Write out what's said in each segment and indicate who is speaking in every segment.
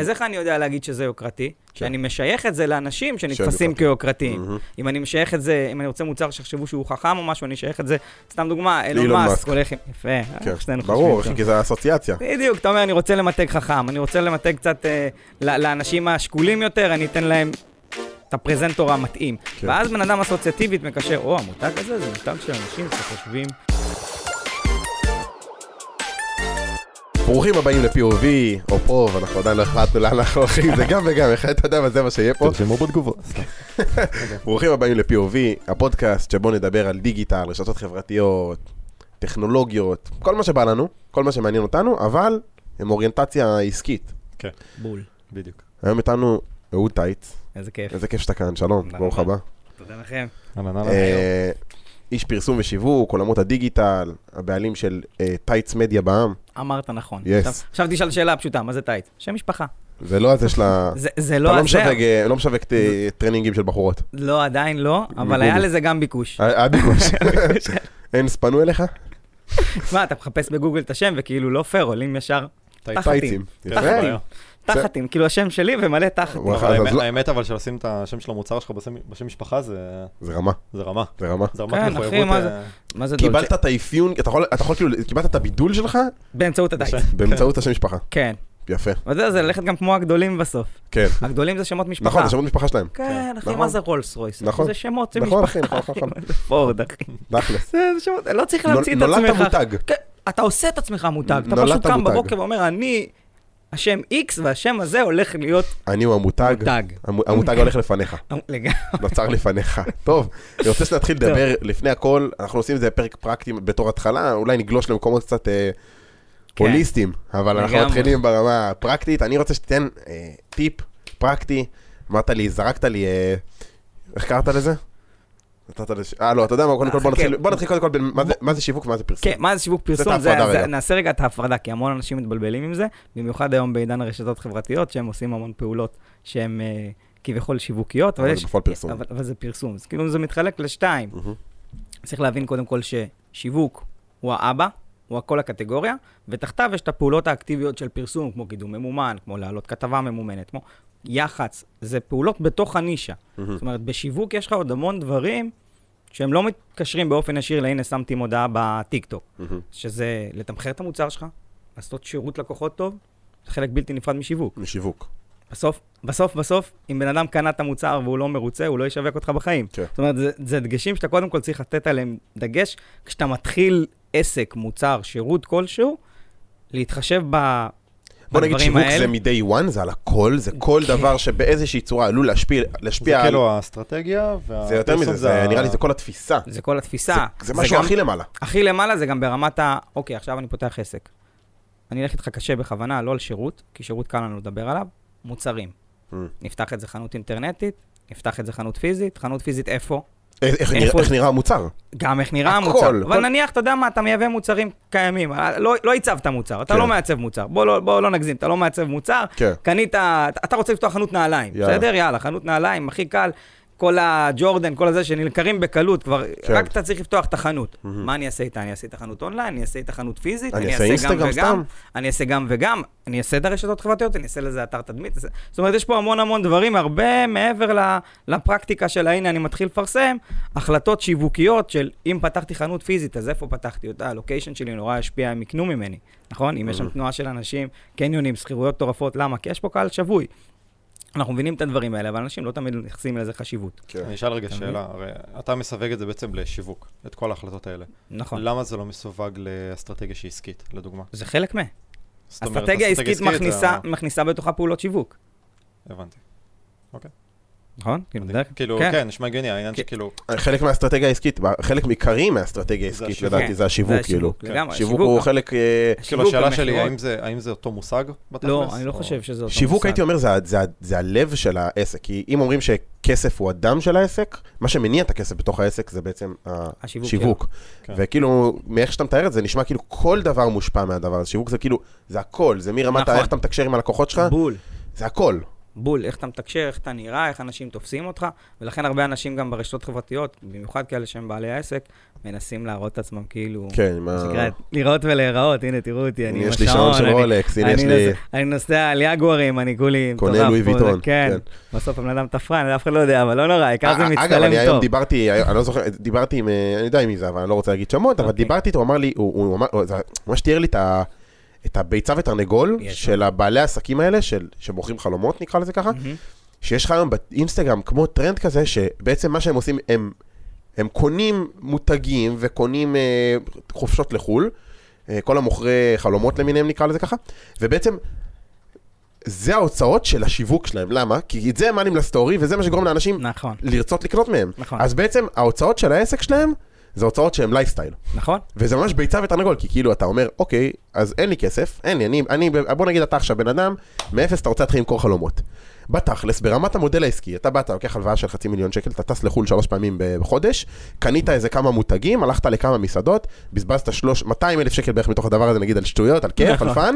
Speaker 1: אז איך אני יודע להגיד שזה יוקרתי? שאני משייך את זה לאנשים שנתפסים
Speaker 2: כן. יוקרתי.
Speaker 1: כיוקרתיים. אם אני משייך את זה, אם אני רוצה מוצר שיחשבו שהוא חכם או משהו, אני אשייך את זה, סתם דוגמה, אילון
Speaker 2: לאילון
Speaker 1: מאסק
Speaker 2: מאסק.
Speaker 1: הולך עם... יפה, אה,
Speaker 2: כן,
Speaker 1: שנינו
Speaker 2: ברור,
Speaker 1: חושבים.
Speaker 2: כי זה אסוציאציה.
Speaker 1: בדיוק, אתה אומר, אני רוצה למתג חכם, אני רוצה למתג קצת אה, ל- לאנשים השקולים יותר, אני אתן להם את הפרזנטור המתאים.
Speaker 2: כן.
Speaker 1: ואז בן אדם אסוציאטיבית מקשר, או, המותג הזה זה מותג של אנשים שחושבים...
Speaker 2: ברוכים הבאים ל-POV, או פה, ואנחנו עדיין לא החלטנו לאן אנחנו הולכים, זה גם וגם, איך אתה יודע מה זה מה שיהיה פה.
Speaker 3: תרשמו בתגובות.
Speaker 1: כן.
Speaker 2: ברוכים הבאים ל-POV, הפודקאסט שבו נדבר על דיגיטל, רשתות חברתיות, טכנולוגיות, כל מה שבא לנו, כל מה שמעניין אותנו, אבל עם אוריינטציה עסקית.
Speaker 3: כן,
Speaker 1: בול.
Speaker 3: בדיוק.
Speaker 2: היום איתנו אהוד טייץ,
Speaker 1: איזה כיף.
Speaker 2: איזה כיף שאתה כאן, שלום,
Speaker 1: תודה
Speaker 2: ברוך
Speaker 1: רבה.
Speaker 2: הבא.
Speaker 1: תודה לכם.
Speaker 3: אהלן אהלן.
Speaker 2: אה, איש פרסום ושיווק, עולמות הדיגיטל, הבעלים של אה, טייץ מדיה בעם,
Speaker 1: אמרת נכון.
Speaker 2: Yes.
Speaker 1: עכשיו- עכשיו תשאל שאלה פשוטה, מה זה טייט? שם משפחה.
Speaker 2: זה לא הזה של ה...
Speaker 1: זה- זה
Speaker 2: אתה
Speaker 1: לא
Speaker 2: לא
Speaker 1: הזה,
Speaker 2: משווק, אה, לא משווק ט- טרנינגים של בחורות.
Speaker 1: לא, עדיין לא, אבל היה
Speaker 2: בגוגל.
Speaker 1: לזה גם ביקוש.
Speaker 2: היה ביקוש. אין ספנו אליך?
Speaker 1: תשמע, אתה מחפש בגוגל את השם, וכאילו לא פייר, עולים ישר
Speaker 2: טייצים.
Speaker 1: תחתים.
Speaker 2: יפה.
Speaker 3: בעיה.
Speaker 1: תחתים, כאילו השם שלי ומלא תחתים.
Speaker 2: וואי.
Speaker 3: אבל
Speaker 2: אז
Speaker 3: האמת-
Speaker 2: לא-
Speaker 3: האמת אבל שלשים את השם של המוצר שלך בשם- בשם משפחה זה
Speaker 2: זה רמה,
Speaker 3: זה רמה.
Speaker 2: זה רמה.
Speaker 3: זה רמת
Speaker 1: כן, אחי,
Speaker 3: מחויבות.
Speaker 1: מה זה?
Speaker 3: אה,
Speaker 1: מה זה דולצ'ה?
Speaker 2: קיבלת את האפיון, אתה יכול, אתה יכול כאילו, קיבלת את הבידול שלך
Speaker 1: באמצעות הדייט.
Speaker 2: נכון. באמצעות השם משפחה.
Speaker 1: כן.
Speaker 2: יפה,
Speaker 1: אבל זה, זה ללכת גם כמו הגדולים בסוף.
Speaker 2: כן.
Speaker 1: הגדולים זה שמות משפחה.
Speaker 2: נכון, זה שמות משפחה שלהם.
Speaker 1: כן, אחי,
Speaker 2: נכון.
Speaker 1: מה זה רולס רויס?
Speaker 2: נכון.
Speaker 1: זה שמות, זה
Speaker 2: נכון,
Speaker 1: משפחה.
Speaker 2: אחי, נכון, נכון, נכון.
Speaker 1: זה פורד, אחי.
Speaker 2: תכלס.
Speaker 1: זה זה שמות, לא צריך להמציא את
Speaker 2: נולדת
Speaker 1: עצמך.
Speaker 2: מותג.
Speaker 1: כן, אתה עושה את עצמך מותג. אתה
Speaker 2: נולדת
Speaker 1: פשוט קם
Speaker 2: מותג.
Speaker 1: בבוקר ואומר, אני השם X והשם הזה הולך להיות
Speaker 2: אני הוא המותג,
Speaker 1: מותג. אמ,
Speaker 2: המו- המותג הולך לפניך,
Speaker 1: לגמרי.
Speaker 2: נוצר לפניך. טוב, אני רוצה שנתחיל לדבר לפני הכל, אנחנו עושים את זה פרק פרקטי בתור התחלה, אולי נגלוש למקומות קצת אה,
Speaker 1: כן.
Speaker 2: הוליסטיים, אבל אנחנו
Speaker 1: לגמרי.
Speaker 2: מתחילים ברמה הפרקטית. אני רוצה שתיתן אה, טיפ פרקטי, אמרת לי, זרקת לי, אה, איך קראת לזה? נתת לש... אה, לא, אתה יודע מה, קודם כל בוא
Speaker 1: חכה.
Speaker 2: נתחיל, בוא נתחיל קודם כל בין מה זה- מה זה שיווק ומה זה פרסום.
Speaker 1: כן, מה זה שיווק
Speaker 2: את
Speaker 1: פרסום? זה-
Speaker 2: ההפרדה
Speaker 1: זה-
Speaker 2: רגע.
Speaker 1: נעשה רגע את ההפרדה, כי המון אנשים מתבלבלים עם זה, במיוחד היום בעידן הרשתות החברתיות, שהם עושים המון פעולות שהן אה, כביכול שיווקיות,
Speaker 2: אבל
Speaker 1: אבל
Speaker 2: זה
Speaker 1: יש...
Speaker 2: בפועל פרסום.
Speaker 1: אבל אבל זה פרסום, אז כאילו זה מתחלק לשתיים.
Speaker 2: מהמם.
Speaker 1: צריך להבין קודם כל ששיווק הוא האבא, הוא הכל הקטגוריה, ותחתיו יש את הפעולות האקטיביות של פרסום, כמו קידום ממומן, כמו להעלות כתבה ממומנת, כמו יח"צ, זה פעולות בתוך הנישה.
Speaker 2: Mm.
Speaker 1: זאת אומרת, בשיווק יש לך עוד המון דברים שהם לא מתקשרים באופן ישיר להנה שמתי מודעה בטיקטוק,
Speaker 2: מהמם.
Speaker 1: שזה לתמחר את המוצר שלך, לעשות שירות לקוחות טוב, זה חלק בלתי נפרד משיווק.
Speaker 2: משיווק.
Speaker 1: בסוף, בסוף, בסוף, אם בן אדם קנה את המוצר והוא לא מרוצה, הוא לא ישווק אותך בחיים.
Speaker 2: כן.
Speaker 1: זאת אומרת, זה, זה דגשים שאתה קודם כל צריך לתת עליהם דגש. כשאתה מתחיל עסק, מוצר, שירות כלשהו, להתחשב ב...
Speaker 2: בוא נגיד
Speaker 1: בדברים
Speaker 2: שיווק
Speaker 1: האלה.
Speaker 2: זה מ-day one, זה על הכל, זה כל
Speaker 1: כן.
Speaker 2: דבר שבאיזושהי צורה עלול להשפיע,
Speaker 3: זה
Speaker 2: להשפיע על...
Speaker 3: כאילו האסטרטגיה. וה-
Speaker 2: זה יותר מזה,
Speaker 3: הפרסום
Speaker 2: זה
Speaker 3: ה-
Speaker 2: נראה לי זה כל התפיסה.
Speaker 1: זה כל התפיסה.
Speaker 2: זה- זה משהו
Speaker 1: גם-
Speaker 2: הכי לא- למעלה.
Speaker 1: הכי למעלה זה גם ברמת ה... אוקיי, עכשיו אני פותח עסק. אני אלך איתך קשה בכוונה, לא על שירות, כי שירות קל לנו לדבר עליו, מוצרים.
Speaker 2: Mm.
Speaker 1: נפתח את זה חנות אינטרנטית, נפתח את זה חנות פיזית, חנות פיזית איפה?
Speaker 2: אה, איך- איך נראה-
Speaker 1: איפה-
Speaker 2: איך נראה המוצר?
Speaker 1: גם איך נראה
Speaker 2: הכל,
Speaker 1: המוצר. אבל
Speaker 2: כל-
Speaker 1: נניח, אתה יודע מה, אתה מייבא מוצרים קיימים. אה, לא לא הצבת מוצר, אתה
Speaker 2: כן.
Speaker 1: לא מעצב מוצר. בוא לא- בוא לא נגזים, אתה לא מעצב מוצר.
Speaker 2: כן.
Speaker 1: קנית, אתה רוצה לפתוח חנות נעליים,
Speaker 2: יאללה.
Speaker 1: בסדר? יאללה, חנות נעליים, הכי קל. כל הג'ורדן, כל הזה שנלקרים בקלות כבר,
Speaker 2: כן.
Speaker 1: רק אתה צריך לפתוח את החנות. מה אני אעשה איתה? אני אעשה את החנות אונליין, אני אעשה את החנות פיזית,
Speaker 2: אני אעשה אינסטגרם
Speaker 1: גם
Speaker 2: סתם?
Speaker 1: וגם, אני אעשה גם וגם, אני אעשה את הרשתות החברתיות, אני אעשה לזה אתר תדמית. זה- זאת אומרת, יש פה המון המון דברים, הרבה מעבר ל- לפרקטיקה של הנה אני מתחיל לפרסם, החלטות שיווקיות של אם פתחתי חנות פיזית, אז איפה פתחתי אותה? הלוקיישן שלי נורא ישפיע, הם יקנו ממני, נכון? אם יש שם תנועה של אנשים, קניונים, שכירויות מטורפות, למה? כי יש פה קהל שבוי. אנחנו מבינים את הדברים האלה, אבל אנשים לא תמיד מייחסים לזה חשיבות.
Speaker 2: כן.
Speaker 3: אני אשאל רגע
Speaker 1: אתה
Speaker 3: שאלה, הרי אתה מסווג את זה בעצם לשיווק, את כל ההחלטות האלה.
Speaker 1: נכון.
Speaker 3: למה זה לא מסווג לאסטרטגיה שהיא עסקית, לדוגמה?
Speaker 1: זה חלק מה.
Speaker 3: זאת אומרת,
Speaker 1: אסטרטגיה עסקית מכניסה-
Speaker 3: אה,
Speaker 1: מכניסה בתוכה פעולות שיווק,
Speaker 3: הבנתי.
Speaker 1: נכון? כאילו, בדרך-
Speaker 3: כאילו,
Speaker 1: כן.
Speaker 3: כן, נשמע הגיוני, העניין
Speaker 1: כן.
Speaker 3: שכאילו, כאילו,
Speaker 2: חלק מהאסטרטגיה העסקית, חלק עיקרי מהאסטרטגיה
Speaker 3: זה
Speaker 2: העסקית,
Speaker 3: השיווק.
Speaker 2: לדעתי, זה השיווק, כאילו.
Speaker 1: השיווק, לגמרי,
Speaker 2: שיווק הוא חלק... אה,
Speaker 3: כאילו
Speaker 1: שיווק
Speaker 3: השאלה שלי,
Speaker 1: ומכירות.
Speaker 3: האם זה- האם זה אותו מושג בתכלס?
Speaker 1: לא, אני לא
Speaker 3: או-
Speaker 1: חושב שזה אותו
Speaker 2: שיווק,
Speaker 1: מושג.
Speaker 2: הייתי אומר, זה ה- זה ה- זה הלב של העסק. כי אם אומרים שכסף הוא הדם של העסק, מה שמניע את הכסף בתוך העסק זה בעצם
Speaker 1: השיווק,
Speaker 2: השיווק.
Speaker 3: כן.
Speaker 2: וכאילו, מאיך שאתה מתאר את זה, נשמע כאילו כל דבר מושפע מהדבר הזה. שיווק זה כאילו, זה הכל, זה מרמת ה-
Speaker 1: נכון.
Speaker 2: איך אתה מתקשר עם הלקוחות שלך,
Speaker 1: בול.
Speaker 2: זה הכל.
Speaker 1: בול, איך אתה מתקשר, איך אתה נראה, איך אנשים תופסים אותך, ולכן הרבה אנשים גם ברשתות חברתיות, במיוחד כאלה שהם בעלי העסק, מנסים להראות את עצמם כאילו...
Speaker 2: כן, עם ה...
Speaker 1: מה שנקרא, לראות ולהיראות, הנה, תראו אותי, אני עם השעון.
Speaker 2: יש לי שעון של
Speaker 1: אני-
Speaker 2: רולקס, הנה
Speaker 1: אני
Speaker 2: יש לי... אה,
Speaker 1: נוסע- אני נוסע על יגוארים, אני כולי
Speaker 2: קונה
Speaker 1: מטורף
Speaker 2: לואי
Speaker 1: פה,
Speaker 2: ויטון,
Speaker 1: זה- כן, בסוף הבן אדם תפרן, אף אחד לא יודע, אבל לא נורא, העיקר זה
Speaker 2: אה,
Speaker 1: מצטלם טוב.
Speaker 2: אגב, אני היום דיברתי, אני לא זוכר, דיברתי עם, אה, אני יודע עם מי זה, אבל אני לא רוצה להגיד שמות, אבל
Speaker 1: אוקיי.
Speaker 2: דיברתי איתו, הוא אמר לי, הוא- הוא אמר, הוא- זה ממש תיאר לי את ה- את הביצה ותרנגול
Speaker 1: יש.
Speaker 2: של הבעלי העסקים האלה, של- שמוכרים חלומות, נקרא לזה ככה,
Speaker 1: מהמם.
Speaker 2: שיש לך היום באינסטגרם כמו טרנד כזה, שבעצם מה שהם עושים, הם, הם קונים מותגים וקונים אה, חופשות לחו"ל, אה, כל המוכרי חלומות למיניהם נקרא לזה ככה, ובעצם זה ההוצאות של השיווק שלהם, למה? כי את זה הם מעלים לסטורי וזה מה שגורם לאנשים
Speaker 1: נכון,
Speaker 2: לרצות לקנות מהם.
Speaker 1: נכון.
Speaker 2: אז בעצם ההוצאות של העסק שלהם, זה הוצאות שהן לייפסטייל.
Speaker 1: נכון,
Speaker 2: וזה ממש ביצה ותרנגול, כי כאילו אתה אומר, אוקיי, אז אין לי כסף, אין לי, אני, אני, בוא נגיד אתה עכשיו בן אדם, מאפס אתה רוצה להתחיל למכור חלומות. בתכלס, ברמת המודל העסקי, אתה באת, לוקח הלוואה של חצי מיליון שקל, אתה טס לחו"ל שלוש פעמים ב- בחודש, קנית איזה כמה מותגים, הלכת לכמה מסעדות, בזבזת שלוש, 200 אלף שקל בערך מתוך הדבר הזה, נגיד על שטויות, על כיף, על
Speaker 1: נכון.
Speaker 2: פאן,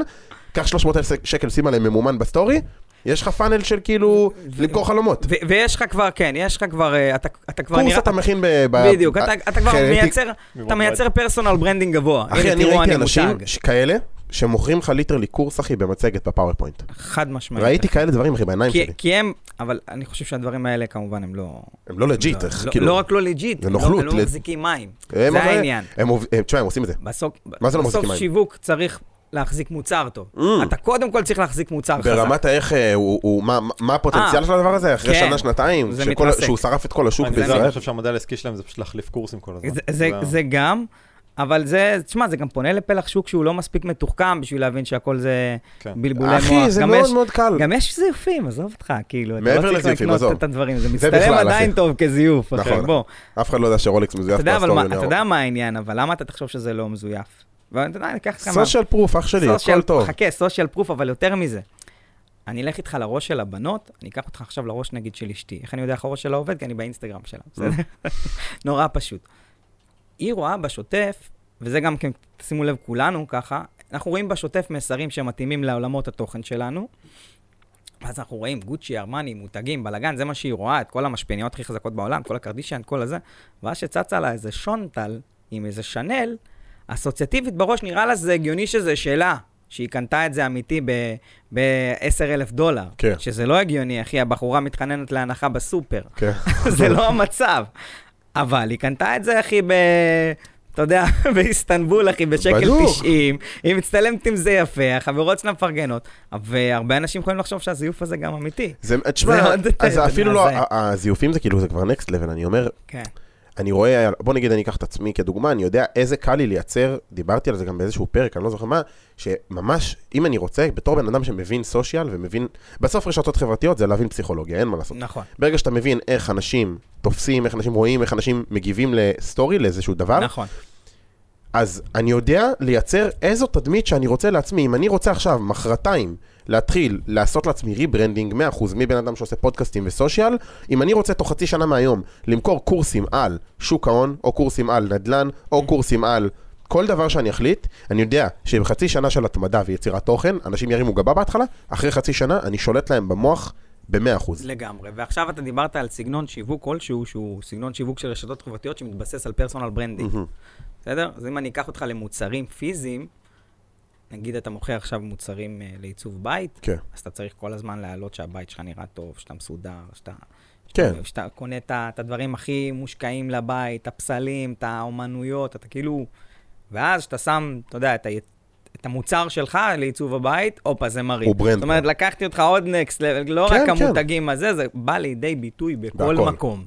Speaker 2: קח 300 אלף שקל, שים עליהם ממומן בסטורי, יש לך פאנל של כאילו,
Speaker 1: ו-
Speaker 2: למכור חלומות.
Speaker 1: ו- ויש לך כבר, כן, יש לך כבר, אה, אתה אתה כבר
Speaker 2: קורס
Speaker 1: נראה...
Speaker 2: אתה מכין ב... ב-
Speaker 1: בדיוק,
Speaker 2: ב-
Speaker 1: אתה אתה כבר
Speaker 2: חלק-
Speaker 1: מייצר, אתה
Speaker 3: ממש.
Speaker 1: מייצר פרסונל ברנדינג גבוה.
Speaker 2: כן, אחי,
Speaker 1: הנה,
Speaker 2: אני
Speaker 1: תראו,
Speaker 2: ראיתי
Speaker 1: מותג.
Speaker 2: אנשים ש- כאלה, שמוכרים לך ליטרלי קורס, אחי, במצגת בפאורפוינט.
Speaker 1: חד משמעית.
Speaker 2: ראיתי כאלה דברים, אחי, בעיניים
Speaker 1: כי-
Speaker 2: שלי.
Speaker 1: כי הם, אבל אני חושב שהדברים האלה כמובן הם לא...
Speaker 2: הם לא לג'יט,
Speaker 1: לא-
Speaker 2: איך,
Speaker 1: לא-
Speaker 2: כאילו.
Speaker 1: לא רק לא לג'יט,
Speaker 2: זה
Speaker 1: הם
Speaker 2: נוכלות,
Speaker 1: לא- הם לא
Speaker 2: ל-
Speaker 1: מחזיקים מים.
Speaker 2: הם
Speaker 1: זה
Speaker 2: הרי-
Speaker 1: העניין.
Speaker 2: הם עוב- הם- תשמע, הם עושים את זה.
Speaker 1: בסוף,
Speaker 2: מה זה לא מחזיק
Speaker 1: בסוף
Speaker 2: מים?
Speaker 1: שיווק צריך להחזיק מוצר טוב.
Speaker 2: Mm.
Speaker 1: אתה קודם כל צריך להחזיק מוצר חזק.
Speaker 2: ברמת האיך, אה, הוא- הוא- מה- מה הפוטנציאל
Speaker 1: אה,
Speaker 2: של הדבר הזה, אחרי
Speaker 1: כן.
Speaker 2: שנה, שנתיים,
Speaker 1: זה
Speaker 2: שכל-
Speaker 1: מתרסק.
Speaker 2: שהוא שרף את כל השוק
Speaker 3: אני- זה- אני
Speaker 2: בישראל.
Speaker 3: חושב שהמודל העסקי שלהם זה פשוט להחליף קורסים כל הזמן. כאילו,
Speaker 1: זה, זה, זה גם, אבל זה, תשמע, זה גם פונה לפלח שוק שהוא לא מספיק מתוחכם בשביל להבין שהכל זה
Speaker 3: כן.
Speaker 1: בלבולי מוח.
Speaker 2: אחי, זה
Speaker 1: גם
Speaker 2: מאוד
Speaker 1: יש-
Speaker 2: מאוד קל.
Speaker 1: גם יש זיופים, עזוב אותך, כאילו, אתה
Speaker 2: מעבר
Speaker 1: לא צריך
Speaker 2: לזיופים,
Speaker 1: לקנות
Speaker 2: עזוב.
Speaker 1: את הדברים, זה
Speaker 2: זה
Speaker 1: מצטלם
Speaker 2: בכלל,
Speaker 1: עדיין
Speaker 2: אחי.
Speaker 1: טוב כזיוף, אחי,
Speaker 2: נכון.
Speaker 1: בוא.
Speaker 2: אף אחד לא יודע שרולקס מזויף
Speaker 1: אתה יודע, אבל
Speaker 2: בסטורי.
Speaker 1: מה- אתה יודע מה העניין, אבל למה אתה תחשוב שזה לא מזויף? ואתה יודע, אני אקח לך כמה...
Speaker 2: סושיאל פרוף, אח שלי,
Speaker 1: social-
Speaker 2: הכל טוב.
Speaker 1: חכה, סושיאל פרוף, אבל יותר מזה. אני אלך איתך לראש של הבנות, אני אקח אותך עכשיו לראש נגיד של אשתי. איך אני יודע איך הראש שלה עובד? כי אני באינסטגרם שלה, בסדר?
Speaker 2: Mm.
Speaker 1: נורא פשוט. היא רואה בשוטף, וזה גם כן, שימו לב כולנו ככה, אנחנו רואים בשוטף מסרים שמתאימים לעולמות התוכן שלנו, ואז אנחנו רואים גוצ'י, ארמני, מותגים, בלאגן, זה מה שהיא רואה, את כל המשפיעניות הכי חזקות בעולם, כל הקרדישן, כל הזה, ואז שצצה לה איזה שונטל עם איזה שנל, אסוציאטיבית בראש נראה לה שזה הגיוני שזה שלה, שהיא קנתה את זה אמיתי ב-10 אלף דולר.
Speaker 2: כן.
Speaker 1: שזה לא הגיוני, אחי, הבחורה מתחננת להנחה בסופר.
Speaker 2: כן.
Speaker 1: זה לא המצב. אבל היא קנתה את זה, אחי, ב... אתה יודע, באיסטנבול, אחי, בשקל
Speaker 2: בדוק.
Speaker 1: 90, היא מצטלמת עם זה יפה, החברות שלה מפרגנות, והרבה אנשים יכולים לחשוב שהזיוף הזה גם אמיתי.
Speaker 2: זה, תשמע,
Speaker 1: מאוד-
Speaker 2: אז
Speaker 1: זה
Speaker 2: זה אפילו לא,
Speaker 1: מזעזע.
Speaker 2: ה- הזיופים זה כאילו, זה כבר נקסט לבל, אני אומר,
Speaker 1: כן.
Speaker 2: אני רואה, בוא נגיד אני אקח את עצמי כדוגמה, אני יודע איזה קל לי לייצר, דיברתי על זה גם באיזשהו פרק, אני לא זוכר מה, שממש, אם אני רוצה, בתור בן אדם שמבין סושיאל ומבין, בסוף רשתות חברתיות זה להבין פסיכולוגיה, אין מה לעשות.
Speaker 1: נכון,
Speaker 2: ברגע שאתה מבין איך אנשים תופסים, איך אנשים רואים, איך אנשים מגיבים לסטורי, לאיזשהו דבר,
Speaker 1: נכון.
Speaker 2: אז אני יודע לייצר איזו תדמית שאני רוצה לעצמי. אם אני רוצה עכשיו, מחרתיים, להתחיל לעשות לעצמי ריברנדינג 100% מבן אדם שעושה פודקאסטים וסושיאל, אם אני רוצה תוך חצי שנה מהיום למכור קורסים על שוק ההון, או קורסים על נדל"ן,
Speaker 1: אוקיי.
Speaker 2: או קורסים על כל דבר שאני אחליט, אני יודע שבחצי שנה של התמדה ויצירת תוכן, אנשים ירימו גבה בהתחלה, אחרי חצי שנה אני שולט להם במוח ב-100%.
Speaker 1: לגמרי. ועכשיו אתה דיברת על סגנון שיווק כלשהו, שהוא סגנון שיווק של רשתות חברתיות שמתבסס על פרסונל ברנדינג. בסדר? אז אם אני אקח אותך למוצרים פיזיים, נגיד אתה מוכר עכשיו מוצרים אה, לעיצוב בית,
Speaker 2: כן.
Speaker 1: אז אתה צריך כל הזמן להעלות שהבית שלך נראה טוב, שאתה מסודר, שאתה...
Speaker 2: כן.
Speaker 1: שאתה קונה את ה- את הדברים הכי מושקעים לבית, את הפסלים, את האומנויות, אתה כאילו... ואז כשאתה שם, אתה יודע, את, ה... את המוצר שלך לעיצוב הבית, הופה, זה מראה.
Speaker 2: הוא ברנד.
Speaker 1: זאת אומרת, לקחתי אותך עוד נקסט, לא
Speaker 2: כן,
Speaker 1: רק
Speaker 2: כן. Mm.
Speaker 1: המותגים הזה, זה בא לידי ביטוי בכל
Speaker 2: בהכל.
Speaker 1: מקום.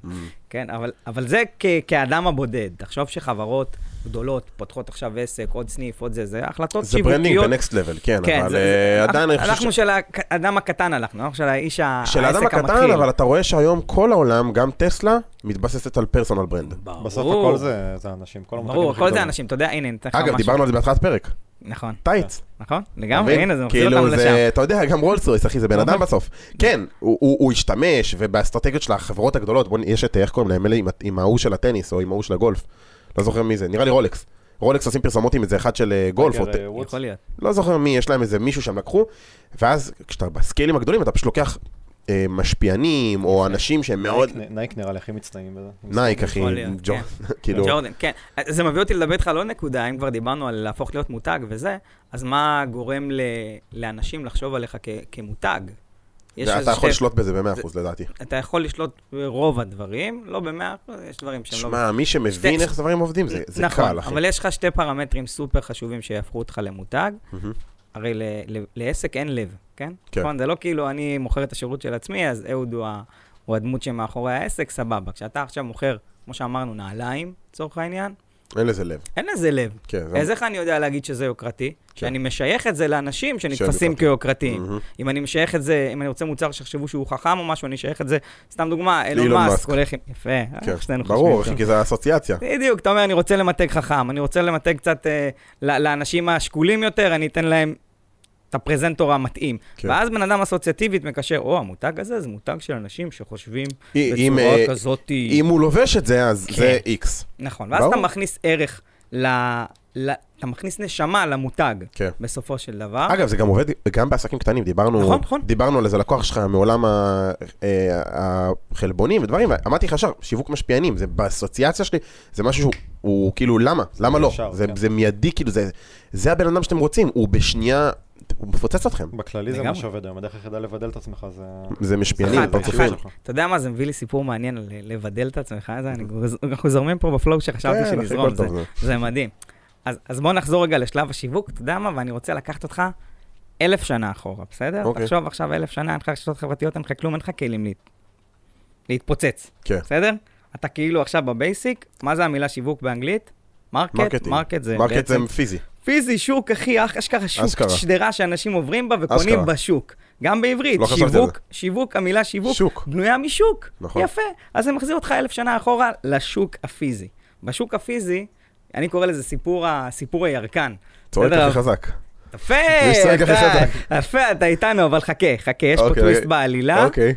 Speaker 1: כן, אבל, אבל זה כ, כאדם הבודד. תחשוב שחברות גדולות פותחות עכשיו עסק, עוד סניף, עוד זה, זה החלטות
Speaker 2: זה
Speaker 1: שיווקיות.
Speaker 2: ברנדינג בנקסט לבל, כן,
Speaker 1: כן,
Speaker 2: אבל
Speaker 1: זה- זה-
Speaker 2: אה, עדיין אני חושב
Speaker 1: אנחנו של האדם הקטן הלכנו, אנחנו לא? של האיש ה- העסק
Speaker 2: של
Speaker 1: המתחיל.
Speaker 2: האדם הקטן, אבל אתה רואה שהיום כל העולם, גם טסלה, מתבססת על פרסונל ברנד.
Speaker 1: ברור.
Speaker 3: בסוף הכל זה זה אנשים, כל המותגים
Speaker 1: ברור,
Speaker 3: הכי
Speaker 1: הכל זה
Speaker 3: גדולים.
Speaker 1: אנשים, אתה יודע, הנה, אני אתן לך משהו.
Speaker 2: אגב, דיברנו על זה בהתחלת פרק,
Speaker 1: נכון,
Speaker 2: טייץ.
Speaker 1: נכון,
Speaker 2: אתה
Speaker 1: לגמרי,
Speaker 2: מבין?
Speaker 1: לא. הנה, זה מחזיר
Speaker 2: כאילו,
Speaker 1: אותנו
Speaker 2: זה-
Speaker 1: לשם.
Speaker 2: אתה יודע, גם רולס רויס, אחי, זה בן אדם
Speaker 1: ממש.
Speaker 2: בסוף. כן, הוא- הוא הוא השתמש, ובאסטרטגיות של החברות הגדולות, בוא נ- יש את, איך קוראים להם, אלה עם- עם ההוא של הטניס, או עם ההוא של הגולף. לא זוכר מי זה, נראה לי רולקס. רולקס עושים פרסומות עם איזה אחד של אה, גולף, או ט-
Speaker 1: אוקיי,
Speaker 3: טייגר, אה, וודס.
Speaker 1: יכול להיות.
Speaker 2: לא זוכר מי, יש להם איזה מישהו שהם לקחו, ואז כשאתה בסקיילים הגדולים, אתה פשוט לוקח אה, משפיענים, או אנשים שהם מאוד...
Speaker 3: נייק- נייק נראה לי הכי מצטיינים בזה.
Speaker 2: נייק, אחי,
Speaker 1: יכול להיות,
Speaker 2: ג'ו- כאילו...
Speaker 1: ג'ורדן, כן. אז זה מביא אותי לדבר איתך על עוד נקודה, אם כבר דיברנו על להפוך להיות מותג וזה, אז מה גורם ל- לאנשים לחשוב עליך כ- כמותג? יש
Speaker 2: זה-
Speaker 1: איזה
Speaker 2: אתה יכול
Speaker 1: שתי-
Speaker 2: לשלוט בזה ב-100% לדעתי.
Speaker 1: אתה יכול לשלוט ברוב הדברים, לא במאה אחוז, יש דברים שהם לא...
Speaker 2: שמע, מי שמבין
Speaker 1: שתי-
Speaker 2: איך דברים עובדים, זה זה
Speaker 1: נכון,
Speaker 2: קל, אחי.
Speaker 1: אבל יש לך שתי פרמטרים סופר חשובים שיהפכו אותך למותג.
Speaker 2: מהמם.
Speaker 1: הרי ל- ל- לעסק אין לב, כן?
Speaker 2: כן.
Speaker 1: נכון, זה לא כאילו אני מוכר את השירות של עצמי, אז אהוד הוא, ה- הוא הדמות שמאחורי העסק, סבבה. כשאתה עכשיו מוכר, כמו שאמרנו, נעליים, לצורך העניין,
Speaker 2: אין לזה לב.
Speaker 1: אין לזה לב.
Speaker 2: כן, זה... כן.
Speaker 1: אז איך אני יודע להגיד שזה יוקרתי? שאני משייך את זה לאנשים שנתפסים
Speaker 2: יוקרתיים.
Speaker 1: כיוקרתיים.
Speaker 2: מהמם.
Speaker 1: אם אני משייך את זה, אם אני רוצה מוצר שיחשבו שהוא חכם או משהו, אני אשייך את זה, סתם דוגמה, אילון
Speaker 2: לאילון
Speaker 1: מאסק
Speaker 2: מאסק.
Speaker 1: הולך עם... יפה, אה,
Speaker 2: כן,
Speaker 1: שנינו
Speaker 2: ברור,
Speaker 1: חושבים
Speaker 2: אחי,
Speaker 1: ככה.
Speaker 2: כי זה אסוציאציה.
Speaker 1: בדיוק, אתה אומר, אני רוצה למתג חכם, אני רוצה למתג קצת אה, ל- לאנשים השקולים יותר, אני אתן להם את הפרזנטור המתאים.
Speaker 2: כן.
Speaker 1: ואז בן אדם אסוציאטיבית מקשר, או, המותג הזה זה מותג של אנשים שחושבים
Speaker 2: אם- אם,
Speaker 1: בצורה
Speaker 2: אה,
Speaker 1: כזאת...
Speaker 2: אם הוא לובש את זה, אז
Speaker 1: כן.
Speaker 2: זה איקס.
Speaker 1: נכון, ואז אתה
Speaker 2: ברור.
Speaker 1: מכניס ערך ל... ל... אתה מכניס נשמה למותג,
Speaker 2: כן.
Speaker 1: בסופו של דבר.
Speaker 2: אגב, זה גם עובד גם בעסקים קטנים, דיברנו
Speaker 1: אה. נכון, נכון.
Speaker 2: דיברנו על איזה לקוח שלך מעולם ה- אה, החלבונים ודברים, אמרתי לך ישר, שיווק משפיענים, זה באסוציאציה שלי, זה משהו שהוא כאילו, למה? למה לא?
Speaker 3: ישר,
Speaker 2: זה-
Speaker 3: כן.
Speaker 2: זה מיידי, כאילו, זה- זה הבן אדם שאתם רוצים, הוא בשנייה, הוא מפוצץ אתכם.
Speaker 3: בכללי זה
Speaker 1: לגמרי.
Speaker 3: מה שעובד היום, הדרך היחידה לבדל את עצמך זה...
Speaker 2: זה משפיענים,
Speaker 1: אחד,
Speaker 2: פרצופים.
Speaker 1: אחד. אתה יודע מה, זה מביא לי סיפור מעניין על אה, לבדל את עצמך, זה, אני, אנחנו זורמים פה בפלואו שחשבתי
Speaker 2: נכון. כן, אחי,
Speaker 1: שנזרום,
Speaker 2: כל
Speaker 1: זה,
Speaker 2: טוב, זה.
Speaker 1: זה מדהים. אז, אז בוא נחזור רגע לשלב השיווק, אתה יודע מה, ואני רוצה לקחת אותך אלף שנה אחורה, בסדר?
Speaker 2: אוקיי.
Speaker 1: תחשוב עכשיו אלף שנה, אין לך רשתות חברתיות, אין לך כלום, אין לך כלים להת... להתפוצץ,
Speaker 2: כן.
Speaker 1: בסדר? אתה כאילו עכשיו בבייסיק, מה זה המילה שיווק באנגלית? מרקט,
Speaker 2: מרקטינג.
Speaker 1: מרקט זה
Speaker 2: מרקט
Speaker 1: בעצם
Speaker 2: זה פיזי.
Speaker 1: פיזי, שוק, אחי, אח- אשכרה שוק,
Speaker 2: אשכרה.
Speaker 1: שדרה שאנשים עוברים בה וקונים
Speaker 2: אשכרה.
Speaker 1: בשוק. גם בעברית,
Speaker 2: לא חשבתי על
Speaker 1: שיווק, שיווק, המילה שיווק,
Speaker 2: שוק.
Speaker 1: בנויה משוק.
Speaker 2: נכון.
Speaker 1: יפה. אז זה מחזיר אותך אלף שנה אחורה לשוק הפיזי. בשוק הפיזי, אני קורא לזה סיפור, ה- סיפור הירקן.
Speaker 2: צועק
Speaker 1: בסדר?
Speaker 2: הכי חזק.
Speaker 1: יפה,
Speaker 2: מי צועק הכי
Speaker 1: אתה, יפה, אתה איתנו, אבל חכה, חכה, יש פה
Speaker 2: אוקיי.
Speaker 1: טוויסט בעלילה.
Speaker 2: אוקיי.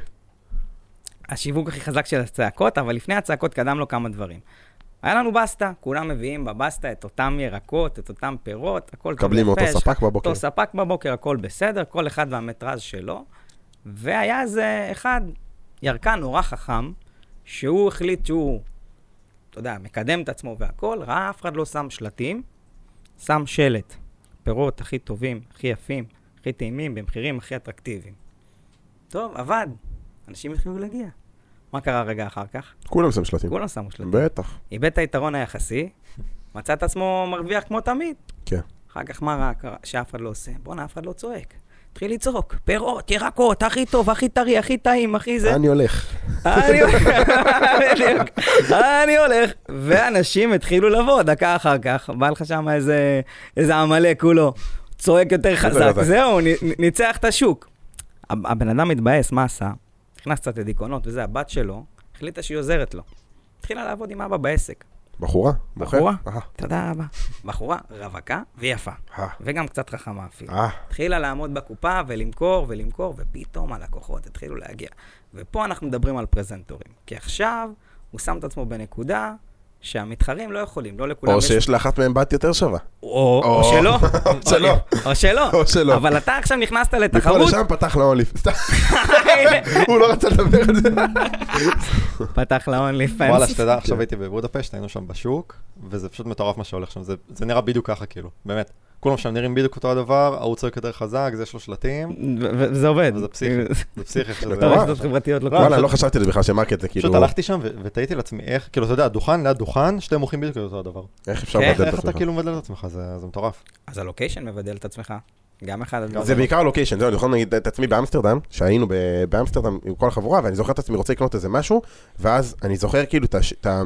Speaker 1: השיווק הכי חזק של הצעקות, אבל לפני הצעקות קדם לו כמה דברים. היה לנו בסטה, כולם מביאים בבסטה את אותם ירקות, את אותם פירות, הכל טוב
Speaker 2: מקבלים
Speaker 1: ויפה,
Speaker 2: מאותו
Speaker 1: יש לך-
Speaker 2: ספק בבוקר.
Speaker 1: אותו ספק בבוקר, הכל בסדר, כל אחד והמטרז' שלו. והיה איזה אחד, ירקן נורא חכם, שהוא החליט שהוא, אתה יודע, מקדם את עצמו והכל, ראה אף אחד לא שם שלטים, שם שלט. פירות הכי טובים, הכי יפים, הכי טעימים, במחירים הכי אטרקטיביים. טוב, עבד. אנשים התחילו להגיע. מה קרה רגע אחר כך?
Speaker 2: כולם שם שלטים.
Speaker 1: כולם שמו שלטים.
Speaker 2: בטח.
Speaker 1: איבד את היתרון היחסי, מצא את עצמו מרוויח כמו תמיד.
Speaker 2: כן.
Speaker 1: אחר כך מה רע קרה שאף אחד לא עושה? בואנה, אף אחד לא צועק. התחיל לצעוק, פירות, ירקות, הכי טוב, הכי טרי, הכי טעים, הכי זה.
Speaker 2: אני הולך.
Speaker 1: אני הולך, בדיוק. אני הולך. ואנשים התחילו לבוא, דקה אחר כך, בא לך שם איזה איזה עמלק כולו, צועק יותר חזק,
Speaker 2: חזק.
Speaker 1: זהו, נ- נ- ניצח את השוק. הב- הבן אדם התבאס, מה עשה? נכנס קצת לדיכאונות וזה, הבת שלו החליטה שהיא עוזרת לו. התחילה לעבוד עם אבא בעסק.
Speaker 2: בחורה? מוכר?
Speaker 1: בחורה?
Speaker 2: אה,
Speaker 1: תודה רבה. בחורה רווקה ויפה,
Speaker 2: אה,
Speaker 1: וגם קצת חכמה אפילו.
Speaker 2: אה.
Speaker 1: התחילה לעמוד בקופה ולמכור ולמכור, ופתאום הלקוחות התחילו להגיע. ופה אנחנו מדברים על פרזנטורים. כי עכשיו הוא שם את עצמו בנקודה שהמתחרים לא יכולים, לא לכולם
Speaker 2: או שיש לאחת מהן בת יותר שווה.
Speaker 1: או, או,
Speaker 2: או-
Speaker 1: שלא.
Speaker 2: או שלא.
Speaker 1: או שלא.
Speaker 2: או שלא.
Speaker 1: אבל אתה עכשיו נכנסת
Speaker 2: מפה
Speaker 1: לתחרות.
Speaker 2: לשם פתח לאונלי. סתם, הוא לא רצה לדבר על זה.
Speaker 1: לא, פתח לאונלי פנס.
Speaker 3: וואלה, שתדע, עכשיו הייתי בבודפשט, היינו שם בשוק, וזה פשוט מטורף מה שהולך שם, זה- זה נראה בדיוק ככה, כאילו, באמת. כולם שם נראים בדיוק אותו הדבר, ההוא צועק יותר חזק, זה יש לו שלטים,
Speaker 1: וזה עובד.
Speaker 3: וזה פסיכי, זה פסיכי. איך שזה-
Speaker 1: אתה רואה רשתות חברתיות לא
Speaker 3: לא,
Speaker 1: קורה.
Speaker 2: וואלה, לא חשבתי על זה בכלל שמרקט זה כאילו...
Speaker 3: פשוט הלכתי שם ו- ותהיתי לעצמי איך, כאילו, אתה יודע, דוכן ליד דוכן, שתי מוחים בדיוק אותו הדבר.
Speaker 2: איך אפשר
Speaker 1: כן,
Speaker 2: לבדל את
Speaker 3: איך אתה
Speaker 2: עצמך?
Speaker 3: כאילו מבדל את עצמך, זה זה מטורף.
Speaker 1: אז הלוקיישן מבדל את עצמך. גם לא. אחד הדברים.
Speaker 2: זה בעיקר לוקיישן, זהו, אני זוכר נגיד את עצמי באמסטרדם, שהיינו ב- באמסטרדם עם כל החבורה, ואני זוכר את עצמי רוצה לקנות איזה משהו, ואז אני זוכר כאילו את הש- את ה...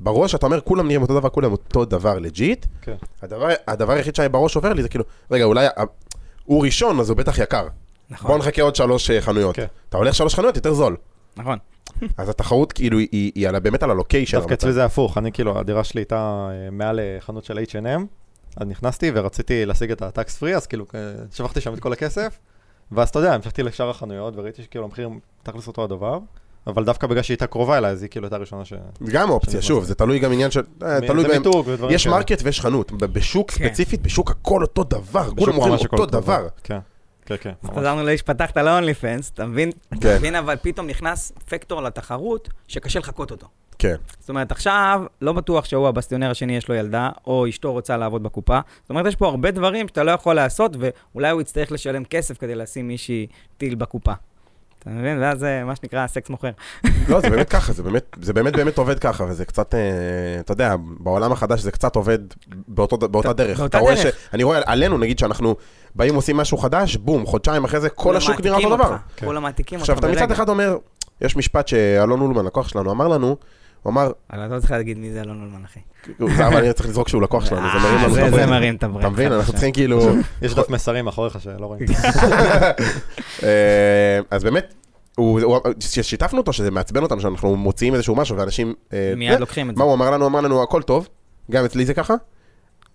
Speaker 2: בראש אתה אומר, כולם נראים אותו דבר, כולם אותו דבר לג'יט.
Speaker 3: כן.
Speaker 2: הדבר הדבר היחיד שהיה בראש עובר לי זה כאילו, רגע, אולי ה- הוא ראשון, אז הוא בטח יקר.
Speaker 1: נכון,
Speaker 2: בוא נחכה עוד שלוש אה, חנויות.
Speaker 3: כן.
Speaker 2: אתה הולך שלוש חנויות, יותר זול.
Speaker 1: נכון.
Speaker 2: אז התחרות כאילו היא- היא היא על ה- באמת על הלוקיישן.
Speaker 3: דווקא אצלי זה הפוך, אני כאילו, הדירה שלי הייתה אה, מעל אה, חנות של H&M, אז נכנסתי ורציתי להשיג את הטקס פרי, אז כאילו, אה, שפכתי שם את כל הכסף, ואז אתה יודע, המשכתי לשאר החנויות, וראיתי שכאילו המחירים תכלס אותו הדבר, אבל דווקא בגלל שהיא הייתה קרובה אליי, אז היא כאילו הייתה הראשונה ש...
Speaker 2: גם אופציה, שוב, זה תלוי גם עניין של... אה,
Speaker 3: מ-
Speaker 2: תלוי
Speaker 3: זה
Speaker 2: בהם.
Speaker 3: מיתוג ודברים
Speaker 2: יש
Speaker 3: כאלה.
Speaker 2: מרקט ויש חנות. ב- בשוק
Speaker 1: כן.
Speaker 2: ספציפית, בשוק הכל אותו דבר,
Speaker 3: בשוק
Speaker 2: כולם מוכרים
Speaker 3: ממש הכל
Speaker 2: אותו דבר.
Speaker 3: כן. כן, כן.
Speaker 1: אז
Speaker 3: ממש.
Speaker 1: חזרנו לאיש פתחת ל-only fans, אתה מבין?
Speaker 2: כן.
Speaker 1: אתה מבין, אבל פתאום נכנס פקטור לתחרות שקשה לחקות אותו.
Speaker 2: כן.
Speaker 1: זאת אומרת, עכשיו, לא בטוח שהוא הבסטיונר השני, יש לו ילדה, או אשתו רוצה לעבוד בקופה. זאת אומרת, יש פה הרבה דברים שאתה לא יכול לעשות, ואולי הוא יצטרך לשלם כסף כדי לשים מישהי טיל בקופה. אתה מבין? ואז זה מה שנקרא הסקס מוכר.
Speaker 2: לא, זה באמת ככה, זה באמת, זה באמת באמת עובד ככה, וזה קצת, אה, אתה יודע, בעולם החדש זה קצת עובד באותו, באותה
Speaker 1: אתה-
Speaker 2: דרך.
Speaker 1: באותה
Speaker 2: אתה רואה ש...
Speaker 1: דרך.
Speaker 2: אני רואה עלינו, נגיד שאנחנו באים עושים משהו חדש, בום, חודשיים אחרי זה כל השוק נראה אותו
Speaker 1: מעתיקים
Speaker 2: דבר.
Speaker 1: אותך,
Speaker 3: כן.
Speaker 1: כולם מעתיקים אותך
Speaker 2: עכשיו, אתה מצד אחד אומר, יש משפט שאלון אולמן, לקוח שלנו, אמר לנו, הוא אמר,
Speaker 1: אבל אתה לא צריך להגיד מי זה אלון אולמן, אחי.
Speaker 2: "זה, אבל אני צריך לזרוק שהוא לקוח שלנו, זה מרים
Speaker 1: אה,
Speaker 2: לנו את
Speaker 1: זה- זה
Speaker 2: הברית."
Speaker 1: מרים את הברית.
Speaker 2: אתה מבין, אנחנו צריכים כאילו...
Speaker 3: יש דף מסרים מאחוריך שלא רואים.
Speaker 2: אה, אז באמת, הוא- הוא- ששיתפנו אותו שזה מעצבן אותנו, שאנחנו מוציאים איזשהו משהו, ואנשים... אה,
Speaker 1: מיד לוקחים את זה.
Speaker 2: מה הוא אמר לנו? אמר לנו, הכל טוב, גם אצלי זה ככה,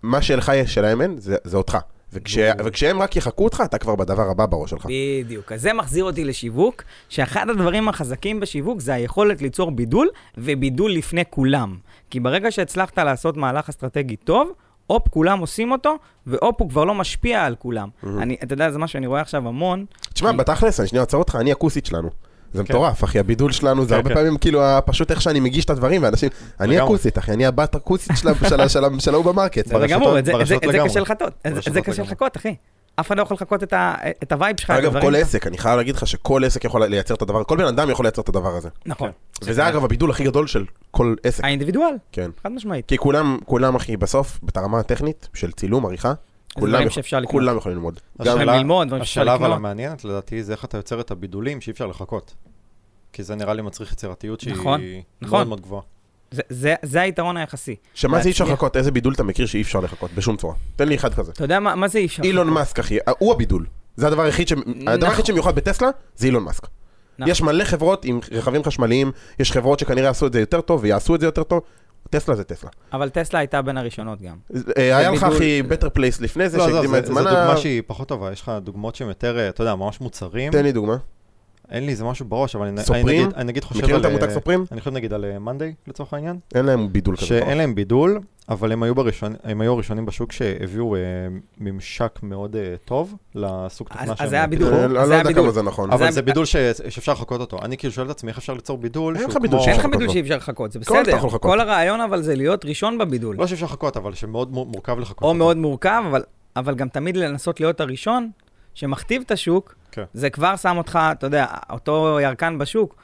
Speaker 2: מה שלך יש, שלהם אין, זה זה אותך. וכש-
Speaker 3: ברור.
Speaker 2: וכשהם רק יחקו אותך, אתה כבר בדבר הבא בראש שלך.
Speaker 1: בדיוק. אז זה מחזיר אותי לשיווק, שאחד הדברים החזקים בשיווק זה היכולת ליצור בידול, ובידול לפני כולם. כי ברגע שהצלחת לעשות מהלך אסטרטגי טוב, הופ, כולם עושים אותו, והופ, הוא כבר לא משפיע על כולם. אני, אתה יודע, זה מה שאני רואה עכשיו המון.
Speaker 2: תשמע,
Speaker 1: כי-
Speaker 2: בתכלס, אני שנייה עוצר אותך, אני הכוסית שלנו. זה
Speaker 3: כן.
Speaker 2: מטורף, אחי, הבידול שלנו זה
Speaker 3: כן,
Speaker 2: הרבה
Speaker 3: כן.
Speaker 2: פעמים כאילו ה- פשוט איך שאני מגיש את הדברים, ואנשים, אני
Speaker 3: לגמרי.
Speaker 2: הכוסית, אחי, אני הבת הכוסית של ה- של ה- של ה- של ההוא במרקט.
Speaker 1: זה
Speaker 3: ברשתות-
Speaker 1: גמור, את זה- את זה
Speaker 3: ברשתות
Speaker 1: את זה
Speaker 3: לגמרי.
Speaker 1: קשה לחכות. את זה- את זה
Speaker 3: ברשתות
Speaker 1: קשה
Speaker 3: לגמרי.
Speaker 1: לחכות, אחי. אף אחד לא יכול לחכות את ה- את הווייב שלך. את
Speaker 2: אגב,
Speaker 1: הדברים
Speaker 2: כל
Speaker 1: שלך.
Speaker 2: עסק, אני חייב להגיד לך שכל עסק יכול לייצר את הדבר, כל בן אדם יכול לייצר את הדבר הזה.
Speaker 1: נכון.
Speaker 2: כן. וזה אגב הבידול הכי גדול של כל עסק,
Speaker 1: האינדיבידואל,
Speaker 2: כן.
Speaker 1: חד משמעית.
Speaker 2: כי כולם, כולם אחי, בסוף, ברמה הטכנית של צילום, עריכה, כולם
Speaker 1: דברים
Speaker 2: יכול-
Speaker 1: שאפשר לקנות.
Speaker 2: כולם יכולים ללמוד.
Speaker 1: גם
Speaker 3: השאלה-
Speaker 1: ללמוד, דברים שאפשר
Speaker 3: השאלה אבל
Speaker 1: לקנות.
Speaker 3: המעניינת לדעתי זה איך אתה יוצר את הבידולים שאי אפשר לחכות. כי זה נראה לי מצריך יצירתיות שהיא
Speaker 1: נכון,
Speaker 3: מאוד
Speaker 1: נכון.
Speaker 3: מאוד גבוהה.
Speaker 1: זה- זה- זה היתרון היחסי.
Speaker 2: שמה זה אי אפשר
Speaker 1: להצליח.
Speaker 2: לחכות? איזה בידול אתה מכיר שאי אפשר לחכות? בשום צורה. תן לי אחד כזה.
Speaker 1: אתה יודע מה מה זה אי אפשר?
Speaker 2: אילון מאסק, אחי, הוא הבידול. זה הדבר היחיד ש... הדבר היחיד שמיוחד בטסלה, זה אילון מאסק.
Speaker 1: נכון.
Speaker 2: יש מלא חברות עם רכבים חשמליים, יש חברות שכנראה עשו את זה יותר טוב ויעשו את זה יותר טוב. טסלה זה טסלה.
Speaker 1: אבל טסלה הייתה בין הראשונות גם.
Speaker 2: אה, היה לך
Speaker 1: בידול-
Speaker 2: אחי better place לפני זה,
Speaker 3: לא, עזוב,
Speaker 2: שהקדימה
Speaker 3: זה
Speaker 2: את
Speaker 3: זו
Speaker 2: זמנה.
Speaker 3: דוגמה שהיא פחות טובה, יש לך דוגמאות שהן יותר, אה, אתה יודע, ממש מוצרים.
Speaker 2: תן לי דוגמה.
Speaker 3: אין לי איזה משהו בראש, אבל אני אני
Speaker 2: כן. סופרים?
Speaker 3: נגיד- אני נגיד חושב
Speaker 2: מכירים את
Speaker 3: על...
Speaker 2: המותג
Speaker 3: אה,
Speaker 2: סופרים?
Speaker 3: אני חושב נגיד על מאנדיי, לצורך העניין.
Speaker 2: אין להם בידול כזה.
Speaker 3: שאין להם בידול, אבל הם היו, בראשון, הם היו הראשונים בשוק שהביאו אה, ממשק מאוד אה, טוב לסוג
Speaker 1: אז-
Speaker 3: תוכנה
Speaker 1: אז
Speaker 3: שהם
Speaker 1: זה היה
Speaker 3: פיתחו.
Speaker 1: בידול.
Speaker 2: אני לא
Speaker 1: זה
Speaker 2: יודע
Speaker 1: הבידול.
Speaker 2: כמה זה נכון.
Speaker 1: זה
Speaker 3: אבל
Speaker 1: היה-
Speaker 3: זה בידול ש... שאפשר לחכות אותו. אני כאילו שואל את עצמי איך אפשר ליצור בידול
Speaker 2: אין לך
Speaker 3: שהוא
Speaker 2: בידול
Speaker 3: כמו...
Speaker 2: שאפשר
Speaker 1: אין לך
Speaker 2: לחכות
Speaker 1: בידול
Speaker 2: לו.
Speaker 1: שאי אפשר לחכות, זה
Speaker 2: כל אתה
Speaker 1: בסדר.
Speaker 2: יכול לחכות.
Speaker 1: כל הרעיון אבל זה להיות ראשון בבידול.
Speaker 3: לא שאפשר לחכות, אבל שמאוד מור- מורכב לחכות.
Speaker 1: או
Speaker 3: אותו.
Speaker 1: מאוד מורכב, אבל- אבל גם תמיד לנסות להיות הראשון שמכתיב את השוק,
Speaker 3: כן.
Speaker 1: זה כבר שם אותך, אתה יודע, אותו ירקן בשוק,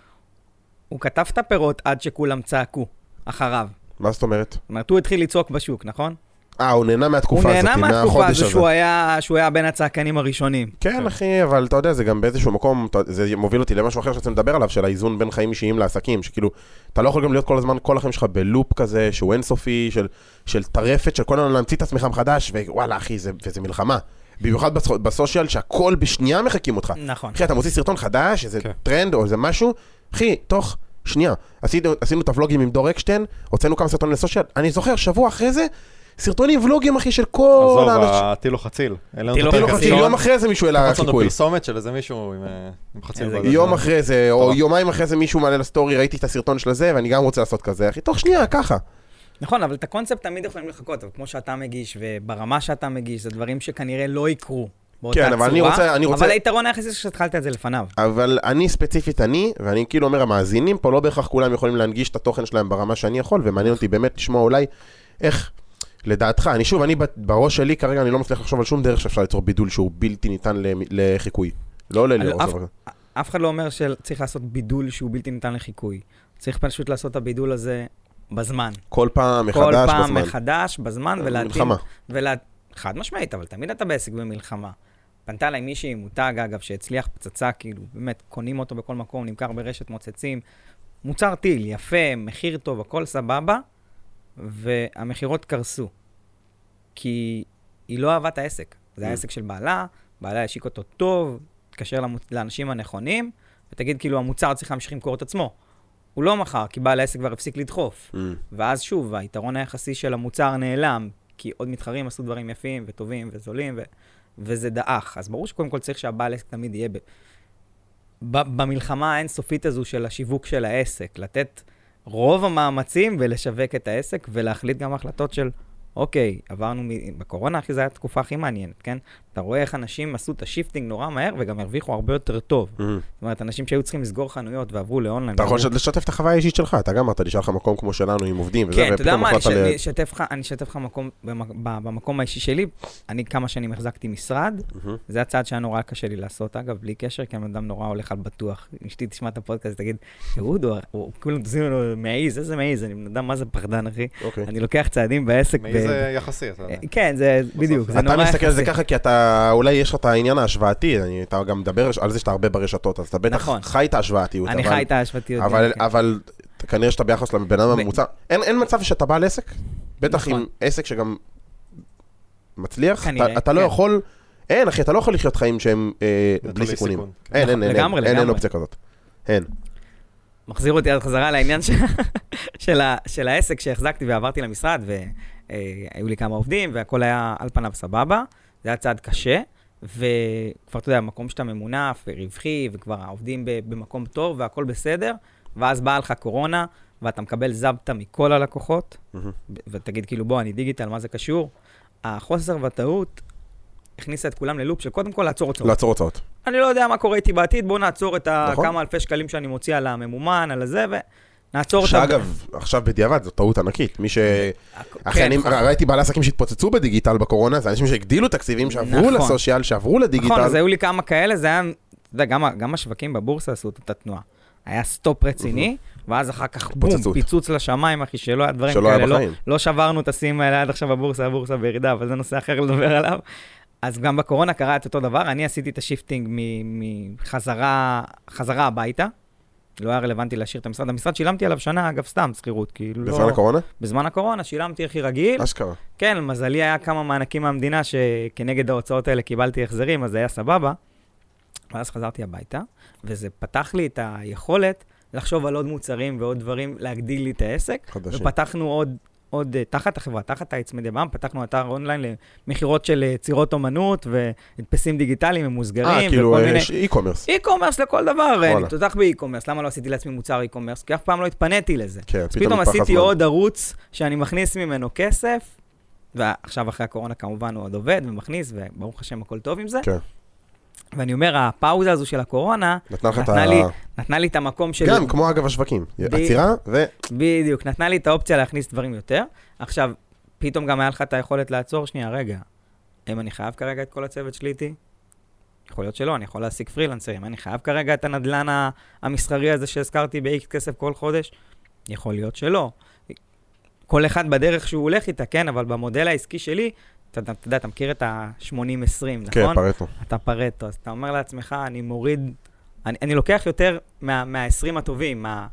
Speaker 1: הוא כתב את הפירות עד שכולם צעקו אחריו.
Speaker 2: מה זאת אומרת?
Speaker 1: זאת אומרת, הוא התחיל לצעוק בשוק, נכון?
Speaker 2: אה, הוא נהנה
Speaker 1: הוא
Speaker 2: מהתקופה הזאת,
Speaker 1: נהנה מהתקופה
Speaker 2: מהחודש
Speaker 1: הזו
Speaker 2: הזה.
Speaker 1: שהוא היה- שהוא היה בין הצעקנים הראשונים.
Speaker 2: כן, אחי, אבל אתה יודע, זה גם באיזשהו מקום, אתה- זה מוביל אותי למשהו אחר שרצינו לדבר עליו, של האיזון בין חיים אישיים לעסקים, שכאילו, אתה לא יכול גם להיות כל הזמן, כל החיים שלך בלופ כזה, שהוא אינסופי, של, של טרפת, של כל הזמן להמציא את עצמך מחדש, ווואלה, אחי, זה, וזה מלחמה. במיוחד בס- בסושיאל, שהכל בשנייה מחקים אותך.
Speaker 1: נכון.
Speaker 2: אחי, אתה מוציא סרטון חדש, איזה
Speaker 3: כן.
Speaker 2: טרנד או איזה משהו, אחי, תוך שנייה. עשינו, עשינו את הוולוגים עם דור אקשטיין, הוצאנו כמה סרטונים לסושיאל, אני זוכר, שבוע אחרי זה, סרטונים ולוגים, אחי, של כל
Speaker 3: עזוב, אה,
Speaker 2: האנשים.
Speaker 3: הטיל הוא חציל. העלינו את
Speaker 1: הטיל הוא
Speaker 3: הפרק
Speaker 2: כאילו,
Speaker 1: חציל,
Speaker 2: אחי,
Speaker 3: הראשון,
Speaker 2: יום אחרי זה מישהו העלה
Speaker 3: קפץ לנו
Speaker 2: חיקוי.
Speaker 3: פרסומת של איזה מישהו עם, אה, עם חציל.
Speaker 1: איזה
Speaker 3: בזה.
Speaker 2: יום אחרי זה, או
Speaker 3: טוב.
Speaker 2: יומיים אחרי זה מישהו מעלה לסטורי, ראיתי את הסרטון של זה, ואני גם רוצה לעשות כזה, אחי, תוך שנייה, ככה.
Speaker 1: נכון, אבל את הקונספט תמיד יכולים לחכות, אבל כמו שאתה מגיש, וברמה שאתה מגיש, זה דברים שכנראה לא יקרו באותה
Speaker 2: כן,
Speaker 1: צורה.
Speaker 2: אבל אני רוצה- אני רוצה- אה,
Speaker 1: אבל היתרון היחסי זה שהתחלת את זה לפניו.
Speaker 2: אבל אני ספציפית אני, ואני כאילו אומר, המאזינים פה לא בהכרח כולם יכולים להנגיש את התוכן שלהם ברמה שאני יכול, ומעניין אותי באמת לשמוע אולי איך, לדעתך, אני שוב, אני ב- בראש שלי כרגע, אני לא מצליח לחשוב על שום דרך שאפשר ליצור בידול שהוא בלתי ניתן למ- לחיקוי. לא עולה לי
Speaker 1: על
Speaker 2: לראש
Speaker 1: אף-
Speaker 2: דבר כזה.
Speaker 1: אף אחד לא אומר שצריך לעשות בידול שהוא בלתי ניתן לחיקוי. צריך פשוט לעשות את הבידול הזה בזמן.
Speaker 2: כל פעם
Speaker 1: כל
Speaker 2: מחדש
Speaker 1: פעם
Speaker 2: בזמן.
Speaker 1: מחדש, בזמן, ולהתאים...
Speaker 2: מלחמה.
Speaker 1: ולה... חד משמעית, אבל תמיד אתה בעסק במלחמה. פנתה אליי מישהי עם מותג, אגב, שהצליח פצצה, כאילו, באמת, קונים אותו בכל מקום, נמכר ברשת מוצצים. מוצר טיל, יפה, מחיר טוב, הכל סבבה, והמכירות קרסו. כי היא לא אהבה את העסק. זה
Speaker 2: Mm.
Speaker 1: העסק של בעלה, בעלה השיק אותו טוב, התקשר למו- לאנשים הנכונים, ותגיד, כאילו, המוצר צריך להמשיך למכור את עצמו. הוא לא מכר, כי בעל העסק כבר הפסיק לדחוף.
Speaker 2: Mm.
Speaker 1: ואז שוב, היתרון היחסי של המוצר נעלם, כי עוד מתחרים עשו דברים יפים וטובים וזולים, ו... וזה דעך. אז ברור שקודם כל צריך שהבעל עסק תמיד יהיה ב... ב... במלחמה האינסופית הזו של השיווק של העסק, לתת רוב המאמצים ולשווק את העסק, ולהחליט גם החלטות של, אוקיי, עברנו, מ- בקורונה, אחי, זו הייתה התקופה הכי מעניינת, כן? אתה רואה איך אנשים עשו את השיפטינג נורא מהר וגם הרוויחו הרבה יותר טוב. זאת אומרת, אנשים שהיו צריכים לסגור חנויות ועברו לאונליין.
Speaker 2: mm. אתה יכול
Speaker 1: ועברו-
Speaker 2: לשתף את החוויה האישית שלך, אתה גם אמרת לי שהיה לך מקום כמו שלנו עם עובדים, וזה,
Speaker 1: כן, אתה יודע
Speaker 2: ופתאום
Speaker 1: מה, אני ש-
Speaker 2: החלטת ל...
Speaker 1: אני אשתף לך- אני אשתף לך מקום במק- ב- במקום האישי שלי. אני כמה שנים החזקתי משרד,
Speaker 2: מהמם.
Speaker 1: זה הצעד שהיה נורא קשה לי לעשות, אגב, בלי קשר, כי הבן אדם נורא הולך על בטוח. אשתי תשמע את הפודקאסט, תגיד, תראו, הוא- הוא כולם תזמינו לו מעיז, איזה מעיז, אני בן אדם, מה זה פחדן, אחי?
Speaker 2: אוקיי.
Speaker 1: אני לוקח צעדים בעסק. ב-
Speaker 3: מעיז זה יחסי, אתה יודע.
Speaker 2: אה,
Speaker 1: כן, זה בדיוק, זה נורא
Speaker 2: אתה
Speaker 1: יחסי.
Speaker 2: מסתכל על זה ככה, כי אתה, אולי יש לך את העניין ההשוואתי, אני- אתה גם מדבר על זה שאתה הרבה ברשתות, אז אתה בטח
Speaker 1: נכון.
Speaker 2: חי את ההשוואתיות.
Speaker 1: אני
Speaker 2: אבל-
Speaker 1: חי את ההשוואתיות.
Speaker 2: אבל,
Speaker 1: כן.
Speaker 2: אבל כנראה שאתה ביחס לבן אדם
Speaker 1: ו-
Speaker 2: הממוצע. אין, אין מצב שאתה בעל עסק, בטח
Speaker 1: נכון.
Speaker 2: עם עסק שגם מצליח,
Speaker 1: כנראה,
Speaker 2: אתה, אתה לא
Speaker 1: כן. יכול
Speaker 2: יכול, אין אחי, אתה לא יכול לחיות חיים שהם אה,
Speaker 3: נטולי
Speaker 2: בלי סיכונים.
Speaker 3: סיכון. כן.
Speaker 2: אין, אין, אין,
Speaker 1: לגמרי,
Speaker 2: אין, אין, אין
Speaker 1: לגמרי.
Speaker 2: אופציה כזאת. אין.
Speaker 1: מחזיר אותי אז חזרה לעניין של, של, ה, של העסק שהחזקתי ועברתי למשרד, והיו לי כמה עובדים, והכל היה על פניו סבבה. זה היה צעד קשה, וכבר, אתה יודע, מקום שאתה ממונף ורווחי, וכבר העובדים ב, במקום טוב והכל בסדר, ואז באה לך קורונה, ואתה מקבל זבטה מכל הלקוחות,
Speaker 2: מהמם.
Speaker 1: ו- ותגיד כאילו, בוא, אני דיגיטל, מה זה קשור? החוסר ודאות הכניסה את כולם ללופ של קודם כל לעצור הוצאות.
Speaker 2: לעצור הוצאות.
Speaker 1: אני לא יודע מה קורה איתי בעתיד, בואו נעצור את
Speaker 2: נכון.
Speaker 1: הכמה אלפי שקלים שאני מוציא על הממומן, על הזה, ונעצור את ה...
Speaker 2: שאגב, עכשיו בדיעבד זו טעות ענקית. מי ש... אחי,
Speaker 1: כן,
Speaker 2: אני
Speaker 1: נכון.
Speaker 2: ראיתי בעלי עסקים שהתפוצצו בדיגיטל בקורונה, זה אנשים שהגדילו תקציבים, שעברו
Speaker 1: נכון.
Speaker 2: לסושיאל, שעברו לדיגיטל.
Speaker 1: נכון, אז היו לי כמה כאלה, זה היה... אתה יודע, גם ה- גם השווקים בבורסה עשו את אותה תנועה. היה סטופ רציני, ואז אחר כך בום,
Speaker 2: התפוצצות.
Speaker 1: פיצוץ לשמיים, אחי, שלא היה דברים
Speaker 2: שלא היה
Speaker 1: כאלה. לא-
Speaker 2: בחיים.
Speaker 1: לא שברנו את השיאים האלה עד עכשיו בבורסה, הבורסה בירידה, אבל זה נושא אחר לדבר עליו. אז גם בקורונה קרה את אותו דבר, אני עשיתי את השיפטינג מ- מחזרה חזרה הביתה. לא היה רלוונטי להשאיר את המשרד. המשרד שילמתי עליו שנה, אגב, סתם, שכירות, כאילו לא...
Speaker 2: בזמן הקורונה?
Speaker 1: בזמן הקורונה שילמתי הכי רגיל.
Speaker 2: אשכרה.
Speaker 1: כן, למזלי היה כמה מענקים מהמדינה שכנגד ההוצאות האלה קיבלתי החזרים, אז זה היה סבבה. ואז חזרתי הביתה, וזה פתח לי את היכולת לחשוב על עוד מוצרים ועוד דברים, להגדיל לי את העסק.
Speaker 2: חדשים.
Speaker 1: ופתחנו עוד, עוד אה, תחת החברה, תחת העצמי דה בעם, פתחנו אתר אונליין למכירות של אה, יצירות אומנות והדפסים דיגיטליים
Speaker 2: אה,
Speaker 1: ממוסגרים
Speaker 2: כאילו,
Speaker 1: וכל מיני...
Speaker 2: יש אי-קומרס.
Speaker 1: אי-קומרס לכל דבר, אה,
Speaker 2: וואלה.
Speaker 1: אני תותח באי-קומרס, למה לא עשיתי לעצמי מוצר אי-קומרס? כי אף פעם לא התפניתי לזה.
Speaker 2: כן,
Speaker 1: אז פתאום
Speaker 2: נפתח
Speaker 1: עשיתי
Speaker 2: הזמן.
Speaker 1: עוד ערוץ שאני מכניס ממנו כסף, ועכשיו אחרי הקורונה כמובן הוא עוד עובד ומכניס, וברוך השם הכל טוב עם זה.
Speaker 2: כן.
Speaker 1: ואני אומר, הפאוזה הזו של הקורונה,
Speaker 2: נתנה לך את
Speaker 1: נתנה לי,
Speaker 2: ה...
Speaker 1: נתנה לי את המקום שלי.
Speaker 2: גם, כמו אגב השווקים.
Speaker 1: ב-
Speaker 2: עצירה ו...
Speaker 1: בדיוק, נתנה לי את האופציה להכניס דברים יותר. עכשיו, פתאום גם היה לך את היכולת לעצור, שנייה, רגע, האם אני חייב כרגע את כל הצוות שלי איתי? יכול להיות שלא, אני יכול להעסיק פרילנסרים, אני חייב כרגע את הנדלן ה- המסחרי הזה שהזכרתי ב-X כסף כל חודש? יכול להיות שלא. כל אחד בדרך שהוא הולך איתה, כן, אבל במודל העסקי שלי, אתה אתה יודע, אתה מכיר את ה-80-20,
Speaker 2: כן,
Speaker 1: נכון?
Speaker 2: פרטו.
Speaker 1: אתה פרטו, אז אתה אומר לעצמך, אני מוריד, אני, אני לוקח יותר מה, מה-20 הטובים, מה...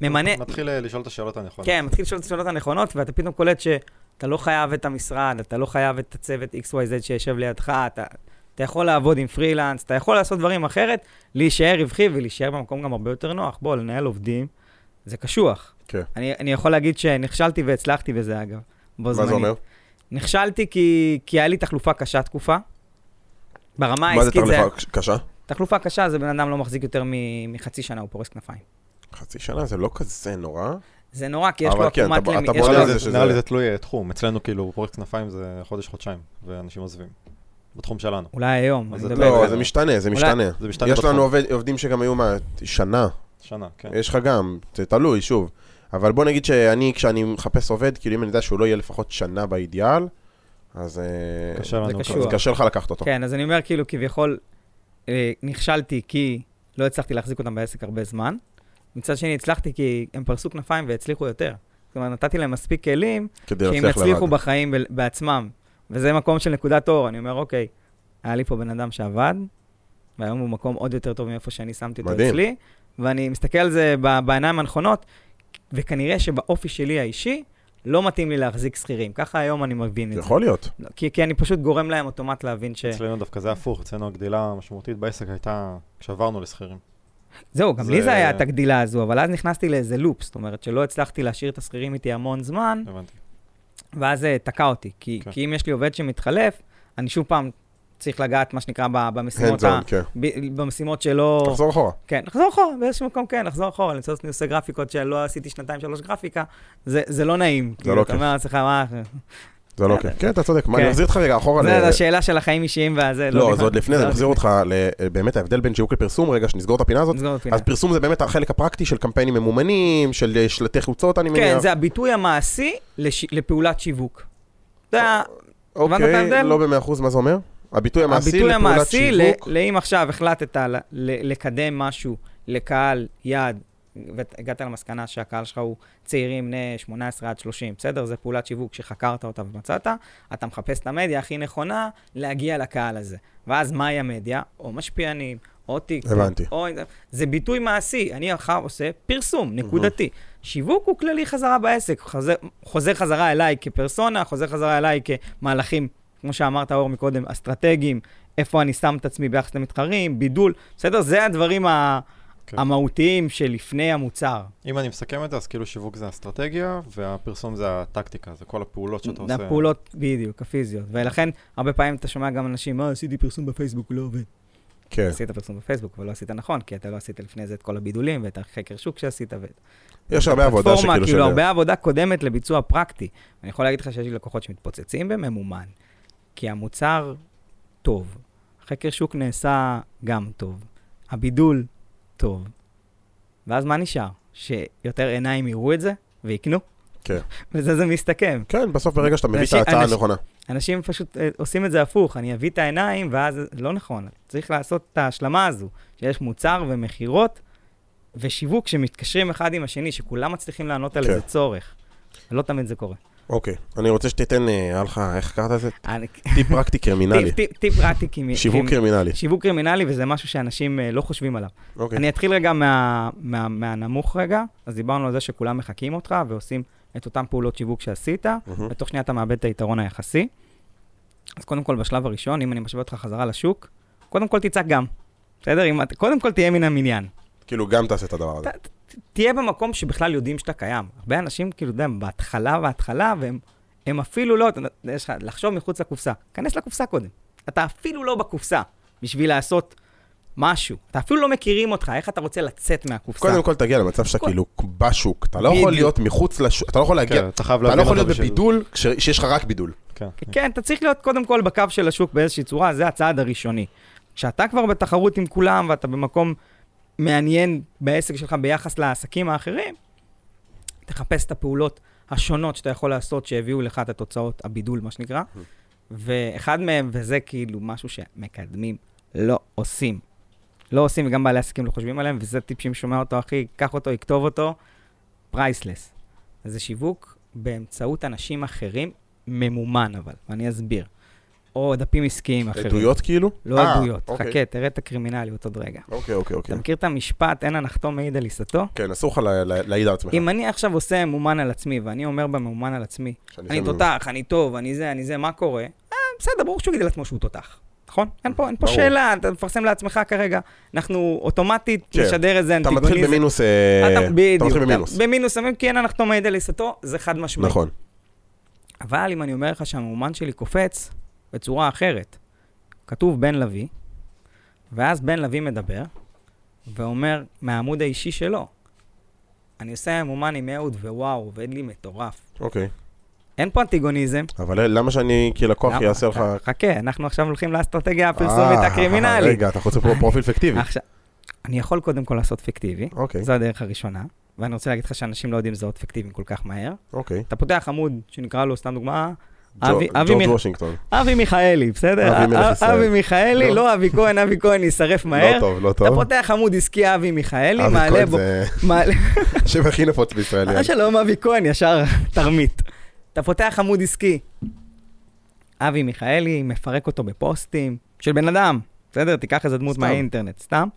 Speaker 1: ממנה,
Speaker 3: מתחיל אה, לשאול את השאלות הנכונות.
Speaker 1: כן, מתחיל לשאול את השאלות הנכונות, ואתה פתאום קולט שאתה לא חייב את המשרד, אתה לא חייב את הצוות XYZ שיושב לידך, אתה, אתה יכול לעבוד עם פרילנס, אתה יכול לעשות דברים אחרת, להישאר רווחי ולהישאר במקום גם הרבה יותר נוח. בוא, לנהל עובדים, זה קשוח.
Speaker 2: כן.
Speaker 1: אני, אני יכול להגיד שנכשלתי והצלחתי בזה, אגב. בו
Speaker 2: מה
Speaker 1: זמנית.
Speaker 2: זה אומר?
Speaker 1: נכשלתי כי, כי היה לי תחלופה קשה תקופה. ברמה
Speaker 2: מה זה
Speaker 1: העסקית זה...
Speaker 2: תחלופה קשה?
Speaker 1: תחלופה קשה זה בן אדם לא מחזיק יותר מ- מחצי שנה, הוא פורס כנפיים.
Speaker 2: חצי שנה זה לא כזה נורא.
Speaker 1: זה נורא, כי יש
Speaker 2: אבל
Speaker 1: לו
Speaker 2: כן,
Speaker 1: עקומת...
Speaker 2: אתה-
Speaker 1: למי-
Speaker 2: אתה
Speaker 1: יש
Speaker 2: בונה
Speaker 1: לו-
Speaker 2: על זה שזה-
Speaker 3: נראה לי זה תלוי אה, תחום. אצלנו כאילו פרויקט כנפיים זה חודש-חודשיים, ואנשים עוזבים. בתחום שלנו.
Speaker 1: אולי היום,
Speaker 3: אז
Speaker 1: אני
Speaker 3: זה
Speaker 1: מדבר.
Speaker 2: לא,
Speaker 1: איתך.
Speaker 2: זה משתנה, זה
Speaker 1: אולי-
Speaker 2: משתנה.
Speaker 3: זה משתנה
Speaker 2: יש
Speaker 3: בתחום.
Speaker 2: לנו עובד- עובדים שגם היו מה... שנה.
Speaker 3: שנה, כן.
Speaker 2: יש לך גם, זה תלוי, שוב. אבל בוא נגיד שאני, כשאני מחפש עובד, כאילו אם אני יודע שהוא לא יהיה לפחות שנה באידיאל, אז... אה,
Speaker 3: קשה לנו.
Speaker 1: קשור.
Speaker 2: אז קשה לך לקחת אותו.
Speaker 1: כן, אז אני אומר כאילו, כביכול, אה, נכשלתי כי לא הצלחתי להחזיק אותם בעסק הרבה זמן. מצד שני, הצלחתי כי הם פרסו כנפיים והצליחו יותר. זאת אומרת, נתתי להם מספיק כלים,
Speaker 2: כדי
Speaker 1: שאם
Speaker 2: להצליח
Speaker 1: יצליחו
Speaker 2: לבד.
Speaker 1: בחיים ב- בעצמם. וזה מקום של נקודת אור, אני אומר, אוקיי, היה לי פה בן אדם שעבד, והיום הוא מקום עוד יותר טוב מאיפה שאני שמתי אותו
Speaker 2: מדהים.
Speaker 1: אצלי, ואני מסתכל על זה ב- בעיניים הנכונות, וכנראה שבאופי שלי האישי, לא מתאים לי להחזיק שכירים. ככה היום אני מבין את
Speaker 2: זה
Speaker 1: זה.
Speaker 2: יכול להיות.
Speaker 1: לא, כי, כי אני פשוט גורם להם אוטומט להבין ש...
Speaker 3: אצלנו דווקא זה הפוך, אצלנו הגדילה המשמעותית בעסק הייתה כשעברנו לשכירים.
Speaker 1: זהו, גם
Speaker 3: זה-
Speaker 1: לי זה היה את הגדילה הזו, אבל אז נכנסתי לאיזה לופ, זאת אומרת שלא הצלחתי להשאיר את השכירים איתי המון זמן,
Speaker 3: הבנתי.
Speaker 2: אוקיי.
Speaker 1: ואז זה תקע אותי. כי,
Speaker 3: כן.
Speaker 1: כי אם יש לי עובד שמתחלף, אני שוב פעם צריך לגעת, מה שנקרא, ב- במשימות,
Speaker 2: hands
Speaker 1: ה-
Speaker 2: on, כן.
Speaker 1: ב- במשימות שלא...
Speaker 2: תחזור אחורה.
Speaker 1: כן, לחזור אחורה, באיזשהו מקום כן, לחזור אחורה, למצוא את עושה גרפיקות שלא עשיתי שנתיים, שלוש גרפיקה, זה, זה לא נעים.
Speaker 2: זה
Speaker 1: כאילו,
Speaker 2: לא
Speaker 1: אתה
Speaker 2: כיף.
Speaker 1: אומר לעצמך, מה...
Speaker 2: זה לא כן. כן, אתה צודק. מה, אני
Speaker 1: כן.
Speaker 2: מחזיר אותך רגע אחורה. ל-
Speaker 1: זה השאלה של החיים אישיים והזה.
Speaker 2: אה, לא,
Speaker 1: נכנס-
Speaker 2: זה עוד לפני, זה
Speaker 1: עוד
Speaker 2: מחזיר אותך ל- באמת ההבדל בין שיווק לפרסום, רגע, שנסגור את הפינה הזאת.
Speaker 1: נסגור את הפינה.
Speaker 2: אז פרסום זה באמת החלק הפרקטי של קמפיינים ממומנים, של אה, שלטי חוצות, אני מניח.
Speaker 1: כן, זה הביטוי המעשי לש... לפעולת שיווק. זה ה- הבנת את
Speaker 2: אוקיי,
Speaker 1: ההבדל?
Speaker 2: לא במאה אחוז מה זה אומר? הביטוי המעשי
Speaker 1: הביטוי
Speaker 2: לפעולת
Speaker 1: המעשי, ל-
Speaker 2: שיווק.
Speaker 1: לאם עכשיו החלטת ל- ל- לקדם משהו לקהל יעד, והגעת למסקנה שהקהל שלך הוא צעירים בני 18 עד 30, בסדר? זו פעולת שיווק שחקרת אותה ומצאת, אתה מחפש את המדיה הכי נכונה להגיע לקהל הזה. ואז מהי המדיה? או משפיענים, או טיקטוק.
Speaker 2: הבנתי.
Speaker 1: או... זה ביטוי מעשי, אני עכשיו עושה פרסום, נקודתי. שיווק הוא כללי חזרה בעסק, חוזר, חוזר חזרה אליי כפרסונה, חוזר חזרה אליי כמהלכים, כמו שאמרת אור מקודם, אסטרטגיים, איפה אני שם את עצמי ביחס למתחרים, בידול, בסדר? זה הדברים ה...
Speaker 3: כן.
Speaker 1: המהותיים שלפני המוצר.
Speaker 3: אם אני מסכם את זה, אז כאילו שיווק זה אסטרטגיה, והפרסום זה הטקטיקה, זה כל הפעולות שאתה עושה.
Speaker 1: הפעולות, בדיוק, הפיזיות. ולכן, הרבה פעמים אתה שומע גם אנשים, אה, עשיתי פרסום בפייסבוק, הוא לא עובד.
Speaker 2: כן.
Speaker 1: עשית פרסום בפייסבוק, אבל לא עשית נכון, כי אתה לא עשית לפני זה את כל הבידולים ואת החקר שוק שעשית. ואת
Speaker 2: יש הרבה עבודה
Speaker 1: הפלטפורמה,
Speaker 2: שכאילו...
Speaker 1: כאילו,
Speaker 2: של-
Speaker 1: הרבה עבודה קודמת לביצוע פרקטי. אני יכול להגיד לך שיש לי לקוחות שמתפוצצים בממומן, כי המוצר טוב, חקר שוק נעשה גם טוב, הבידול טוב. ואז מה נשאר? שיותר עיניים יראו את זה ויקנו?
Speaker 2: כן.
Speaker 1: וזה זה מסתכם.
Speaker 2: כן, בסוף ברגע שאתה מביא את
Speaker 1: אנשים-
Speaker 2: ההצעה
Speaker 1: אנשים-
Speaker 2: הנכונה.
Speaker 1: אנשים פשוט אה, עושים את זה הפוך, אני אביא את העיניים ואז זה לא נכון. צריך לעשות את ההשלמה הזו, שיש מוצר ומכירות ושיווק שמתקשרים אחד עם השני, שכולם מצליחים לענות על
Speaker 2: כן.
Speaker 1: איזה צורך. לא תמיד זה קורה.
Speaker 2: אוקיי. אני רוצה שתיתן, אה, היה לך, איך קראת לזה?
Speaker 1: אני-
Speaker 2: טיפ פרקטי קרימינלי.
Speaker 1: טיפ- טיפ- טיפ רעתי קימי-
Speaker 2: שיווק
Speaker 1: קימי-
Speaker 2: קרימינלי.
Speaker 1: שיווק קרימינלי, וזה משהו שאנשים אה, לא חושבים עליו.
Speaker 2: אוקיי.
Speaker 1: אני אתחיל רגע מה- מה- מהנמוך רגע, אז דיברנו על זה שכולם מחקים אותך ועושים את אותן פעולות שיווק שעשית,
Speaker 2: מהמם.
Speaker 1: ותוך שנייה אתה מאבד את היתרון היחסי. אז קודם כל, בשלב הראשון, אם אני משווה אותך חזרה לשוק, קודם כל תצעק גם, בסדר? אם את- קודם כל תהיה מן המניין.
Speaker 2: כאילו, גם תעשה את הדבר הזה.
Speaker 1: ת- ת- תהיה במקום שבכלל יודעים שאתה קיים. הרבה אנשים, כאילו, אתה יודע, הם בהתחלה וההתחלה, והם הם אפילו לא, אתה- יש לך, לחשוב מחוץ לקופסה. כנס לקופסה קודם. אתה אפילו לא בקופסה בשביל לעשות משהו. אתה אפילו לא מכירים אותך, איך אתה רוצה לצאת מהקופסה.
Speaker 2: קודם כל תגיע למצב שאתה
Speaker 1: כל-
Speaker 2: כאילו בשוק, אתה לא יכול
Speaker 1: בדיוק.
Speaker 2: להיות מחוץ לשוק, אתה לא יכול
Speaker 3: כן,
Speaker 2: להגיע,
Speaker 3: אתה חייב
Speaker 2: אתה
Speaker 3: להבין
Speaker 2: לא יכול
Speaker 3: אותה
Speaker 2: להיות
Speaker 3: בשביל-
Speaker 2: בבידול כש- שיש לך רק בידול.
Speaker 3: כן.
Speaker 1: כן, אתה צריך להיות קודם כל בקו של השוק באיזושהי צורה, זה הצעד הראשוני. כשאתה כבר בתחרות עם כולם ואתה במקום מעניין בעסק שלך ביחס לעסקים האחרים, תחפש את הפעולות השונות שאתה יכול לעשות שהביאו לך את התוצאות, הבידול, מה שנקרא. ואחד מהם, וזה כאילו משהו שמקדמים, לא עושים. לא עושים, וגם בעלי עסקים לא חושבים עליהם, וזה טיפ שאם שומע אותו, אחי, קח אותו, יכתוב אותו, פרייסלס. זה שיווק באמצעות אנשים אחרים, ממומן אבל, ואני אסביר. או דפים עסקיים אחרים.
Speaker 2: עדויות כאילו?
Speaker 1: לא
Speaker 2: אה,
Speaker 1: עדויות.
Speaker 2: אוקיי.
Speaker 1: חכה, תראה את הקרימינליות עוד רגע.
Speaker 2: אוקיי, אוקיי, אוקיי.
Speaker 1: אתה מכיר את המשפט, אין הנחתו מעיד על עיסתו?
Speaker 2: כן, אסור לך לה- לה- להעיד על עצמך.
Speaker 1: אם אני עכשיו עושה ממומן על עצמי, ואני אומר בממומן על עצמי,
Speaker 2: שאני
Speaker 1: אני
Speaker 2: שם-
Speaker 1: תותח, אני טוב, אני זה, אני זה, מה קורה? אה, בסדר, ברור שהוא יגיד על עצמו שהוא תותח, נכון? אין פה, אין פה
Speaker 2: ברור.
Speaker 1: שאלה, אתה מפרסם לעצמך כרגע. אנחנו אוטומטית
Speaker 2: כן.
Speaker 1: נשדר איזה
Speaker 2: אתה
Speaker 1: אנטיגוניזם.
Speaker 2: מתחיל במינוס, אה,
Speaker 1: אתה-
Speaker 2: אתה
Speaker 1: בדיוק,
Speaker 2: מתחיל במינוס.
Speaker 1: במינוס, אומרים, כן, אנחנו מעיד על עיסתו, זה חד משמעי.
Speaker 2: נכון.
Speaker 1: אבל אם אני אומר לך שהמאומן שלי קופץ בצורה אחרת, כתוב בן לביא, ואז בן לביא מדבר, ואומר מהעמוד האישי שלו, אני עושה מאומן עם אהוד, ווואו, עובד לי מטורף.
Speaker 2: אוקיי.
Speaker 1: אין פה אנטיגוניזם.
Speaker 2: אבל אה, למה שאני כלקוח
Speaker 1: למה?
Speaker 2: יעשה לך...
Speaker 1: חכה, אנחנו עכשיו הולכים לאסטרטגיה הפרסומית
Speaker 2: אה,
Speaker 1: הקרימינלית.
Speaker 2: רגע, אתה רוצה פה פרופיל פיקטיבי.
Speaker 1: עכשיו, אני יכול קודם כל לעשות פיקטיבי,
Speaker 2: אוקיי,
Speaker 1: זו הדרך הראשונה, ואני רוצה להגיד לך שאנשים לא יודעים לזהות פיקטיביים כל כך מהר.
Speaker 2: אוקיי.
Speaker 1: אתה פותח עמוד שנקרא לו, סתם דוגמה,
Speaker 2: ג'ו-
Speaker 1: אבי- אבי
Speaker 2: ג'ורג'
Speaker 1: מיכ-
Speaker 2: וושינגטון. לא
Speaker 1: אבי מיכאלי, בסדר?
Speaker 2: אבי מלך
Speaker 1: אה,
Speaker 2: ישראל.
Speaker 1: אבי מיכאלי,
Speaker 2: לא.
Speaker 1: לא אבי כהן, אבי כהן יישרף
Speaker 2: לא
Speaker 1: מהר.
Speaker 2: טוב, לא
Speaker 1: אתה
Speaker 2: טוב.
Speaker 1: פותח עמוד עסקי אבי מיכאלי,
Speaker 2: אבי
Speaker 1: מעלה
Speaker 2: כהן
Speaker 1: בו...
Speaker 2: זה
Speaker 1: מעלה-
Speaker 2: השם הכי נפוץ בישראל.
Speaker 1: אה, שלום, אבי כהן, ישר תרמית. אתה פותח עמוד עסקי. אבי מיכאלי מפרק אותו בפוסטים של בן אדם, בסדר? תיקח איזה דמות
Speaker 2: סתם.
Speaker 1: מהאינטרנט, סתם.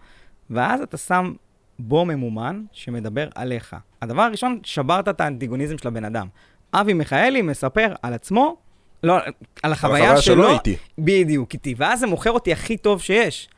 Speaker 1: ואז אתה שם בו ממומן שמדבר עליך. הדבר הראשון, שברת את האנטיגוניזם של הבן אדם. אבי מיכאלי מספר על עצמו, לא, על החוויה שלו,
Speaker 2: איתי.
Speaker 1: בדיוק, איתי. ואז זה מוכר אותי הכי טוב שיש.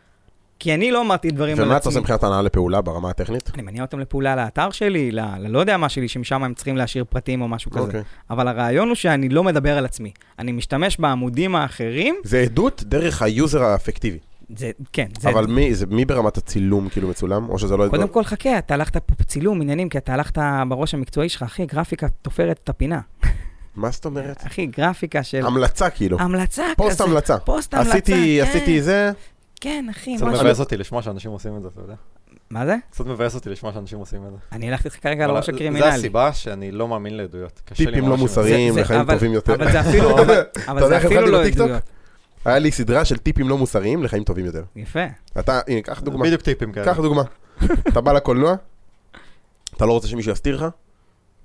Speaker 1: כי אני לא אמרתי דברים על עצמי.
Speaker 2: ומה אתה עושה מבחינת הנאה לפעולה ברמה הטכנית?
Speaker 1: אני מניע אותם לפעולה לאתר שלי, ל- ללא יודע מה שלי, שמשם הם צריכים להשאיר פרטים או משהו כזה.
Speaker 2: אוקיי.
Speaker 1: אבל הרעיון הוא שאני לא מדבר על עצמי. אני משתמש בעמודים האחרים,
Speaker 2: זה עדות דרך היוזר האפקטיבי.
Speaker 1: זה, כן, זה...
Speaker 2: אבל מי, זה, מי ברמת הצילום כאילו מצולם, או שזה לא...
Speaker 1: קודם כל חכה, אתה הלכת פה צילום עניינים, כי אתה הלכת בראש המקצועי שלך, אחי, גרפיקה תופרת את הפינה.
Speaker 2: מה זאת אומרת?
Speaker 1: אחי, גרפיקה של...
Speaker 2: המלצה כאילו.
Speaker 1: המלצה אה, כזה.
Speaker 2: פוסט המלצה.
Speaker 1: פוסט המלצה,
Speaker 2: עשיתי,
Speaker 1: כן.
Speaker 2: עשיתי זה,
Speaker 1: כן, אחי,
Speaker 3: קצת
Speaker 1: משהו.
Speaker 3: מבאס אותי לשמוע שאנשים עושים את זה, אתה יודע?
Speaker 1: מה זה?
Speaker 3: קצת מבאס אותי לשמוע שאנשים עושים את זה.
Speaker 1: אני הלכתי איתך כרגע על
Speaker 3: אבל
Speaker 1: הראש
Speaker 3: זה
Speaker 1: הקרימינלי.
Speaker 3: הסיבה שאני לא מאמין לעדויות. קשה לי
Speaker 2: טיפים
Speaker 3: ממש
Speaker 2: לא
Speaker 3: עם זה.
Speaker 2: מוסריים
Speaker 1: זה-
Speaker 2: לחיים
Speaker 1: אבל-
Speaker 2: טובים יותר.
Speaker 1: אבל זה אפילו, אבל- אבל
Speaker 2: יודע
Speaker 1: זה
Speaker 2: איך
Speaker 1: אפילו
Speaker 2: התחלתי
Speaker 1: לא
Speaker 2: בטיקטוק?
Speaker 1: עדויות.
Speaker 2: היה לי סדרה של טיפים לא מוסריים לחיים טובים יותר.
Speaker 1: יפה.
Speaker 2: אתה, הנה, קח דוגמה.
Speaker 3: בדיוק טיפים כאלה.
Speaker 2: קח דוגמה. אתה בא לקולנוע, אתה לא רוצה שמישהו יסתיר לך?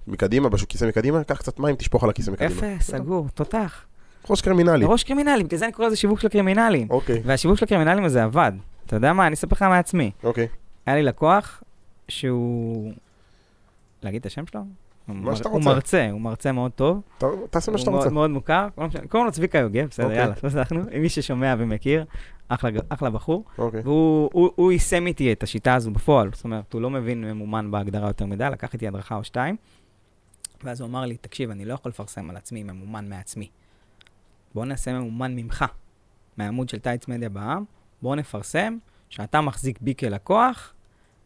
Speaker 2: מקדימה, בשוק כיסא מקדימה, קח קצת מים, תשפוך על הכיסא מקדימה.
Speaker 1: יפה, סגור, תותח.
Speaker 2: ראש קרימינלי.
Speaker 1: ראש קרימינלי, בגלל זה אני קורא לזה שיווק של קרימינלים.
Speaker 2: אוקיי,
Speaker 1: והשיווק של הקרימינלים הזה עבד. אתה יודע מה, אני אספר לך מעצמי.
Speaker 2: אוקיי.
Speaker 1: היה לי לקוח שהוא... להגיד את השם שלו? הוא מר-
Speaker 2: שאתה
Speaker 1: הוא
Speaker 2: רוצה.
Speaker 1: מרצה, הוא מרצה מאוד טוב.
Speaker 2: אתה- תעשה מה שאתה
Speaker 1: הוא
Speaker 2: רוצה.
Speaker 1: מאוד, מאוד מוכר, לא משנה, קוראים לו צביקה יוגב, בסדר,
Speaker 2: אוקיי.
Speaker 1: יאללה, לא זכנו, מי ששומע ומכיר, אחלה, ג- אחלה בחור.
Speaker 2: אוקיי.
Speaker 1: והוא הוא- הוא יישם איתי את השיטה הזו בפועל, זאת אומרת, הוא לא מבין ממומן בהגדרה יותר מדי, לקח איתי הדרכה או שתיים, ואז הוא אמר לי, תקשיב, אני לא יכול לפרסם על עצמי ממומן מעצמי. בוא נעשה ממומן ממך, מהעמוד של טייץ מדיה בעם, בוא נפרסם שאתה מחזיק בי כלקוח,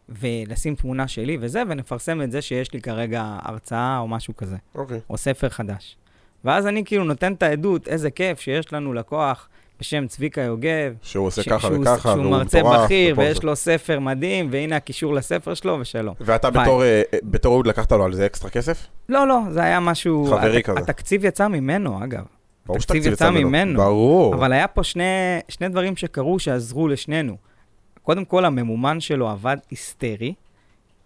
Speaker 1: ולשים תמונה שלי וזה, ונפרסם את זה שיש לי כרגע הרצאה או משהו כזה.
Speaker 2: אוקיי.
Speaker 1: או ספר חדש. ואז אני כאילו נותן את העדות, איזה כיף שיש לנו לקוח בשם צביקה יוגב,
Speaker 2: שהוא עושה
Speaker 1: ש-
Speaker 2: ככה
Speaker 1: שהוא-
Speaker 2: וככה,
Speaker 1: שהוא
Speaker 2: והוא
Speaker 1: מרצה
Speaker 2: מטורף.
Speaker 1: בכיר,
Speaker 2: ופה
Speaker 1: ויש
Speaker 2: זה.
Speaker 1: לו ספר מדהים, והנה הקישור לספר שלו ושלום.
Speaker 2: ואתה
Speaker 1: ביי.
Speaker 2: בתור, אה, אה, בתור אהוד לקחת לו על זה אקסטרה כסף?
Speaker 1: לא, לא, זה היה משהו...
Speaker 2: חברי
Speaker 1: הת-
Speaker 2: כזה.
Speaker 1: התקציב יצא ממנו, אגב.
Speaker 2: ברור
Speaker 1: התקציב
Speaker 2: שתקציב
Speaker 1: יצא ממנו.
Speaker 2: ברור.
Speaker 1: אבל היה פה שני, שני דברים שקרו שעזרו לשנינו. קודם כל, הממומן שלו עבד היסטרי,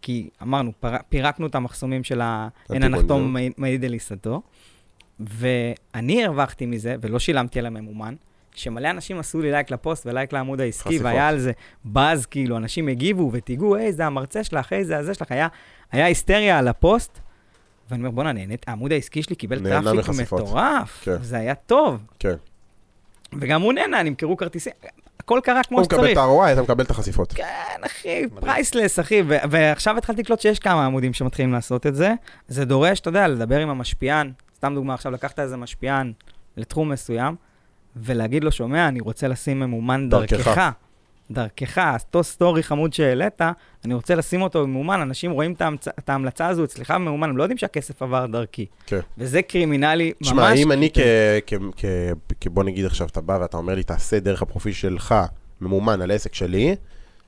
Speaker 1: כי אמרנו, פר, פירקנו את המחסומים של ה... אין
Speaker 2: הטבעוני,
Speaker 1: הנחתום מעיד- מעיד על עיסתו, ואני הרווחתי מזה, ולא שילמתי על הממומן, שמלא אנשים עשו לי לייק לפוסט ולייק לעמוד העסקי,
Speaker 2: חשיפות.
Speaker 1: והיה על זה באז, כאילו, אנשים הגיבו ותיגעו, היי, זה המרצה שלך, היי, זה הזה שלך, היה, היה היסטריה על הפוסט. ואני אומר, בואנה, נהנית, העמוד העסקי שלי קיבל
Speaker 2: נהנה
Speaker 1: טראפיק
Speaker 2: מחשיפות."
Speaker 1: מטורף,
Speaker 2: כן.
Speaker 1: זה היה טוב.
Speaker 2: כן.
Speaker 1: וגם הוא נהנה, נמכרו כרטיסים, הכל קרה כמו
Speaker 2: הוא מקבל את
Speaker 1: שצריך.
Speaker 2: ה-ROI, אתה מקבל את החשיפות.
Speaker 1: כן, אחי,
Speaker 3: מדהים.
Speaker 1: פרייסלס, אחי, ו- ועכשיו התחלתי לקלוט שיש כמה עמודים שמתחילים לעשות את זה. זה דורש, אתה יודע, לדבר עם המשפיען, סתם דוגמה, עכשיו לקחת איזה משפיען לתחום מסוים, ולהגיד לו, שומע, אני רוצה לשים ממומן
Speaker 2: דרכך."
Speaker 1: דרכך. דרכך, אז אותו סטורי חמוד שהעלית, אני רוצה לשים אותו במאומן, אנשים רואים את ההמצ- את ההמלצה הזו אצלך במאומן, הם לא יודעים שהכסף עבר דרכי.
Speaker 2: כן.
Speaker 1: וזה קרימינלי ממש. כאילו כן.
Speaker 2: תשמע, אם אני
Speaker 1: כי-
Speaker 2: כ... כ- כ- כ- בוא נגיד עכשיו, אתה בא ואתה אומר לי, תעשה דרך הפרופיל שלך ממומן על העסק שלי,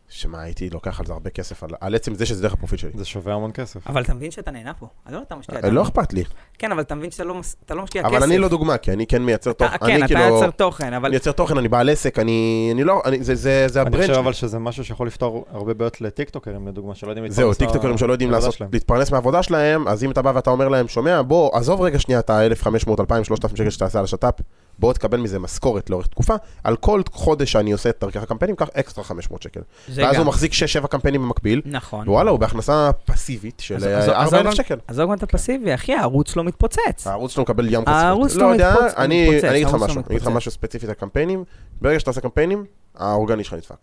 Speaker 2: שמע, הייתי לוקח על זה הרבה כסף, על- על עצם זה שזה דרך הפרופיל שלי.
Speaker 3: זה שווה המון כסף.
Speaker 1: אבל אתה מבין שאתה נהנה פה. אז לא אתה משקיע את
Speaker 2: אה, לא אכפת לי,
Speaker 1: כן, אבל אתה מבין שאתה לא, מס- אתה לא משקיע כסף.
Speaker 2: אבל אני לא דוגמה, כי אני כן מייצר
Speaker 1: אתה-
Speaker 2: תוכן,
Speaker 1: כן,
Speaker 2: אני
Speaker 1: אתה
Speaker 2: כאילו,
Speaker 1: יצר תוכן, אבל...
Speaker 2: אני מייצר תוכן, אני בעל עסק, אני אני לא, אני- זה- זה זה
Speaker 3: אני
Speaker 2: הברנד
Speaker 3: חושב
Speaker 2: שלי.
Speaker 3: אבל שזה משהו שיכול לפתור הרבה בעיות לטיקטוקרים, לדוגמה, שלא יודעים
Speaker 2: זהו,
Speaker 3: להתפרנס
Speaker 2: טיקטוקרים שלא יודעים
Speaker 3: מהעבודה
Speaker 2: לעשות,
Speaker 3: שלהם.
Speaker 2: להתפרנס מהעבודה שלהם, אז אם אתה בא ואתה אומר להם, שומע, בוא, עזוב רגע שנייה את ה-1,500, 2,000, 3,000 שקל שתעשה על השת"פ, בוא תקבל מזה משכורת לאורך תקופה, על כל חודש שאני עושה את דרכך הקמפיינים, קח אקסטרה 500 שקל.
Speaker 1: זה
Speaker 2: ואז
Speaker 1: גם.
Speaker 2: הוא מחזיק 6-7 קמפיינים במקביל,
Speaker 1: נכון.
Speaker 2: וואלה, הוא בהכנסה פסיבית של
Speaker 1: אז- אז- אז- אז-
Speaker 2: 4,000 שקל.
Speaker 1: עזוב גם את הפסיבי, אחי, הערוץ לא מתפוצץ.
Speaker 2: הערוץ שלו מקבל ים חשיפות.
Speaker 1: הערוץ
Speaker 2: לא
Speaker 1: לא
Speaker 2: יודע,
Speaker 1: מתפוצץ,
Speaker 2: אני
Speaker 1: מתפוצץ,
Speaker 2: אני אגיד לך
Speaker 1: הערוץ לא
Speaker 2: משהו, אני אגיד לך
Speaker 1: מתפוצץ.
Speaker 2: משהו ספציפית על קמפיינים, ברגע שאתה עושה קמפיינים, האורגני שלך נדפק.
Speaker 1: יכול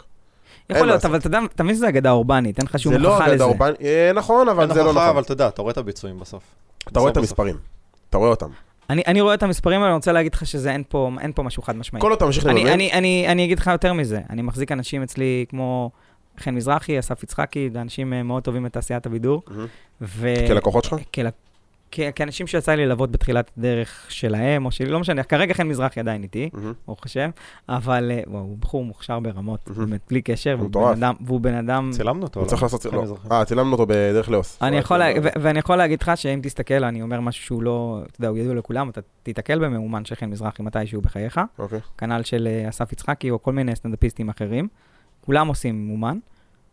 Speaker 2: מה
Speaker 1: להיות,
Speaker 2: לעשות.
Speaker 1: אבל אתה יודע, אתה מבין שזה אגדה אורבנית, אין לך שום
Speaker 2: זה לא
Speaker 1: הוכחה
Speaker 2: אגדה
Speaker 1: לזה.
Speaker 2: אורבנית, אה, נכון, אבל
Speaker 3: אין
Speaker 2: זה לא
Speaker 3: הוכחה, אבל
Speaker 2: נכון.
Speaker 3: אתה יודע, אתה רואה את הביצועים בסוף.
Speaker 2: אתה רואה את
Speaker 3: בסוף,
Speaker 2: המספרים, אתה רואה אותם.
Speaker 1: אני אני רואה את המספרים, אבל אני רוצה להגיד לך שזה אין פה אין פה משהו חד משמעי.
Speaker 2: כל עוד אתה ממשיך
Speaker 1: אני-
Speaker 2: לממן,
Speaker 1: אני- אני אני אגיד לך יותר מזה, אני מחזיק אנשים אצלי כמו חן מזרחי, אסף יצחקי, זה אנשים אה, מאוד טובים בתעשיית הבידור.
Speaker 2: מהמם.
Speaker 1: ו-
Speaker 2: כלקוחות שלך?
Speaker 1: כל- כ- כאנשים שיצא לי ללוות בתחילת הדרך שלהם, או שלי, לא משנה, כרגע חן מזרחי עדיין איתי,
Speaker 2: מהמם.
Speaker 1: ברוך השם, אבל אה, וואו, הוא בחור מוכשר ברמות,
Speaker 2: מהמם.
Speaker 1: באמת, בלי קשר,
Speaker 2: הוא
Speaker 1: והוא
Speaker 2: מטורף.
Speaker 1: בן אדם- והוא בן אדם...
Speaker 3: צילמנו אותו.
Speaker 2: הוא
Speaker 3: לא?
Speaker 2: Mm. צריך לעשות... לא.
Speaker 3: מזרחי.
Speaker 2: אה, צילמנו אותו בדרך לאוס.
Speaker 1: אני יכול, לה- ו- ואני יכול להגיד לך שאם תסתכל, אני אומר משהו שהוא לא, אתה יודע, הוא ידוע לכולם, אתה תיתקל במאומן של חן מזרחי מתישהו בחייך,
Speaker 2: אוקיי.
Speaker 1: כנ"ל של אה, אסף יצחקי או כל מיני סטנדאפיסטים אחרים, כולם עושים מאומן,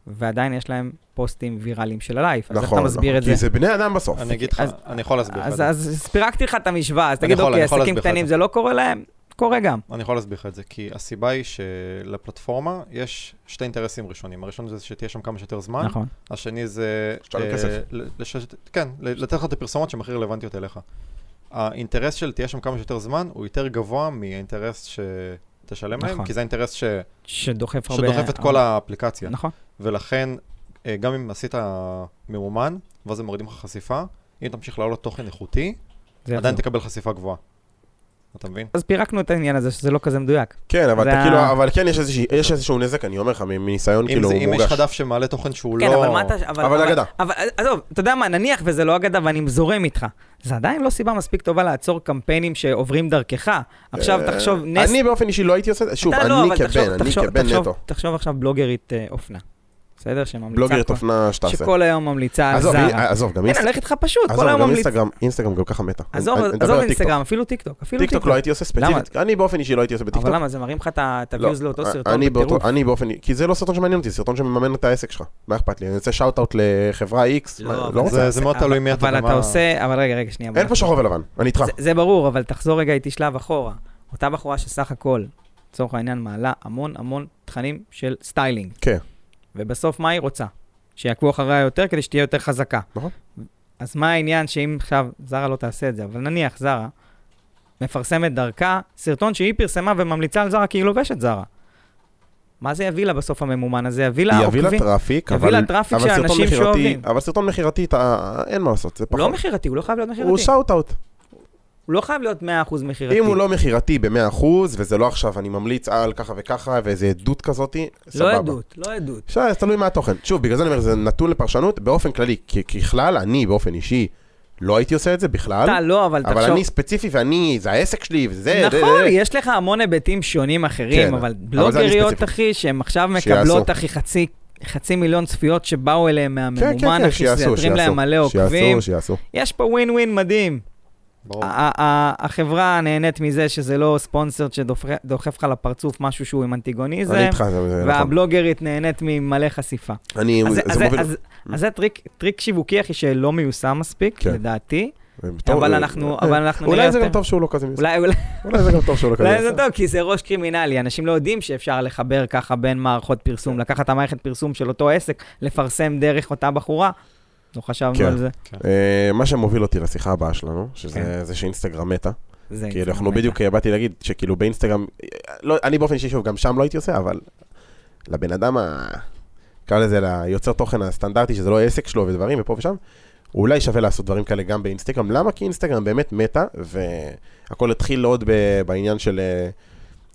Speaker 1: ועדיין יש להם פוסטים ויראליים של הלייב, אז איך
Speaker 2: נכון,
Speaker 1: אתה מסביר
Speaker 2: נכון.
Speaker 1: את זה?
Speaker 2: כי זה בני אדם בסוף.
Speaker 3: אני אגיד לך,
Speaker 1: אז-
Speaker 3: אני יכול להסביר לך את
Speaker 1: אז,
Speaker 3: זה.
Speaker 1: אז פירקתי לך את המשוואה, אז
Speaker 3: אני
Speaker 1: תגיד,
Speaker 3: יכול-
Speaker 1: אוקיי,
Speaker 3: אני יכול
Speaker 1: עסקים
Speaker 3: להסביר לך את
Speaker 1: קטנים
Speaker 3: זה.
Speaker 1: זה לא קורה להם? קורה גם.
Speaker 3: אני יכול להסביר לך את זה, כי הסיבה היא שלפלטפורמה יש שתי אינטרסים ראשונים. הראשון זה שתהיה שם כמה שיותר זמן,
Speaker 1: נכון.
Speaker 3: השני זה...
Speaker 2: שתשלם
Speaker 3: אה,
Speaker 2: כסף.
Speaker 3: ל- לשש- כן, ל- לתת לך את הפרסומות שהן הכי רלוונטיות אליך. האינטרס של תהיה שם כמה שיותר זמן הוא יותר גבוה מהאינטרס ש... תשלם להם,
Speaker 1: נכון.
Speaker 3: כי זה האינטרס ש...
Speaker 1: שדוחף הרבה...
Speaker 3: שדוחף את כל האפליקציה.
Speaker 1: נכון.
Speaker 3: ולכן, אה, גם אם עשית ממומן, ואז הם מורידים לך חשיפה, אם תמשיך לעלות תוכן איכותי,
Speaker 1: זה
Speaker 3: עדיין
Speaker 1: יחזור.
Speaker 3: תקבל חשיפה גבוהה. אתה מבין?
Speaker 1: אז פירקנו את העניין הזה, שזה לא כזה מדויק.
Speaker 2: כן, אבל
Speaker 1: זה
Speaker 2: אתה
Speaker 1: ה-
Speaker 2: כאילו, אבל כן יש איזושהי- יש איזשהו נזק, אני אומר לך, מניסיון
Speaker 3: אם
Speaker 2: כאילו
Speaker 3: זה- אם יש
Speaker 2: מורגש.
Speaker 3: לך דף שמעלה תוכן שהוא לא...
Speaker 1: כן, אבל מה אתה...
Speaker 2: אבל אגדה.
Speaker 1: אבל עזוב, אתה יודע מה, נניח וזה לא אגדה ואני זורם איתך. זה עדיין לא סיבה מספיק טובה לעצור קמפיינים שעוברים דרכך. עכשיו
Speaker 2: אה,
Speaker 1: תחשוב, נס...
Speaker 2: אני באופן אישי לא הייתי עושה את זה, שוב,
Speaker 1: אתה לא,
Speaker 2: אני
Speaker 1: אבל תחשוב-
Speaker 2: כבן, אני
Speaker 1: תחשוב-
Speaker 2: כבן
Speaker 1: תחשוב-
Speaker 2: נטו.
Speaker 1: תחשוב עכשיו בלוגרית אה, אופנה, בסדר? שממליצה...
Speaker 2: בלוגרית
Speaker 1: כל-
Speaker 2: אופנה שתעשה.
Speaker 1: שכל היום ממליצה על
Speaker 2: עזוב,
Speaker 1: זרה.
Speaker 2: אה, עזוב, גם
Speaker 1: הנה,
Speaker 2: אינסט-
Speaker 1: לך איתך פשוט,
Speaker 2: עזוב,
Speaker 1: כל היום
Speaker 2: גם
Speaker 1: ממליצה.
Speaker 2: אינסטגרם, אינסטגרם גם ככה מתה.
Speaker 1: עזוב,
Speaker 2: אני- אני מדבר
Speaker 1: עזוב
Speaker 2: על טיקטוק.
Speaker 1: אינסטגרם, אפילו טיקטוק, אפילו
Speaker 2: טיקטוק
Speaker 1: טיקטוק.
Speaker 2: לא הייתי עושה ספציפית, אני באופן אישי לא הייתי עושה בטיקטוק.
Speaker 1: אבל למה, זה מרים לך את ה- את
Speaker 2: לא,
Speaker 1: הוויוז לאותו סרטון
Speaker 2: אני באותו-
Speaker 1: בטירוף.
Speaker 2: אני באופן, כי זה לא סרטון שמעניין אותי, זה סרטון שמממן את העסק שלך. מה אכפת לי? אני רוצה שאוט אאוט לחברה X,
Speaker 1: לא,
Speaker 2: מה,
Speaker 1: אבל
Speaker 2: לא רוצה.
Speaker 3: זה- זה מאוד
Speaker 1: אבל-
Speaker 3: תלוי מי אתה
Speaker 1: אבל
Speaker 3: ומה-
Speaker 1: אתה עושה, אבל רגע, רגע, שנייה.
Speaker 2: אין
Speaker 1: בוא
Speaker 2: פה שחור ולבן, אני איתך.
Speaker 1: זה- זה ברור, אבל תחזור רגע איתי שלב אחורה. אותה בחורה שסך הכל, לצורך העניין, מעלה המון המון תכנים של סטיילינג.
Speaker 2: כן.
Speaker 1: ובסוף מה היא רוצה? שיעקבו אחריה יותר כדי שתהיה יותר חזקה.
Speaker 2: נכון.
Speaker 1: אז מה העניין שאם עכשיו, זרה לא תעשה את זה, אבל נניח זרה מפרסמת דרכה סרטון שהיא פרסמה וממליצה על זרה כי היא לובשת זרה. מה זה יביא לה בסוף הממומן הזה? יביא לה
Speaker 2: היא יביא לה
Speaker 1: לא, עוקבים.
Speaker 2: טראפיק,
Speaker 1: יביא
Speaker 2: אבל
Speaker 1: לה טראפיק
Speaker 2: אבל סרטון
Speaker 1: שאנשים
Speaker 2: מכירתי-
Speaker 1: שאוהבים.
Speaker 2: אבל סרטון מכירתי, אתה- אין מה לעשות, זה
Speaker 1: הוא לא
Speaker 2: פחות.
Speaker 1: מכירתי, הוא לא חייב להיות מכירתי.
Speaker 2: נכון. הוא שאוט אאוט.
Speaker 1: הוא לא חייב להיות 100% מכירתי.
Speaker 2: אם הוא לא מכירתי ב-100%, וזה לא עכשיו, אני ממליץ על ככה וככה, ואיזה עדות כזאתי,
Speaker 1: לא
Speaker 2: סבבה.
Speaker 1: עדות, לא עדות.
Speaker 2: אפשר, זה תלוי מה התוכן. שוב, בגלל זה אני אומר, זה נתון לפרשנות באופן כללי. כי- ככלל, אני באופן אישי לא הייתי עושה את זה בכלל,
Speaker 1: אתה לא, אבל
Speaker 2: אבל
Speaker 1: תחשוב.
Speaker 2: אני ספציפי ואני, זה העסק שלי, וזה, זה, זה,
Speaker 1: נכון,
Speaker 2: זה.
Speaker 1: יש לך המון היבטים שונים אחרים,
Speaker 2: כן,
Speaker 1: אבל
Speaker 2: זה אני
Speaker 1: בלוגריות,
Speaker 2: ספציפי.
Speaker 1: אחי, שהן עכשיו
Speaker 2: שיעשו.
Speaker 1: מקבלות, אחי, חצי... חצי מיליון צפיות שבאו אליהם
Speaker 2: כן, כן,
Speaker 1: מהממומן,
Speaker 2: כן,
Speaker 1: אחי, שזה
Speaker 2: שיעשו,
Speaker 1: יתרים להם מלא
Speaker 2: שיעשו,
Speaker 1: עוקבים.
Speaker 2: שיעשו, שיעשו.
Speaker 1: יש פה ווין ווין מדהים.
Speaker 3: ברור.
Speaker 1: ה- ה- ה- החברה נהנית מזה שזה לא ספונסרד שדוחף לך לפרצוף משהו שהוא עם
Speaker 2: אני
Speaker 1: אנטיגוניזם,
Speaker 2: איתך, זה- זה נכון.
Speaker 1: והבלוגרית נהנית ממלא חשיפה.
Speaker 2: אני,
Speaker 1: אז
Speaker 2: זה
Speaker 1: זה- אז זה-
Speaker 2: מוביל-
Speaker 1: אז- אז זה טריק- טריק שיווקי, אחי, שלא מיושם מספיק,
Speaker 2: כן.
Speaker 1: לדעתי,
Speaker 2: בתור-
Speaker 1: אבל אנחנו אבל אנחנו נראה
Speaker 2: אולי זה
Speaker 1: יותר.
Speaker 2: גם טוב שהוא לא כזה מיוסר.
Speaker 1: אולי- אולי-
Speaker 2: אולי זה גם טוב שהוא לא כזה
Speaker 1: אולי זה
Speaker 2: מיוסר.
Speaker 1: טוב, כי זה ראש קרימינלי, אנשים לא יודעים שאפשר לחבר ככה בין מערכות פרסום, לקחת את המערכת פרסום של אותו עסק, לפרסם דרך אותה בחורה. לא
Speaker 2: כן.
Speaker 1: חשבנו על זה.
Speaker 2: אה, מה שמוביל אותי לשיחה הבאה שלנו, שזה
Speaker 1: כן.
Speaker 2: זה שאינסטגרם מתה.
Speaker 1: זה
Speaker 2: כאילו, אנחנו
Speaker 1: אינטרנט.
Speaker 2: בדיוק אה, באתי להגיד שכאילו באינסטגרם, אה, לא, אני באופן אישי, שוב, גם שם לא הייתי עושה, אבל לבן אדם ה... נקרא לזה ליוצר תוכן הסטנדרטי, שזה לא העסק שלו ודברים ופה ושם, אולי שווה לעשות דברים כאלה גם באינסטגרם. למה? כי אינסטגרם באמת מתה, והכל התחיל עוד ב... בעניין של... אה,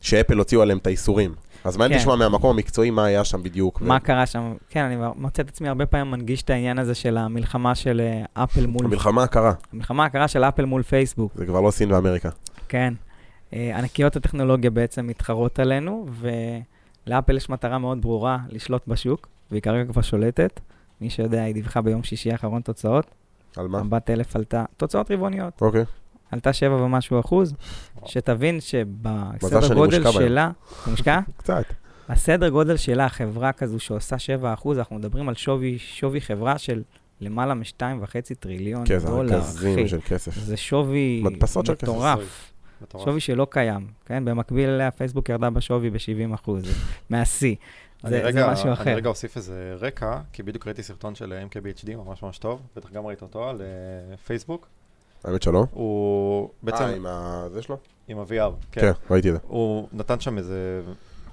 Speaker 2: שאפל הוציאו עליהם את האיסורים. אז מעניין
Speaker 1: כן.
Speaker 2: לשמוע מהמקום המקצועי מה היה שם בדיוק. ו-
Speaker 1: מה קרה שם? כן, אני מוצא את עצמי הרבה פעמים מנגיש את העניין הזה של המלחמה של אה, אפל מול...
Speaker 2: המלחמה הקרה,
Speaker 1: המלחמה הקרה של אפל מול פייסבוק,
Speaker 2: זה כבר לא סין ואמריקה.
Speaker 1: כן. אה, ענקיות הטכנולוגיה בעצם מתחרות עלינו, ולאפל יש מטרה מאוד ברורה לשלוט בשוק, והיא כרגע כבר שולטת. מי שיודע, היא דיווחה ביום שישי האחרון תוצאות.
Speaker 2: על מה?
Speaker 1: מבט אלף עלתה, תוצאות רבעוניות,
Speaker 2: אוקיי.
Speaker 1: עלתה שבע ומשהו אחוז, שתבין שבסדר
Speaker 2: שאני
Speaker 1: גודל
Speaker 2: מושקע בהם.
Speaker 1: שלה, אתה מושקע?
Speaker 2: קצת.
Speaker 1: הסדר גודל שלה, חברה כזו שעושה 7 אחוז, אנחנו מדברים על שווי, שווי חברה של למעלה מ-2.5 טריליון
Speaker 2: כן, זה
Speaker 1: דולר,
Speaker 2: רכזים
Speaker 1: אחי.
Speaker 2: של כסף.
Speaker 1: זה שווי
Speaker 2: מדפסות של כסף.
Speaker 1: מטורף,
Speaker 3: מטורף.
Speaker 1: שווי שלא קיים, כן? במקביל אליה, פייסבוק ירדה בשווי ב-70 אחוז, מהשיא.
Speaker 3: אני
Speaker 1: זה-
Speaker 3: רגע-
Speaker 1: זה משהו
Speaker 3: אני
Speaker 1: אחר.
Speaker 3: רגע אוסיף איזה רקע, כי בדיוק ראיתי סרטון של אה, MKBHD, ממש ממש טוב, בטח גם ראית אותו, על אה, פייסבוק.
Speaker 2: האמת שלא.
Speaker 3: הוא
Speaker 2: אה,
Speaker 3: בעצם
Speaker 2: עם ה... זה שלו?
Speaker 3: עם ה-VR,
Speaker 2: כן,
Speaker 3: כן.
Speaker 2: ראיתי את זה.
Speaker 3: הוא נתן שם איזה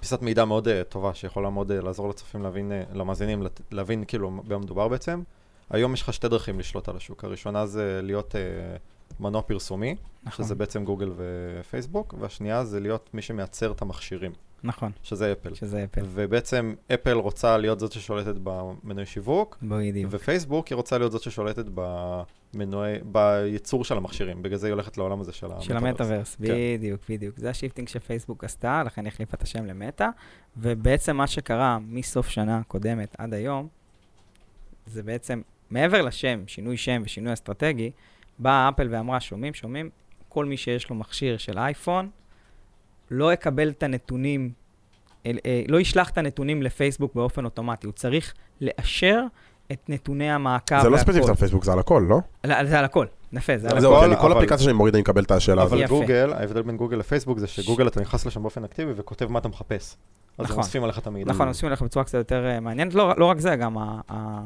Speaker 3: פיסת מידע מאוד אה, טובה, שיכולה מאוד אה, לעזור לצופים להבין, אה, למאזינים, לת- להבין כאילו במה מדובר בעצם. היום יש לך שתי דרכים לשלוט על השוק. הראשונה זה להיות אה, מנוע פרסומי,
Speaker 1: נכון,
Speaker 3: שזה בעצם גוגל ופייסבוק, והשנייה זה להיות מי שמייצר את המכשירים,
Speaker 1: נכון,
Speaker 3: שזה אפל.
Speaker 1: שזה אפל.
Speaker 3: ובעצם אפל רוצה להיות זאת ששולטת במנוי שיווק,
Speaker 1: בדיוק.
Speaker 3: ופייסבוק היא רוצה להיות זאת ששולטת במנועי, בייצור של המכשירים, בגלל זה היא הולכת לעולם הזה של
Speaker 1: של
Speaker 3: המטאוורס.
Speaker 1: המטאוורס,
Speaker 2: כן.
Speaker 1: בדיוק, בדיוק. זה השיפטינג שפייסבוק עשתה, לכן היא החליפה את השם למטא, ובעצם מה שקרה מסוף שנה קודמת עד היום, זה בעצם, מעבר לשם, שינוי שם ושינוי אסטרטגי, באה אפל ואמרה, שומעים, שומעים, כל מי שיש לו מכשיר של אייפון, לא יקבל את הנתונים, אל, אה, לא ישלח את הנתונים לפייסבוק באופן אוטומטי, הוא צריך לאשר את נתוני המעקב
Speaker 2: זה לא
Speaker 1: והכל.
Speaker 2: ספציפית על פייסבוק, זה על הכל, לא?
Speaker 1: על- זה על הכל, יפה, זה על
Speaker 3: על
Speaker 1: הכל.
Speaker 2: זהו,
Speaker 3: הכל,
Speaker 2: אני כל
Speaker 3: אבל-
Speaker 2: אפליקציה שאני מוריד אני מקבל את השאלה הזאת.
Speaker 3: אבל
Speaker 1: יפה.
Speaker 3: גוגל, ההבדל בין גוגל לפייסבוק זה שגוגל אתה נכנס לשם באופן אקטיבי וכותב מה אתה מחפש. אז הם
Speaker 1: נכון.
Speaker 3: אוספים עליך את המידע.
Speaker 1: נכון, עושים לך בצורה קצת יותר אה, מעניינת. לא, לא רק זה, גם ה, ה,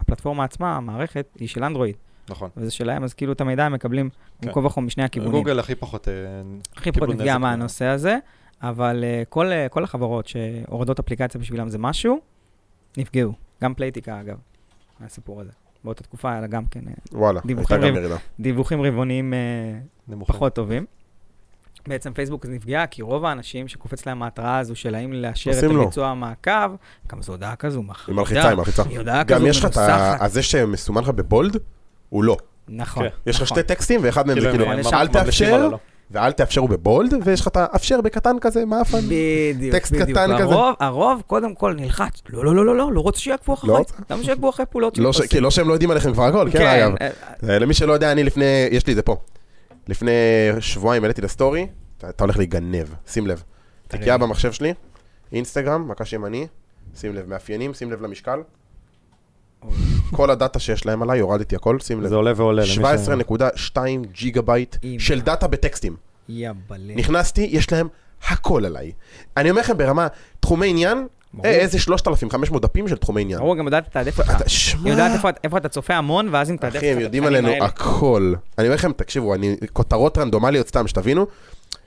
Speaker 1: הפלטפורמה עצמה, המערכת, היא של אנדרואיד,
Speaker 3: נכון.
Speaker 1: וזה שלהם, אז כאילו את המידע הם מקבלים
Speaker 3: כן.
Speaker 1: במקום וכה משני הכיוונים.
Speaker 3: גוגל הכי פחות... אה,
Speaker 1: הכי פחות
Speaker 3: קיבלו
Speaker 1: נפגע
Speaker 3: נזק.
Speaker 1: מהנושא הזה, אבל אה, כל, אה, כל החברות שהורדות אפליקציה בשבילם זה משהו, נפגעו. גם פלייטיקה, אגב, מהסיפור הזה. באותה תקופה היה לה גם כן אה,
Speaker 2: וואלה, הייתה
Speaker 1: דיווחים.
Speaker 2: גם ירידה.
Speaker 1: דיווחים רבעוניים אה,
Speaker 3: נמוכים.
Speaker 1: פחות טובים. בעצם פייסבוק נפגעה, כי רוב האנשים שקופץ להם ההתראה הזו של האם לאשר את
Speaker 2: עושים לו.
Speaker 1: הביצוע המעקב, גם זו הודעה כזו, מחרידה.
Speaker 2: עם הלחיצה, עם הלחיצה.
Speaker 1: היא הודעה כזו
Speaker 2: גם יש לך את ה...
Speaker 1: מנוסחת.
Speaker 2: הזה שמסומן לך בבולד, הוא לא.
Speaker 1: נכון,
Speaker 3: כן.
Speaker 1: נכון.
Speaker 2: יש לך שתי טקסטים, ואחד מהם זה
Speaker 3: הם,
Speaker 2: כאילו,
Speaker 3: אה,
Speaker 1: יש
Speaker 3: ממ-
Speaker 2: אל
Speaker 3: ממליצים
Speaker 2: תאפשר,
Speaker 3: עליו, לא.
Speaker 2: ואל תאפשר הוא בבולד, ויש לך את האפשר בקטן כזה, מה הפעם?
Speaker 1: בדיוק,
Speaker 2: טקסט
Speaker 1: בדיוק.
Speaker 2: קטן כזה.
Speaker 1: הרוב, הרוב קודם כל נלחץ, לא, לא, לא, לא, לא, לא רוצה שיעקבו אחריי.
Speaker 2: רוצה.
Speaker 1: למה שיעקבו אחרי פעולות
Speaker 2: לא ש-
Speaker 1: שעושים?
Speaker 2: כי לא שהם לא יודעים עליכם כבר הכל, כן, אגב.
Speaker 1: אה,
Speaker 2: אה, למי שלא יודע, אני לפני, יש לי את זה פה. לפני שבועיים העליתי לסטורי, אתה אתה הולך להיגנב, שים לב. תיקייה במחשב שלי, אינסטגרם, מקש ימני, שים לב, מאפיינים, שים לב למשקל. כל הדאטה שיש להם עליי, הורדתי הכל, שים לב.
Speaker 3: זה עולה ועולה. למי ש-
Speaker 2: 17.2 ג'יגה בייט
Speaker 1: אימא.
Speaker 2: של דאטה בטקסטים.
Speaker 1: יא בלב.
Speaker 2: נכנסתי, יש להם הכל עליי. אני אומר לכם ברמה, תחומי עניין,
Speaker 1: ברור.
Speaker 2: אה, איזה 3,500 דפים של תחומי עניין.
Speaker 1: ברור, גם יודעת לתעדף אותך.
Speaker 2: אתה- שמע,
Speaker 1: היא יודעת איפה- איפה אתה צופה המון, ואז אם תעדף
Speaker 2: אחי, הם יודעים עלינו הכל. אני אומר לכם, תקשיבו, אני, כותרות רנדומליות סתם, שתבינו,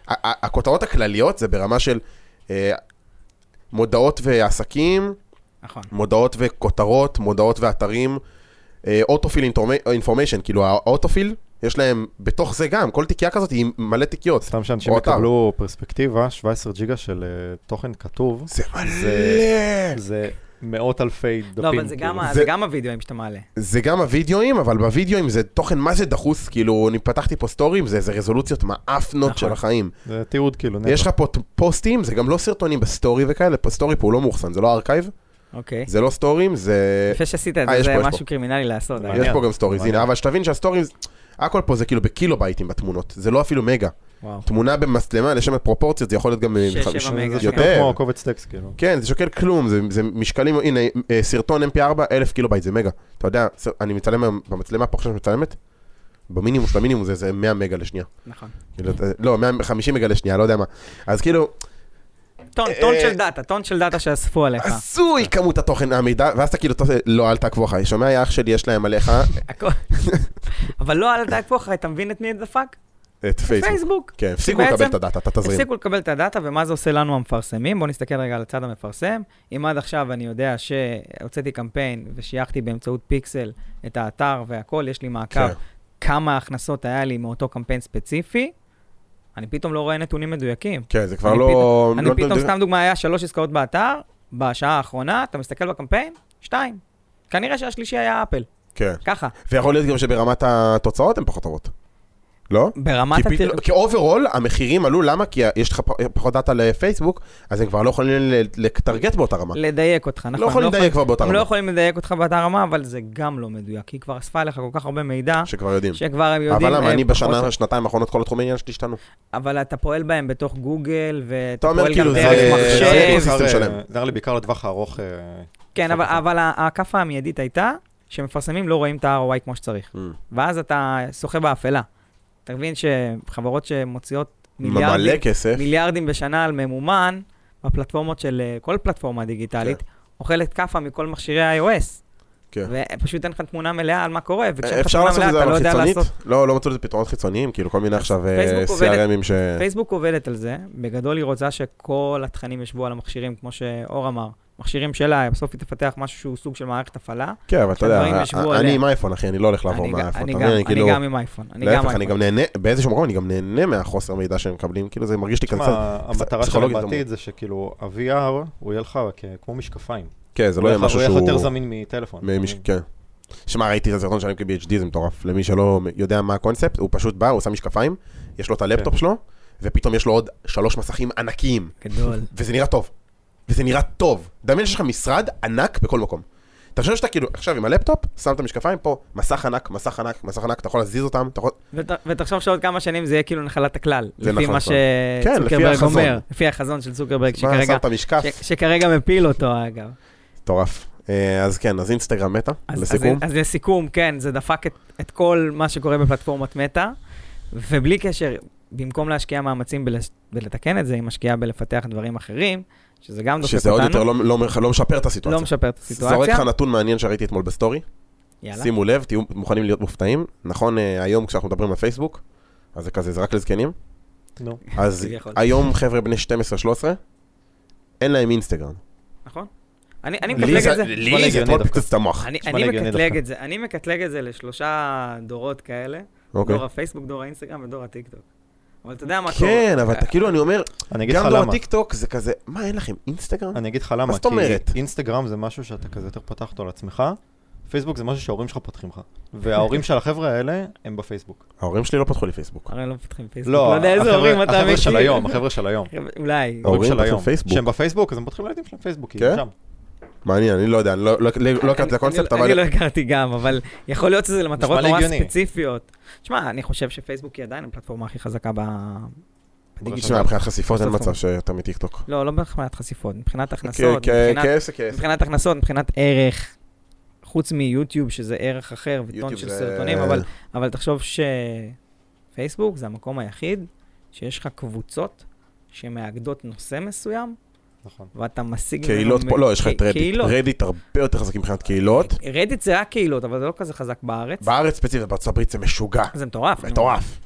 Speaker 2: ה- ה- הכותרות הכלליות זה ברמה של אה, מודעות ועסקים,
Speaker 1: נכון.
Speaker 2: מודעות וכותרות, מודעות ואתרים, אה, אוטופיל אינפורמיישן, כאילו האוטופיל, יש להם, בתוך זה גם, כל תיקייה כזאת היא מלא תיקיות.
Speaker 3: סתם שאנשים
Speaker 2: או אתר.
Speaker 3: יקבלו פרספקטיבה, 17 ג'יגה של אה, תוכן כתוב,
Speaker 2: זה מלא!
Speaker 3: זה- זה מאות אלפי דפים.
Speaker 1: לא, אבל זה
Speaker 3: כאילו.
Speaker 1: גם ה-
Speaker 2: זה-
Speaker 1: זה גם הווידאוים שאתה מעלה.
Speaker 2: זה גם הווידאוים, אבל בווידאוים זה תוכן מה זה דחוס, כאילו, אני פתחתי פה סטורים, זה זה רזולוציות מעפנות
Speaker 1: נכון.
Speaker 2: של החיים.
Speaker 3: זה תיעוד כאילו. נטו.
Speaker 2: יש לך פה ט- פוסטים, זה גם לא סרטונים בסטורי וכאלה, פה סטורי פה הוא לא מאוחסן, זה לא ארכייב,
Speaker 1: אוקיי.
Speaker 2: זה לא סטורים, זה...
Speaker 1: יפה שעשית את
Speaker 2: אה,
Speaker 1: זה,
Speaker 2: יש
Speaker 1: זה
Speaker 2: פה, יש
Speaker 1: משהו קרימינלי לעשות.
Speaker 3: יש
Speaker 2: יש
Speaker 1: אגב.
Speaker 2: פה גם סטוריז,
Speaker 3: מעניין.
Speaker 2: הנה, אבל שתבין שהסטוריז, הכל פה זה כאילו בקילו בייטים בתמונות, זה לא אפילו מגה.
Speaker 1: וואו.
Speaker 2: תמונה במצלמה, לשם הפרופורציות, זה יכול להיות גם...
Speaker 1: שש,
Speaker 2: מ-
Speaker 1: שבע
Speaker 2: מ-
Speaker 1: מגה, כן.
Speaker 3: זה שוקל
Speaker 2: יותר.
Speaker 3: כמו קובץ טקסט כאילו.
Speaker 2: כן, זה שוקל כלום, זה- זה משקלים, הנה, אה, סרטון mp4, 1000 קילו בייט, זה מגה. אתה יודע, ס- אני מצלם היום במצלמה פה עכשיו שמצלמת, במינימום של המינימום זה- זה 100 מגה לשנייה.
Speaker 1: נכון.
Speaker 2: כאילו, אתה- לא, 150 מגה לשנייה, לא יודע מה. אז כאילו,
Speaker 1: טון, טון
Speaker 2: אה,
Speaker 1: של דאטה, טון של דאטה שאספו עליך.
Speaker 2: הזוי
Speaker 1: כן.
Speaker 2: כמות התוכן, המידע, ואז אתה כאילו, אתה עושה, לא, אל תעקבו אחריי, שומע, יא אח שלי, יש להם עליך
Speaker 1: הכל. אבל לא על הדאג פה אחרי, אתה מבין את מי דפק?
Speaker 2: את פייסבוק.
Speaker 1: פייסבוק.
Speaker 2: כן, הפסיקו
Speaker 1: שבעצם-
Speaker 2: לקבל את הדאטה, אתה תזרים.
Speaker 1: הפסיקו לקבל את הדאטה, ומה זה עושה לנו המפרסמים? בואו נסתכל רגע על הצד המפרסם. אם עד עכשיו אני יודע שהוצאתי קמפיין ושייכתי באמצעות פיקסל את האתר והכל, יש לי מעקב
Speaker 2: כן.
Speaker 1: כמה הכנסות היה לי מאותו קמפיין ספציפי, אני פתאום לא רואה נתונים מדויקים.
Speaker 2: כן, זה כבר
Speaker 1: אני
Speaker 2: לא...
Speaker 1: פתאום- אני
Speaker 2: לא-
Speaker 1: פתאום,
Speaker 2: לא-
Speaker 1: סתם דוגמה, היה שלוש עסקאות באתר, בשעה האחרונה, אתה מסתכל בקמפיין, שתיים. כנראה שהשלישי היה אפל,
Speaker 2: כן.
Speaker 1: ככה.
Speaker 2: ויכול להיות גם שברמת התוצאות הן פחות טובות. לא?
Speaker 1: ברמת
Speaker 2: כי
Speaker 1: התר...
Speaker 2: פתאום- כי אוברול המחירים עלו, למה? כי יש לך פ- פחות דאטה לפייסבוק, אז הם כבר לא יכולים ל- לטרגט באותה רמה.
Speaker 1: לדייק אותך, נכון?
Speaker 2: לא יכולים לדייק כבר באותה
Speaker 1: הם לא
Speaker 2: רמה,
Speaker 1: יכולים לדייק אותך באתר רמה, אבל זה גם לא מדויק, כי היא כבר אספה לך כל כך הרבה מידע,
Speaker 2: שכבר יודעים.
Speaker 1: שכבר הם יודעים...
Speaker 2: אבל למה,
Speaker 1: אה,
Speaker 2: אני
Speaker 1: פחות-
Speaker 2: בשנה, שנתיים האחרונות, כל התחומי עניין שלי השתנו.
Speaker 1: אבל אתה פועל בהם בתוך גוגל,
Speaker 2: אתה
Speaker 1: ואתה
Speaker 2: אומר
Speaker 1: פועל
Speaker 2: כאילו,
Speaker 1: גם
Speaker 2: זה-
Speaker 1: דרך
Speaker 2: זה
Speaker 1: מחשב.
Speaker 2: אקוסיסטם אקוסיסטם
Speaker 3: בעיקר, אה,
Speaker 2: שלם.
Speaker 3: נראה לי בעיקר לטווח הארוך. אה,
Speaker 1: כן, אבל-
Speaker 3: אוקיי.
Speaker 1: אבל ה- הכאפה המיידית הייתה שמפרסמים לא רואים את ה-ROI כמו שצריך. ואז אתה שוחה באפלה. אתה מבין שחברות שמוציאות מיליארדים
Speaker 2: מלא כסף.
Speaker 1: מיליארדים בשנה על ממומן, בפלטפורמות של אה, כל פלטפורמה דיגיטלית, אוכלת כאפה מכל מכשירי ה-iOS.
Speaker 2: כן.
Speaker 1: ופשוט אין לך תמונה מלאה על מה קורה, וכשאין לך
Speaker 2: אפשר
Speaker 1: תמונה
Speaker 2: לעשות
Speaker 1: מלאה אתה
Speaker 2: את זה
Speaker 1: לא
Speaker 2: אבל
Speaker 1: יודע
Speaker 2: חיצונית?
Speaker 1: לעשות...
Speaker 2: לא, לא מצאו לזה פתרונות חיצוניים, כאילו כל מיני עכשיו אה,
Speaker 1: פייסבוק עובדת-
Speaker 2: CRMים ש...
Speaker 1: פייסבוק עובדת על זה, בגדול היא רוצה שכל התכנים ישבו על המכשירים, כמו שאור אמר. מכשירים שלה, בסוף היא תפתח משהו שהוא סוג של מערכת הפעלה.
Speaker 2: כן, אבל אתה
Speaker 1: שהדברים
Speaker 2: יודע,
Speaker 1: ישבו
Speaker 2: אני
Speaker 1: עליה.
Speaker 2: עם אייפון, אחי, אני לא הולך לעבור
Speaker 1: אני גם-
Speaker 2: מהאייפון.
Speaker 1: אני
Speaker 2: אתה
Speaker 1: גם-
Speaker 2: מבין? כאילו,
Speaker 1: אני גם עם אייפון. אני גם
Speaker 2: להפך, אני
Speaker 1: אייפון.
Speaker 2: גם נהנה, באיזשהו מקום אני גם נהנה מהחוסר מידע שהם מקבלים, כאילו זה מרגיש לי
Speaker 3: תשמע,
Speaker 2: קצת...
Speaker 3: המטרה שלהם
Speaker 2: פסיכולוגית זה
Speaker 3: בעתיד זה שכאילו ה-VR הוא יהיה לך כ- כמו משקפיים.
Speaker 2: כן, זה לא
Speaker 3: הוא
Speaker 2: יהיה
Speaker 3: לך-
Speaker 2: משהו
Speaker 3: הוא יהיה לך יותר
Speaker 2: שהוא...
Speaker 3: זמין מטלפון.
Speaker 2: ממיש- כן. שמע, ראיתי את הסרטון שלהם כ-BHD, זה מטורף. למי שלא יודע מה הקונספט, הוא פשוט בא, הוא שם משקפיים, יש לו את
Speaker 3: כן.
Speaker 2: הלפטופ שלו, ופתאום יש לו עוד שלוש מסכים ענקיים.
Speaker 1: גדול.
Speaker 2: וזה נראה טוב. וזה נראה טוב. דמיין שיש לך משרד ענק בכל מקום. אתה חושב שאתה כאילו, עכשיו עם הלפטופ, שם את המשקפיים פה, מסך ענק, מסך ענק, מסך ענק, אתה יכול להזיז אותם, אתה יכול...
Speaker 1: ות- ותחשוב שעוד כמה שנים זה יהיה כאילו נחלת הכלל.
Speaker 2: זה
Speaker 1: לפי
Speaker 2: נכון,
Speaker 1: מה
Speaker 2: נכון. כן, לפי
Speaker 1: שצוקרברג
Speaker 2: החזון.
Speaker 1: אומר. לפי החזון של צוקרברג,
Speaker 2: מה, שם
Speaker 1: שכרגע
Speaker 2: את המשקף,
Speaker 1: ש- שכרגע מפיל אותו, אגב.
Speaker 2: מטורף. אה, אז כן, אז אינסטגרם מתה,
Speaker 1: אז-
Speaker 2: לסיכום.
Speaker 1: אז אז לסיכום, כן, זה דפק את, את כל מה שקורה בפלטפורמת מטא, ובלי קשר, במקום להשקיע מאמצים בלש, בלתקן את זה, היא משקיעה בלפתח דברים אחרים, שזה גם דופק
Speaker 2: שזה
Speaker 1: אותנו.
Speaker 2: עוד יותר לא- לא לא משפר את
Speaker 1: לא
Speaker 2: הסיטואציה.
Speaker 1: משפר את
Speaker 2: זורק
Speaker 1: הסיטואציה.
Speaker 2: לך נתון מעניין שראיתי אתמול בסטורי.
Speaker 1: יאללה.
Speaker 2: שימו לב, תהיו מוכנים להיות מופתעים. נכון, אה, היום כשאנחנו מדברים על פייסבוק, אז זה כזה, זה רק לזקנים.
Speaker 3: נו.
Speaker 2: אז
Speaker 1: כביכול.
Speaker 2: היום חבר'ה בני 12-13, אין להם אינסטגרם.
Speaker 1: נכון? אני אני
Speaker 2: לי
Speaker 1: מקטלג את
Speaker 2: זה-
Speaker 1: זה.
Speaker 3: נשמע
Speaker 2: לי זה
Speaker 3: הגיוני
Speaker 2: אתמול
Speaker 3: דווקא.
Speaker 2: פוצץ את המוח.
Speaker 1: אני,
Speaker 3: נשמע לי
Speaker 1: אני
Speaker 3: הגיוני
Speaker 1: מקטלג
Speaker 3: דווקא.
Speaker 1: את זה, אני מקטלג את זה לשלושה דורות כאלה,
Speaker 2: אוקיי.
Speaker 1: דור הפייסבוק, דור האינסטגרם ודור הטיקטוק. אבל אתה יודע מה קורה.
Speaker 2: כן, אבל אתה כאילו, אני אומר,
Speaker 3: אני אגיד לך
Speaker 2: גם דור
Speaker 3: למה.
Speaker 2: הטיקטוק זה כזה, מה, אין לכם אינסטגרם?
Speaker 3: אני אגיד לך למה.
Speaker 2: מה זאת אומרת?
Speaker 3: כי אינסטגרם זה משהו שאתה כזה יותר פותח אותו על עצמך, פייסבוק זה משהו שההורים שלך פותחים לך. וההורים של החבר'ה האלה הם בפייסבוק.
Speaker 2: ההורים שלי לא פתחו לי פייסבוק.
Speaker 1: הרי לא מפתחים פייסבוק.
Speaker 3: לא,
Speaker 1: לא יודע איזה
Speaker 3: החבר'ה-
Speaker 1: הורים אתה
Speaker 3: החבר'ה של
Speaker 1: מכיר.
Speaker 3: היום, החבר'ה אוקיי, של היום.
Speaker 1: אולי.
Speaker 2: ההורים
Speaker 3: של
Speaker 2: פותחים
Speaker 3: היום.
Speaker 2: פייסבוק.
Speaker 3: שהם בפייסבוק, אז הם פותחים לילדים שלהם פייסבוק, כי
Speaker 2: כן?
Speaker 3: הם שם.
Speaker 2: מעניין, אני לא יודע, אני לא- לא לא- לא הכרתי את
Speaker 1: אני-
Speaker 2: הקונספט,
Speaker 1: אני לא- אני
Speaker 2: אבל...
Speaker 1: לא הכרתי גם, אבל יכול להיות שזה למטרות
Speaker 3: נשמע לי
Speaker 1: נורא
Speaker 3: הגיוני.
Speaker 1: ספציפיות. תשמע, אני חושב שפייסבוק היא עדיין הפלטפורמה הכי חזקה ב-
Speaker 2: תשמע,
Speaker 1: בדיגיטל.
Speaker 2: מבחינת חשיפות אין
Speaker 1: בסוף.
Speaker 2: מצב שאתה מטיקטוק.
Speaker 1: לא, לא מבחינת חשיפות,
Speaker 3: כן,
Speaker 1: מבחינת הכנסות,
Speaker 2: כ- כ-
Speaker 1: מבחינת-
Speaker 2: כעסק, כעסק.
Speaker 1: מבחינת הכנסות, מבחינת ערך. חוץ מיוטיוב, שזה ערך אחר, וטון
Speaker 2: יוטיוב
Speaker 1: של
Speaker 2: זה-
Speaker 1: סרטונים, אבל אבל תחשוב שפייסבוק זה המקום היחיד שיש לך קבוצות שמאגדות נושא מסוים,
Speaker 3: נכון.
Speaker 1: ואתה משיג... ממנו
Speaker 2: קהילות
Speaker 1: מ-
Speaker 2: פה, לא, יש לך
Speaker 1: קה-
Speaker 2: את רדיט.
Speaker 1: קהילות.
Speaker 2: רדיט הרבה יותר חזק מבחינת קהילות.
Speaker 1: רדיט זה רק קהילות, אבל זה לא כזה חזק בארץ.
Speaker 2: בארץ ספציפית, בארצות הברית זה משוגע.
Speaker 1: זה מטורף. נו.
Speaker 2: מטורף.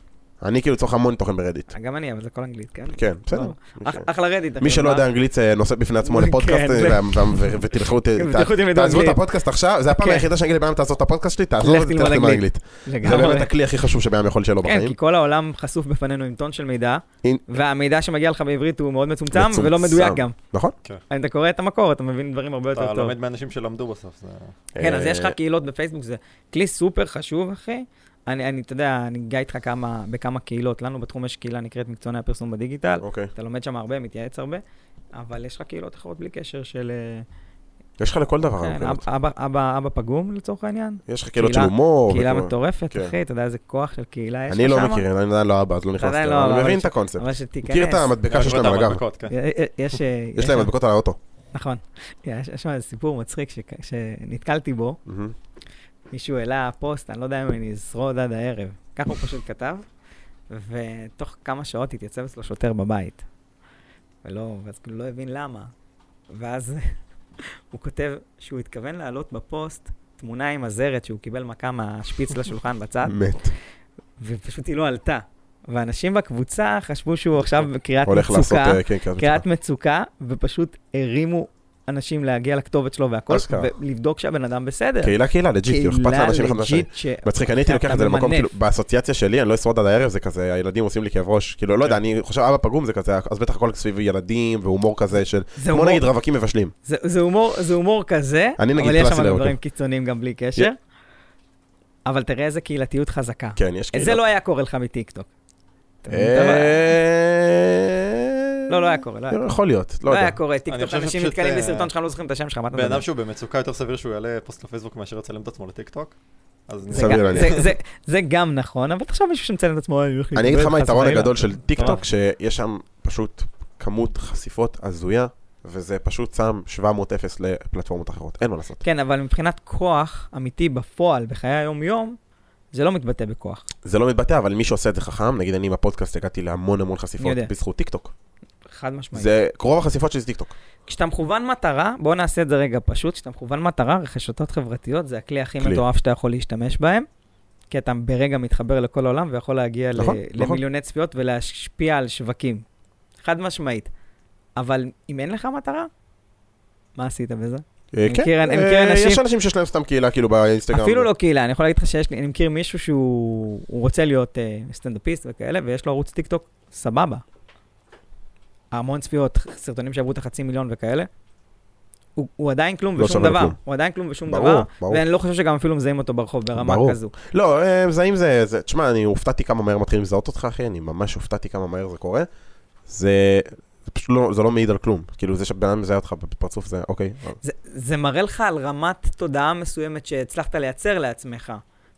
Speaker 2: אני כאילו צורך המון תוכן ברדיט.
Speaker 1: גם אני, אבל זה כל אנגלית, כן?
Speaker 2: כן, בסדר.
Speaker 1: לא. אח- אחלה רדיט.
Speaker 2: מי
Speaker 1: אחי,
Speaker 2: שלא
Speaker 1: מה?
Speaker 2: יודע אנגלית זה נושא בפני עצמו לפודקאסט,
Speaker 1: כן,
Speaker 2: אה,
Speaker 1: זה-
Speaker 2: וה- וה- ו- ותלכו, ת-
Speaker 1: כן, ותלכו תלמדו
Speaker 2: תעזבו את
Speaker 1: אנגלית.
Speaker 2: הפודקאסט עכשיו, זה הפעם
Speaker 1: כן.
Speaker 2: היחידה שאני אגיד לבן אדם תעזוב את הפודקאסט שלי, תעזוב
Speaker 1: לך
Speaker 2: ותלך
Speaker 1: תלמוד
Speaker 2: ללמוד
Speaker 1: אנגלית.
Speaker 2: אנגלית. זה
Speaker 1: לגמרי.
Speaker 2: באמת הכלי הכי חשוב שבן יכול לשאול לו
Speaker 1: כן,
Speaker 2: בחיים.
Speaker 1: כי כל העולם חשוף בפנינו עם טון של מידע,
Speaker 2: אין-
Speaker 1: והמידע שמגיע לך בעברית הוא מאוד מצומצם
Speaker 2: מצומצם.
Speaker 1: ולא מדויק גם.
Speaker 2: נכון?
Speaker 1: אם אתה קורא את המקור, אתה מבין דברים הרבה יותר
Speaker 3: אתה
Speaker 1: טוב.
Speaker 3: לומד מאנשים שלמדו בסוף. זה-
Speaker 1: כן, אז
Speaker 2: אה,
Speaker 1: יש לך קהילות בפייסבוק, זה כלי סופר חשוב, אחי. אני, אני, אתה יודע, אני גיא איתך כמה, בכמה קהילות. לנו בתחום יש קהילה נקראת מקצועני הפרסום בדיגיטל.
Speaker 2: אוקיי.
Speaker 1: אתה לומד שם הרבה, מתייעץ הרבה, אבל יש לך קהילות אחרות בלי קשר של... אה,
Speaker 2: יש לך לכל דבר.
Speaker 1: כן,
Speaker 2: אבל,
Speaker 1: אבא- אבא, אבא, אבא פגום לצורך העניין?
Speaker 2: יש לך אה, קהילות של
Speaker 1: קהילה-
Speaker 2: הומור.
Speaker 1: קהילה
Speaker 2: וכל-
Speaker 1: מטורפת,
Speaker 2: כן.
Speaker 1: אחי, אתה יודע איזה כוח של קהילה יש לך
Speaker 2: אני לא
Speaker 1: שמה?
Speaker 2: מכיר, אני עדיין לא אבא, אז לא נכנסתי.
Speaker 1: עדיין לא
Speaker 2: אבל
Speaker 1: אבא,
Speaker 2: אני
Speaker 1: אבל
Speaker 2: מבין
Speaker 1: יש- כן.
Speaker 2: את הקונספט.
Speaker 1: אבל שתיכנס. אה,
Speaker 2: מכיר את המדבקה שיש להם על הגב.
Speaker 3: המדבקות, כן.
Speaker 1: יש...
Speaker 2: יש להם מדבקות על האוטו.
Speaker 1: נכון. יש יש שם איזה סיפור מצחיק שכ- שנתקלתי בו.
Speaker 2: מהמם.
Speaker 1: מישהו העלה פוסט, אני לא יודע אם אני אשרוד עד הערב. ככה הוא פשוט כתב, ותוך כמה שעות התייצב אצלו שוטר בבית. ולא, ואז כאילו לא הבין למה. ואז הוא כותב שהוא התכוון להעלות בפוסט תמונה עם הזרת שהוא קיבל מכה מהשפיץ לשולחן בצד,
Speaker 2: מת.
Speaker 1: ופשוט היא לא עלתה. ואנשים בקבוצה חשבו שהוא עכשיו בקריאת
Speaker 2: הולך לעשות,
Speaker 1: מצוקה,
Speaker 2: אה, כן, קריאת מצוקה.
Speaker 1: קריאת מצוקה, ופשוט הרימו אנשים להגיע לכתובת שלו והכל,
Speaker 2: אשכרה.
Speaker 1: ולבדוק שהבן אדם בסדר.
Speaker 2: קהילה קהילה, לג'יט, כאילו, אכפת
Speaker 1: קהילה
Speaker 2: לאנשים אחד מהשני.
Speaker 1: לג'יט ש-
Speaker 2: מצחיק, אני הייתי
Speaker 1: אתה
Speaker 2: לוקח את זה למקום,
Speaker 1: ממנף.
Speaker 2: כאילו, באסוציאציה שלי, אני לא אשרוד עד הערב, זה כזה, הילדים עושים לי כאב ראש. כאילו, לא יודע, אני חושב, אבא פגום זה כזה, אז בטח הכל סביב ילדים והומור כזה של,
Speaker 1: זה
Speaker 2: כמו
Speaker 1: הומור.
Speaker 2: נגיד רווקים מבשלים.
Speaker 1: זה, זה, הומור, זה הומור כזה,
Speaker 2: אני נגיד
Speaker 1: אבל יש
Speaker 2: קלאסי
Speaker 1: שם
Speaker 2: לראות.
Speaker 1: דברים קיצוניים גם בלי קשר.
Speaker 2: י-
Speaker 1: אבל תראה איזה קהילתיות חזקה.
Speaker 2: כן, יש
Speaker 1: את
Speaker 2: קהילה.
Speaker 1: זה לא היה קורה לך מטיקטוק. אתה מבין את הבעיה?
Speaker 2: אה,
Speaker 1: לא, לא היה קורה, לא היה קורה.
Speaker 2: יכול להיות, לא
Speaker 1: לא
Speaker 2: יודע.
Speaker 1: היה קורה,
Speaker 3: אני
Speaker 1: טיקטוק,
Speaker 3: חושב
Speaker 1: אנשים
Speaker 3: שפשוט,
Speaker 1: נתקלים
Speaker 3: אה,
Speaker 1: בסרטון שלך, לא זוכרים את השם שלך, מה אתה
Speaker 3: בן
Speaker 1: מדבר?
Speaker 3: אדם שהוא במצוקה יותר סביר שהוא יעלה פוסט לפייסבוק מאשר לצלם את עצמו לטיקטוק. אז
Speaker 1: זה
Speaker 2: סביר
Speaker 1: גם-
Speaker 2: להניח.
Speaker 1: זה- זה- זה גם נכון, אבל תחשוב מישהו שמצלם את עצמו, "אה, הולך
Speaker 2: אני אגיד לך
Speaker 1: להתאבד,
Speaker 2: מה
Speaker 1: חס
Speaker 2: היתרון
Speaker 1: וחלילה."
Speaker 2: הגדול של טיקטוק,
Speaker 1: אה.
Speaker 3: מטורף.
Speaker 2: שיש שם פשוט כמות חשיפות הזויה, וזה פשוט שם 700-0 לפלטפורמות אחרות, אין מה לעשות.
Speaker 1: כן, אבל מבחינת כוח אמיתי בפועל, בחיי היום-יום, זה לא מתבטא בכוח.
Speaker 2: זה לא מתבטא, אבל מי שעושה את זה חכם, נגיד אני עם הפודקאסט הגעתי להמון המון חשיפות
Speaker 1: יודע.
Speaker 2: בזכות טיקטוק.
Speaker 1: חד משמעית.
Speaker 2: זה רוב החשיפות שלי זה טיקטוק.
Speaker 1: כשאתה מכוון מטרה, בואו נעשה את זה רגע פשוט, כשאתה מכוון מטרה, רכישתות חברתיות זה הכלי הכי
Speaker 2: כלי.
Speaker 1: מטורף שאתה יכול להשתמש בהם, כי אתה ברגע מתחבר לכל העולם ויכול להגיע
Speaker 2: נכון,
Speaker 1: נכון, ל-
Speaker 2: נכון.
Speaker 1: נכון. למיליוני צפיות ולהשפיע על שווקים. חד משמעית. אבל אם אין לך מטרה, מה עשית בזה?
Speaker 2: אה,
Speaker 1: אני
Speaker 2: כן,
Speaker 1: מכיר- אני מכיר
Speaker 2: אה,
Speaker 1: אנשים-
Speaker 2: יש אנשים שיש להם סתם קהילה כאילו באינסטגרם.
Speaker 1: אפילו לא קהילה, אני יכול להגיד לך שיש לי, אני מכיר מישהו שהוא הוא רוצה להיות uh, סטנדאפיסט וכאלה, ויש לו ערוץ טיקטוק, סבבה. המון צפיות, סרטונים שעברו את החצי מיליון וכאלה. הוא, הוא עדיין כלום
Speaker 2: לא
Speaker 1: ושום
Speaker 2: שווה
Speaker 1: דבר.
Speaker 2: לכלום.
Speaker 1: הוא עדיין כלום ושום
Speaker 2: ברור,
Speaker 1: דבר.
Speaker 2: ברור.
Speaker 1: ואני לא חושב שגם אפילו מזהים אותו ברחוב ברמה
Speaker 2: ברור.
Speaker 1: כזו.
Speaker 2: לא, אה, מזהים זה, זה- תשמע, אני הופתעתי כמה מהר מתחילים לזהות אותך, אחי, אני ממש הופתעתי כמה מהר זה קורה. זה זה פשוט לא, זה לא מעיד על כלום. כאילו, זה שבן אדם מזהה אותך בפרצוף זה, אוקיי.
Speaker 1: זה, זה מראה לך על רמת תודעה מסוימת שהצלחת לייצר לעצמך.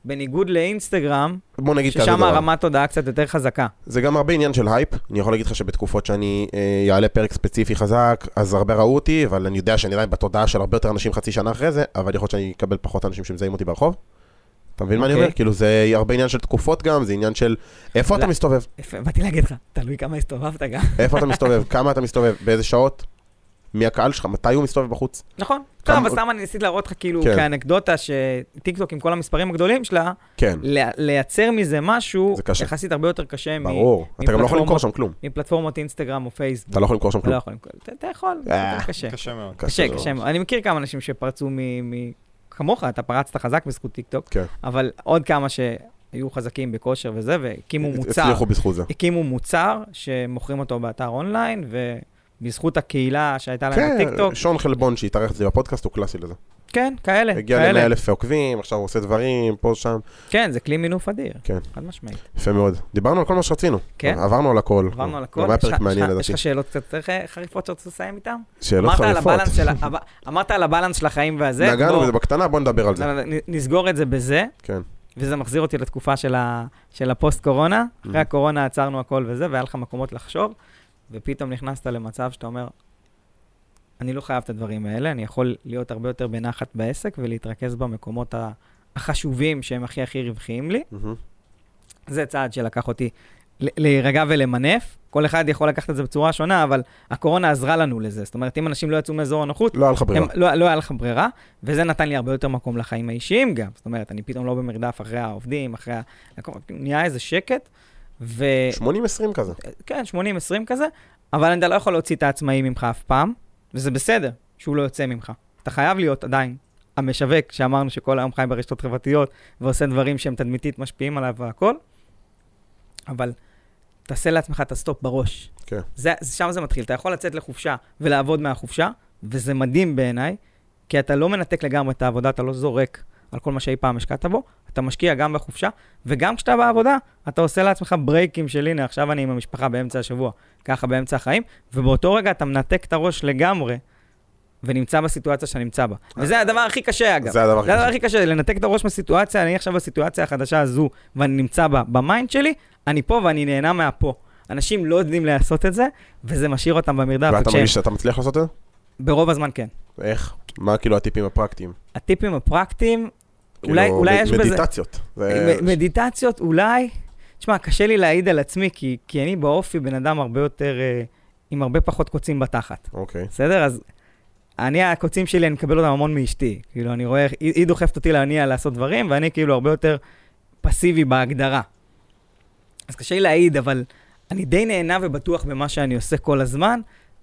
Speaker 1: בניגוד לאינסטגרם,
Speaker 2: בוא נגיד כזה
Speaker 1: ששם
Speaker 2: דבר.
Speaker 1: הרמת תודעה קצת יותר חזקה.
Speaker 2: זה גם הרבה עניין של הייפ. אני יכול להגיד לך שבתקופות שאני אה, אעלה פרק ספציפי חזק, אז הרבה ראו אותי, אבל אני יודע שאני עדיין בתודעה של הרבה יותר אנשים חצי שנה אחרי זה, אבל יכול להיות שאני אקבל פחות אנשים שמזהים אותי ברחוב. אתה מבין מה אני
Speaker 1: אוקיי.
Speaker 2: אומר? כאילו, זה הרבה עניין של תקופות גם, זה עניין של איפה אתה
Speaker 1: לא.
Speaker 2: מסתובב,
Speaker 1: יפה, באתי להגיד לך, תלוי כמה הסתובבת גם.
Speaker 2: איפה אתה מסתובב, כמה אתה מסתובב, באיזה שעות, מי הקהל שלך, מתי הוא מסתובב בחוץ.
Speaker 1: נכון.
Speaker 2: כמה-
Speaker 1: טוב, אבל סתם אני ניסיתי להראות לך כאילו
Speaker 2: כן.
Speaker 1: כאנקדוטה שטיקטוק עם כל המספרים הגדולים שלה,
Speaker 2: כן,
Speaker 1: ל- לייצר מזה משהו
Speaker 2: זה קשה.
Speaker 1: יחסית הרבה יותר קשה מ-
Speaker 2: ברור. אתה גם לא יכול
Speaker 1: מפלטפורמות-
Speaker 2: למכור שם כלום.
Speaker 1: מפלטפורמות אינסטגרם או פייסבוק.
Speaker 2: אתה לא יכול למכור שם
Speaker 1: אתה לא
Speaker 2: כלום.
Speaker 1: יכול למכור, אתה- אתה יכול, זה
Speaker 2: אה,
Speaker 1: יותר קשה.
Speaker 3: קשה מאוד.
Speaker 1: קשה,
Speaker 2: מאוד.
Speaker 1: קשה מאוד. אני מכיר כמה אנשים שפרצו מ... מ- כמוך, אתה פרצת חזק בזכות טיקטוק,
Speaker 2: כן.
Speaker 1: אבל עוד כמה שהיו חזקים בכושר וזה, והקימו מוצר.
Speaker 2: אה, הצליחו בזכות זה.
Speaker 1: הקימו מוצר שמוכרים אותו באתר אונליין, ובזכות הקהילה שהייתה להם
Speaker 2: כן,
Speaker 1: בטיקטוק,
Speaker 2: שון חלבון שהתארח אצלי בפודקאסט הוא קלאסי לזה.
Speaker 1: כן, כאלה,
Speaker 2: הגיע ל-100
Speaker 1: כאלה.
Speaker 2: אלף עוקבים, עכשיו הוא עושה דברים, פה, שם.
Speaker 1: כן, זה כלי מינוף אדיר,
Speaker 2: כן.
Speaker 1: חד משמעית.
Speaker 2: יפה מאוד. דיברנו על כל מה שרצינו.
Speaker 1: כן.
Speaker 2: עברנו על הכל.
Speaker 1: עברנו על הכל.
Speaker 2: גם היה
Speaker 1: יש לך-
Speaker 2: פרק מעניין
Speaker 1: יש לך-
Speaker 2: לדעתי.
Speaker 1: יש לך שאלות קצת יותר ח- חריפות שאתה רוצה לסיים איתן?
Speaker 2: שאלות
Speaker 1: אמרת על
Speaker 2: חריפות.
Speaker 1: הבלנס של ה- הב- אמרת על הבלנס של החיים והזה,
Speaker 2: נגענו
Speaker 1: בוא-
Speaker 2: בזה בקטנה, בוא נדבר על זה.
Speaker 1: לא, לא, נ- נסגור את זה בזה,
Speaker 2: כן.
Speaker 1: וזה מחזיר אותי לתקופה של ה- של הפוסט-קורונה.
Speaker 2: Mm-hmm.
Speaker 1: אחרי הקורונה עצרנו הכל וזה, והיה לך מקומות לחשוב, ופתאום נכנסת למצב שאתה אומר, אני לא חייב את הדברים האלה, אני יכול להיות הרבה יותר בנחת בעסק ולהתרכז במקומות ה- החשובים שהם הכי הכי רווחיים לי.
Speaker 2: מהמם.
Speaker 1: זה צעד שלקח אותי ל- להירגע ולמנף. כל אחד יכול לקחת את זה בצורה שונה, אבל הקורונה עזרה לנו לזה. זאת אומרת, אם אנשים לא יצאו מאזור הנוחות,
Speaker 2: לא היה לך ברירה.
Speaker 1: הם, לא, לא היה לך ברירה, וזה נתן לי הרבה יותר מקום לחיים האישיים גם. זאת אומרת, אני פתאום לא במרדף אחרי העובדים, אחרי ה... הכל- נהיה איזה שקט, ו...
Speaker 2: 80-20 כזה.
Speaker 1: כן, 80-20 כזה, אבל אתה לא יכול להוציא את העצמאי ממך אף פעם, וזה בסדר שהוא לא יוצא ממך. אתה חייב להיות עדיין המשווק שאמרנו שכל היום חי ברשתות חברתיות, ועושה דברים שהם תדמיתית משפיעים עליו והכל, אבל תעשה לעצמך את הסטופ בראש.
Speaker 2: כן.
Speaker 1: זה, זה- שם זה מתחיל. אתה יכול לצאת לחופשה ולעבוד מהחופשה, וזה מדהים בעיניי, כי אתה לא מנתק לגמרי את העבודה, אתה לא זורק על כל מה שאי פעם השקעת בו, אתה משקיע גם בחופשה, וגם כשאתה בעבודה, אתה עושה לעצמך ברייקים של הנה, עכשיו אני עם המשפחה באמצע השבוע, ככה באמצע החיים, ובאותו רגע אתה מנתק את הראש לגמרי, ונמצא בסיטואציה שאתה נמצא בה. וזה הדבר הכי קשה, אגב. לא,
Speaker 2: זה הדבר הכי
Speaker 1: זה הדבר
Speaker 2: חשוב.
Speaker 1: הכי קשה, לנתק את הראש מהסיטואציה, אני עכשיו בסיטואציה החדשה הזו, ואני נמצא בה במיינד שלי, אני פה ואני נהנה מהפה. אנשים לא יודעים לעשות את זה, וזה משאיר אותם במרדף.
Speaker 2: ואתה
Speaker 1: וכשהם-
Speaker 2: מרגיש שאתה מצליח לעשות את זה?
Speaker 1: ברוב הזמן כן.
Speaker 2: איך? מה כאילו הטיפים הפרקטיים?
Speaker 1: הטיפים הפרקטיים, אולי,
Speaker 2: כאילו,
Speaker 1: אולי
Speaker 2: מד-
Speaker 1: יש בזה...
Speaker 2: מדיטציות. זה-
Speaker 1: מ- מדיטציות אולי, תשמע, קשה לי להעיד על עצמי, כי, כי אני באופי בן אדם הרבה יותר, אה, עם הרבה פחות קוצים בתחת,
Speaker 2: אוקיי.
Speaker 1: בסדר? אז אני, הקוצים שלי, אני מקבל אותם המון מאשתי. כאילו, אני רואה, איך- היא, היא דוחפת אותי להניע לעשות דברים, ואני כאילו הרבה יותר פסיבי בהגדרה. אז קשה לי להעיד, אבל אני די נהנה ובטוח במה שאני עושה כל הזמן,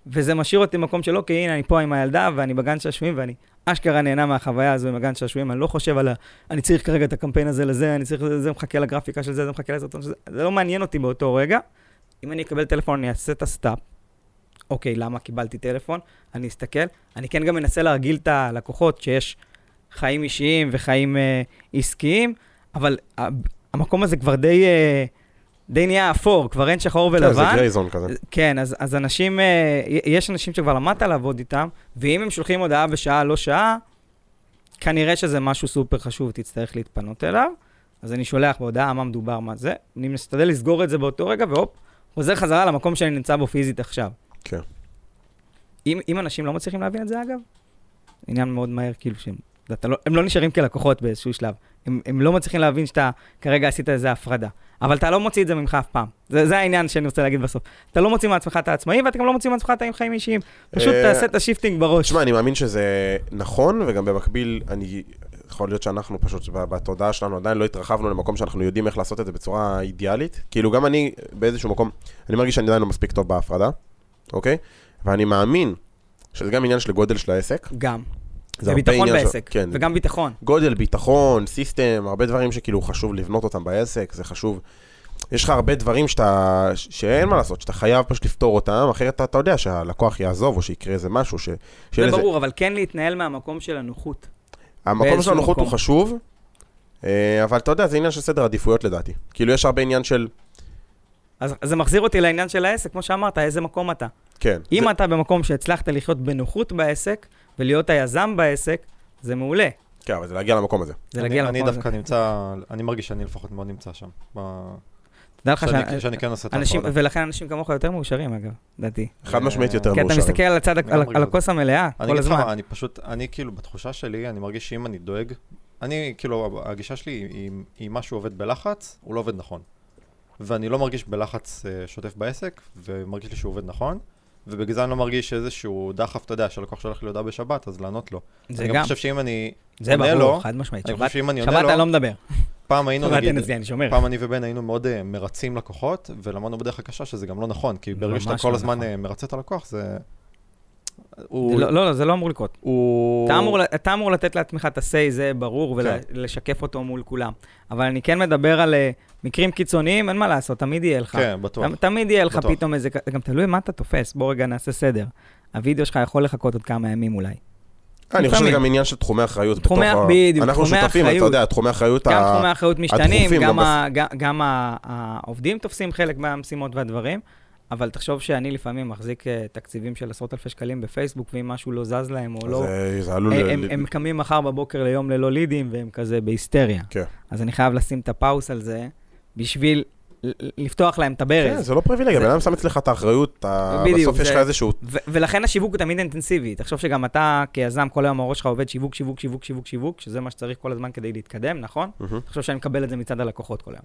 Speaker 1: וזה משאיר אותי במקום שלא, כי הנה, אני פה עם הילדה, ואני בגן שעשועים, ואני אשכרה נהנה מהחוויה הזו עם הגן שעשועים, אני לא חושב על ה... אני צריך כרגע את הקמפיין הזה לזה, אני צריך לזה, זה מחכה לגרפיקה של זה, זה מחכה לסרטון של זה, זה לא מעניין אותי באותו רגע. אם אני אקבל טלפון, אני אעשה את הסטאפ. אוקיי, למה קיבלתי טלפון? אני אסתכל. אני כן גם מנסה להרגיל את הלקוחות שיש חיים אישיים וחיים אה, עסקיים, אבל ה- המקום הזה כבר די, אה, די נהיה אפור, כבר אין שחור
Speaker 2: כן, זה
Speaker 1: ולבן.
Speaker 2: גרייזון כזה.
Speaker 1: כן, אז, אז אנשים, אה, י- יש אנשים שכבר למדת לעבוד איתם, ואם הם שולחים הודעה בשעה, לא שעה, כנראה שזה משהו סופר חשוב, תצטרך להתפנות אליו. אז אני שולח בהודעה מה מדובר, מה זה. אני משתדל לסגור את זה באותו רגע, והופ, חוזר חזרה למקום שאני נמצא בו פיזית עכשיו.
Speaker 2: כן.
Speaker 1: אם, אם אנשים לא מצליחים להבין את זה, אגב, עניין מאוד מהר, כאילו שהם... אתה לא, הם לא נשארים כלקוחות באיזשהו שלב. הם, הם לא מצליחים להבין שאתה כרגע עשית איזה הפרדה. אבל אתה לא מוציא את זה ממך אף פעם. זה, זה העניין שאני רוצה להגיד בסוף. אתה לא מוציא מעצמך את העצמאי, ואתה גם לא מוציא מעצמך את החיים האישיים. פשוט
Speaker 2: אה,
Speaker 1: תעשה את השיפטינג בראש.
Speaker 2: תשמע, אני מאמין שזה נכון, וגם במקביל, אני... יכול להיות שאנחנו פשוט, ב- בתודעה שלנו עדיין לא התרחבנו למקום שאנחנו יודעים איך לעשות את זה בצורה אידיאלית. כאילו, גם אני באיזשהו מקום, אני מרגיש שאני עדיין לא מספיק טוב בהפרדה, אוקיי? ואני מאמין שזה גם עניין של גודל של העסק.
Speaker 1: גם.
Speaker 2: זה הרבה
Speaker 1: וביטחון
Speaker 2: עניין של-
Speaker 1: בעסק.
Speaker 2: כן.
Speaker 1: וגם ביטחון.
Speaker 2: גודל, ביטחון, סיסטם, הרבה דברים שכאילו חשוב לבנות אותם בעסק, זה חשוב. יש לך הרבה דברים שאתה, ש- שאין מה לעשות, שאתה חייב פשוט לפתור אותם, אחרת אתה, אתה יודע שהלקוח יעזוב או שיקרה איזה משהו, ש...
Speaker 1: זה
Speaker 2: שיהיה לזה-
Speaker 1: ברור, אבל כן להתנהל מהמקום של הנוחות.
Speaker 2: המקום של
Speaker 1: באיזשהו
Speaker 2: הנוחות הוא
Speaker 1: מקום.
Speaker 2: חשוב, אה, אבל אתה יודע, זה עניין של סדר עדיפויות לדעתי. כאילו, יש הרבה עניין של...
Speaker 1: אז אז זה מחזיר אותי לעניין של העסק, כמו שאמרת, איזה מקום אתה.
Speaker 2: כן.
Speaker 1: אם
Speaker 2: זה,
Speaker 1: אתה במקום שהצלחת לחיות בנוחות בעסק, ולהיות היזם בעסק, זה מעולה.
Speaker 2: כן, אבל זה להגיע למקום הזה.
Speaker 1: זה
Speaker 3: אני-
Speaker 1: להגיע למקום
Speaker 3: אני
Speaker 1: הזה.
Speaker 3: דווקא נמצא, אני מרגיש שאני לפחות מאוד נמצא שם. ב-
Speaker 1: תדע לך
Speaker 3: שאני-
Speaker 1: שאנשים,
Speaker 3: שאני כן עושה את ההפרדה.
Speaker 1: ולכן אנשים כמוך יותר מאושרים אגב, לדעתי.
Speaker 2: חד
Speaker 3: אה,
Speaker 2: משמעית יותר
Speaker 1: כי אתה
Speaker 2: מאושרים.
Speaker 1: מסתכל על הצד,
Speaker 3: אני
Speaker 1: על-
Speaker 3: גם
Speaker 1: על
Speaker 3: רגע.
Speaker 1: הכוס המלאה
Speaker 3: אני
Speaker 1: כל
Speaker 3: אגיד לך
Speaker 1: הזמן.
Speaker 3: מה, אני פשוט, אני כאילו, בתחושה שלי, אני מרגיש שאם אני דואג, אני כאילו, הגישה שלי היא, היא- היא מה שהוא עובד בלחץ, הוא לא עובד נכון. ואני לא מרגיש בלחץ אה, שוטף בעסק, ומרגיש לי שהוא עובד נכון, ובגלל זה אני לא מרגיש איזשהו דחף, אתה יודע, שהלקוח שולח לי הודעה בשבת, אז לענות לו.
Speaker 1: זה
Speaker 3: אני
Speaker 1: גם.
Speaker 3: גם חושב שאם אני
Speaker 1: זה
Speaker 3: עונה
Speaker 1: ברור,
Speaker 3: לו,
Speaker 1: חד משמעית.
Speaker 3: אני
Speaker 1: שבת,
Speaker 3: חושב שאם אני לא עונה
Speaker 1: שבת אני
Speaker 3: לו,
Speaker 1: לא מדבר.
Speaker 3: פעם היינו
Speaker 1: שבת אין
Speaker 3: נגיד,
Speaker 1: אצלי, אני שומר.
Speaker 3: פעם אני ובן היינו מאוד אה, מרצים לקוחות, ולמדנו בדרך הקשה שזה גם לא נכון, כי ברגע שאתה
Speaker 1: ממש
Speaker 3: כל
Speaker 1: לא
Speaker 3: הזמן
Speaker 1: נכון.
Speaker 3: אה, מרצה את הלקוח, זה...
Speaker 1: זה
Speaker 3: הוא...
Speaker 1: לא, לא, לא, זה לא אמור לקרות.
Speaker 3: הוא... כן.
Speaker 1: אתה אמור, אתה אמור לתת לעצמך את ה-say, זה ברור, ולשקף אותו מול כולם. אבל אני כן מדבר על אה, מקרים קיצוניים, אין מה לעשות, תמיד יהיה לך.
Speaker 3: כן, בטוח.
Speaker 1: תמ- תמיד יהיה לך
Speaker 3: בטוח.
Speaker 1: פתאום איזה... כ- גם תלוי מה אתה תופס, בוא רגע נעשה סדר. הווידאו שלך יכול לחכות עוד כמה ימים אולי.
Speaker 2: אני חושב
Speaker 1: לפעמים.
Speaker 2: שזה גם עניין של תחומי אחריות.
Speaker 1: תחומי-
Speaker 2: בתוך ה-
Speaker 1: בדיוק,
Speaker 2: אנחנו
Speaker 1: תחומי
Speaker 2: שותפים, אתה
Speaker 1: אחריות.
Speaker 2: יודע, תחומי אחריות
Speaker 1: גם
Speaker 2: ה- לא
Speaker 1: תחומי האחריות משתנים,
Speaker 2: הדחופים
Speaker 1: גם
Speaker 2: גם
Speaker 1: ה- ג- גם ה- העובדים תופסים חלק מהמשימות והדברים, אבל תחשוב שאני לפעמים מחזיק אה, תקציבים של עשרות אלפי שקלים בפייסבוק, ואם משהו לא זז להם או לא...
Speaker 2: זה- זה עלול...
Speaker 1: הם-
Speaker 2: ל-
Speaker 1: הם- הם קמים מחר בבוקר ליום ללא לידים, והם כזה בהיסטריה.
Speaker 2: כן.
Speaker 1: אז אני חייב לשים את הפאוס על זה, בשביל ל- לפתוח להם את
Speaker 2: כן,
Speaker 1: הברז.
Speaker 2: זה לא פריבילגיה,
Speaker 1: זה-
Speaker 2: בן אדם שם אצלך את האחריות, אתה-
Speaker 1: בדיוק,
Speaker 2: בסוף יש
Speaker 1: זה-
Speaker 2: לך איזשהו...
Speaker 1: ו- ולכן השיווק הוא תמיד אינטנסיבי. תחשוב שגם אתה כיזם, כל היום הראש שלך עובד שיווק, שיווק, שיווק, שיווק, שיווק, שזה מה שצריך כל הזמן כדי להתקדם, נכון?
Speaker 2: מהמם.
Speaker 1: תחשוב שאני מקבל את זה מצד הלקוחות כל היום.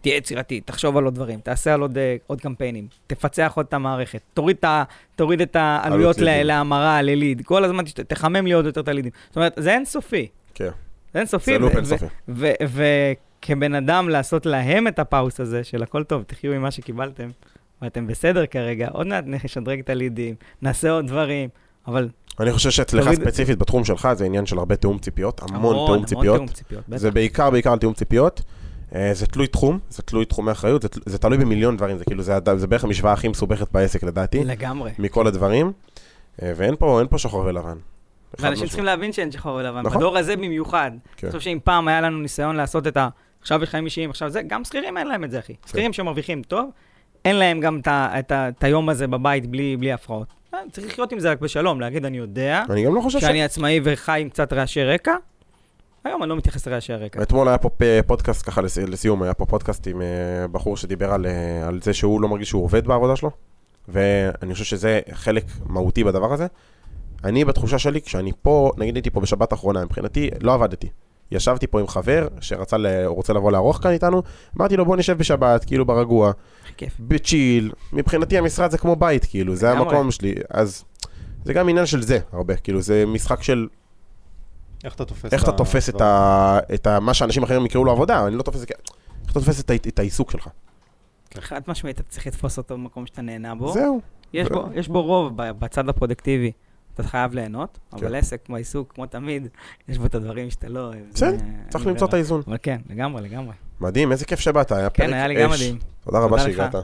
Speaker 1: תהיה יצירתי, תחשוב על עוד דברים, תעשה על עוד, אה, עוד קמפיינים, תפצח עוד את המערכת, תוריד, את ה- תוריד את העלויות
Speaker 2: עלות
Speaker 1: ל-
Speaker 2: לידים.
Speaker 1: להמרה, לליד, כל הזמן תשת- תחמם לי עוד יותר את הלידים. זאת אומרת, זה אינסופי.
Speaker 2: כן.
Speaker 1: זה אינסופי.
Speaker 2: זה
Speaker 1: ו-
Speaker 2: לופ
Speaker 1: ו-
Speaker 2: אינסופי.
Speaker 1: ו- וכבן אדם לעשות להם את הפאוס הזה של הכל טוב, תחיו עם מה שקיבלתם, ואתם בסדר כרגע, עוד מעט נשדרג את הלידים, נעשה עוד דברים, אבל
Speaker 2: אני חושב שאצלך
Speaker 1: תוריד-
Speaker 2: ספציפית בתחום שלך זה עניין של הרבה תיאום ציפיות, המון תיאום ציפיות.
Speaker 1: תיאום ציפיות, בטח.
Speaker 2: זה בעיקר בעיקר על תיאום ציפיות. אה, זה תלוי תחום, זה תלוי תחומי אחריות, זה תל- זה תלוי במיליון דברים, זה כאילו, זה הד- זה בערך המשוואה הכי מסובכת בעסק לדעתי,
Speaker 1: לגמרי.
Speaker 2: מכל הדברים, אה, ואין פה אין פה שחור ולבן. אחד
Speaker 1: ואנשים
Speaker 2: משהו.
Speaker 1: צריכים להבין שאין שחור ולבן,
Speaker 2: נכון.
Speaker 1: בדור הזה במיוחד.
Speaker 2: כן.
Speaker 1: אני חושב שאם פעם היה לנו ניסיון לעשות את ה... עכשיו יש חיים אישיים, עכשיו זה, גם שכירים אין להם את זה, אחי.
Speaker 2: כן.
Speaker 1: שכירים שמרוויחים טוב, אין להם גם את ה- את ה- את היום הזה בבית בלי בלי הפרעות. אה, צריך לחיות עם זה רק בשלום, להגיד, אני יודע,
Speaker 2: אני גם לא חושב ש...
Speaker 1: שאני עצמאי וחי עם קצת רעשי רקע, היום אני לא מתייחס לרעשי הרקע.
Speaker 2: אתמול כן. היה פה פ- פודקאסט, ככה לס- לסיום, היה פה פודקאסט עם אה, בחור שדיבר על, אה, על זה שהוא לא מרגיש שהוא עובד בעבודה שלו, ואני חושב שזה חלק מהותי בדבר הזה. אני, בתחושה שלי, כשאני פה, נגיד הייתי פה בשבת האחרונה, מבחינתי לא עבדתי. ישבתי פה עם חבר שרצה ל... רוצה לבוא לארוח כאן איתנו, אמרתי לו בוא נשב בשבת, כאילו ברגוע,
Speaker 1: הכי כיף.
Speaker 2: בצ'יל, מבחינתי המשרד זה כמו בית, כאילו, זה
Speaker 1: לגמרי.
Speaker 2: המקום שלי, אז זה גם עניין של זה הרבה, כאילו זה משחק של
Speaker 3: איך אתה תופס
Speaker 2: איך אתה
Speaker 3: ה-
Speaker 2: תופס
Speaker 1: לא.
Speaker 2: את,
Speaker 3: הדבר?
Speaker 2: ה... את ה... מה שאנשים אחרים יקראו לו עבודה, אני לא תופס את זה כ... איך אתה תופס את, ה... את העיסוק שלך?
Speaker 1: חד משמעית, כן. אתה צריך לתפוס אותו במקום שאתה נהנה בו.
Speaker 2: זהו.
Speaker 1: יש
Speaker 2: ו-
Speaker 1: בו, יש בו רוב ב- בצד הפרודקטיבי. אתה חייב ליהנות, אבל
Speaker 2: כן.
Speaker 1: עסק, כמו העיסוק, כמו תמיד, יש בו את הדברים שאתה לא אוהב.
Speaker 2: בסדר,
Speaker 1: זה-
Speaker 2: צריך
Speaker 1: אין ברירה.
Speaker 2: למצוא את האיזון.
Speaker 1: אבל כן, לגמרי, לגמרי.
Speaker 2: מדהים, איזה כיף שבאת, היה פרק
Speaker 1: כן, היה לי גם
Speaker 2: אש.
Speaker 1: מדהים.
Speaker 2: תודה רבה
Speaker 1: תודה
Speaker 2: שהגעת.
Speaker 1: לך.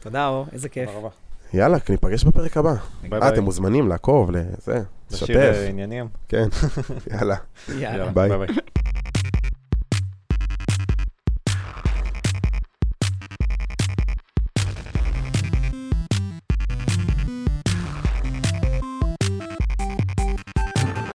Speaker 1: תודה, אור, איזה כיף.
Speaker 3: תודה רבה.
Speaker 2: יאללה, ניפגש בפרק הבא.
Speaker 3: ביי
Speaker 2: אה,
Speaker 3: ביי.
Speaker 2: אתם מוזמנים לעקוב, לזה,
Speaker 3: לשיר
Speaker 2: לשתף.
Speaker 3: אה, עניינים.
Speaker 2: כן, יאללה,
Speaker 1: יאללה.
Speaker 2: ביי.
Speaker 3: ביי.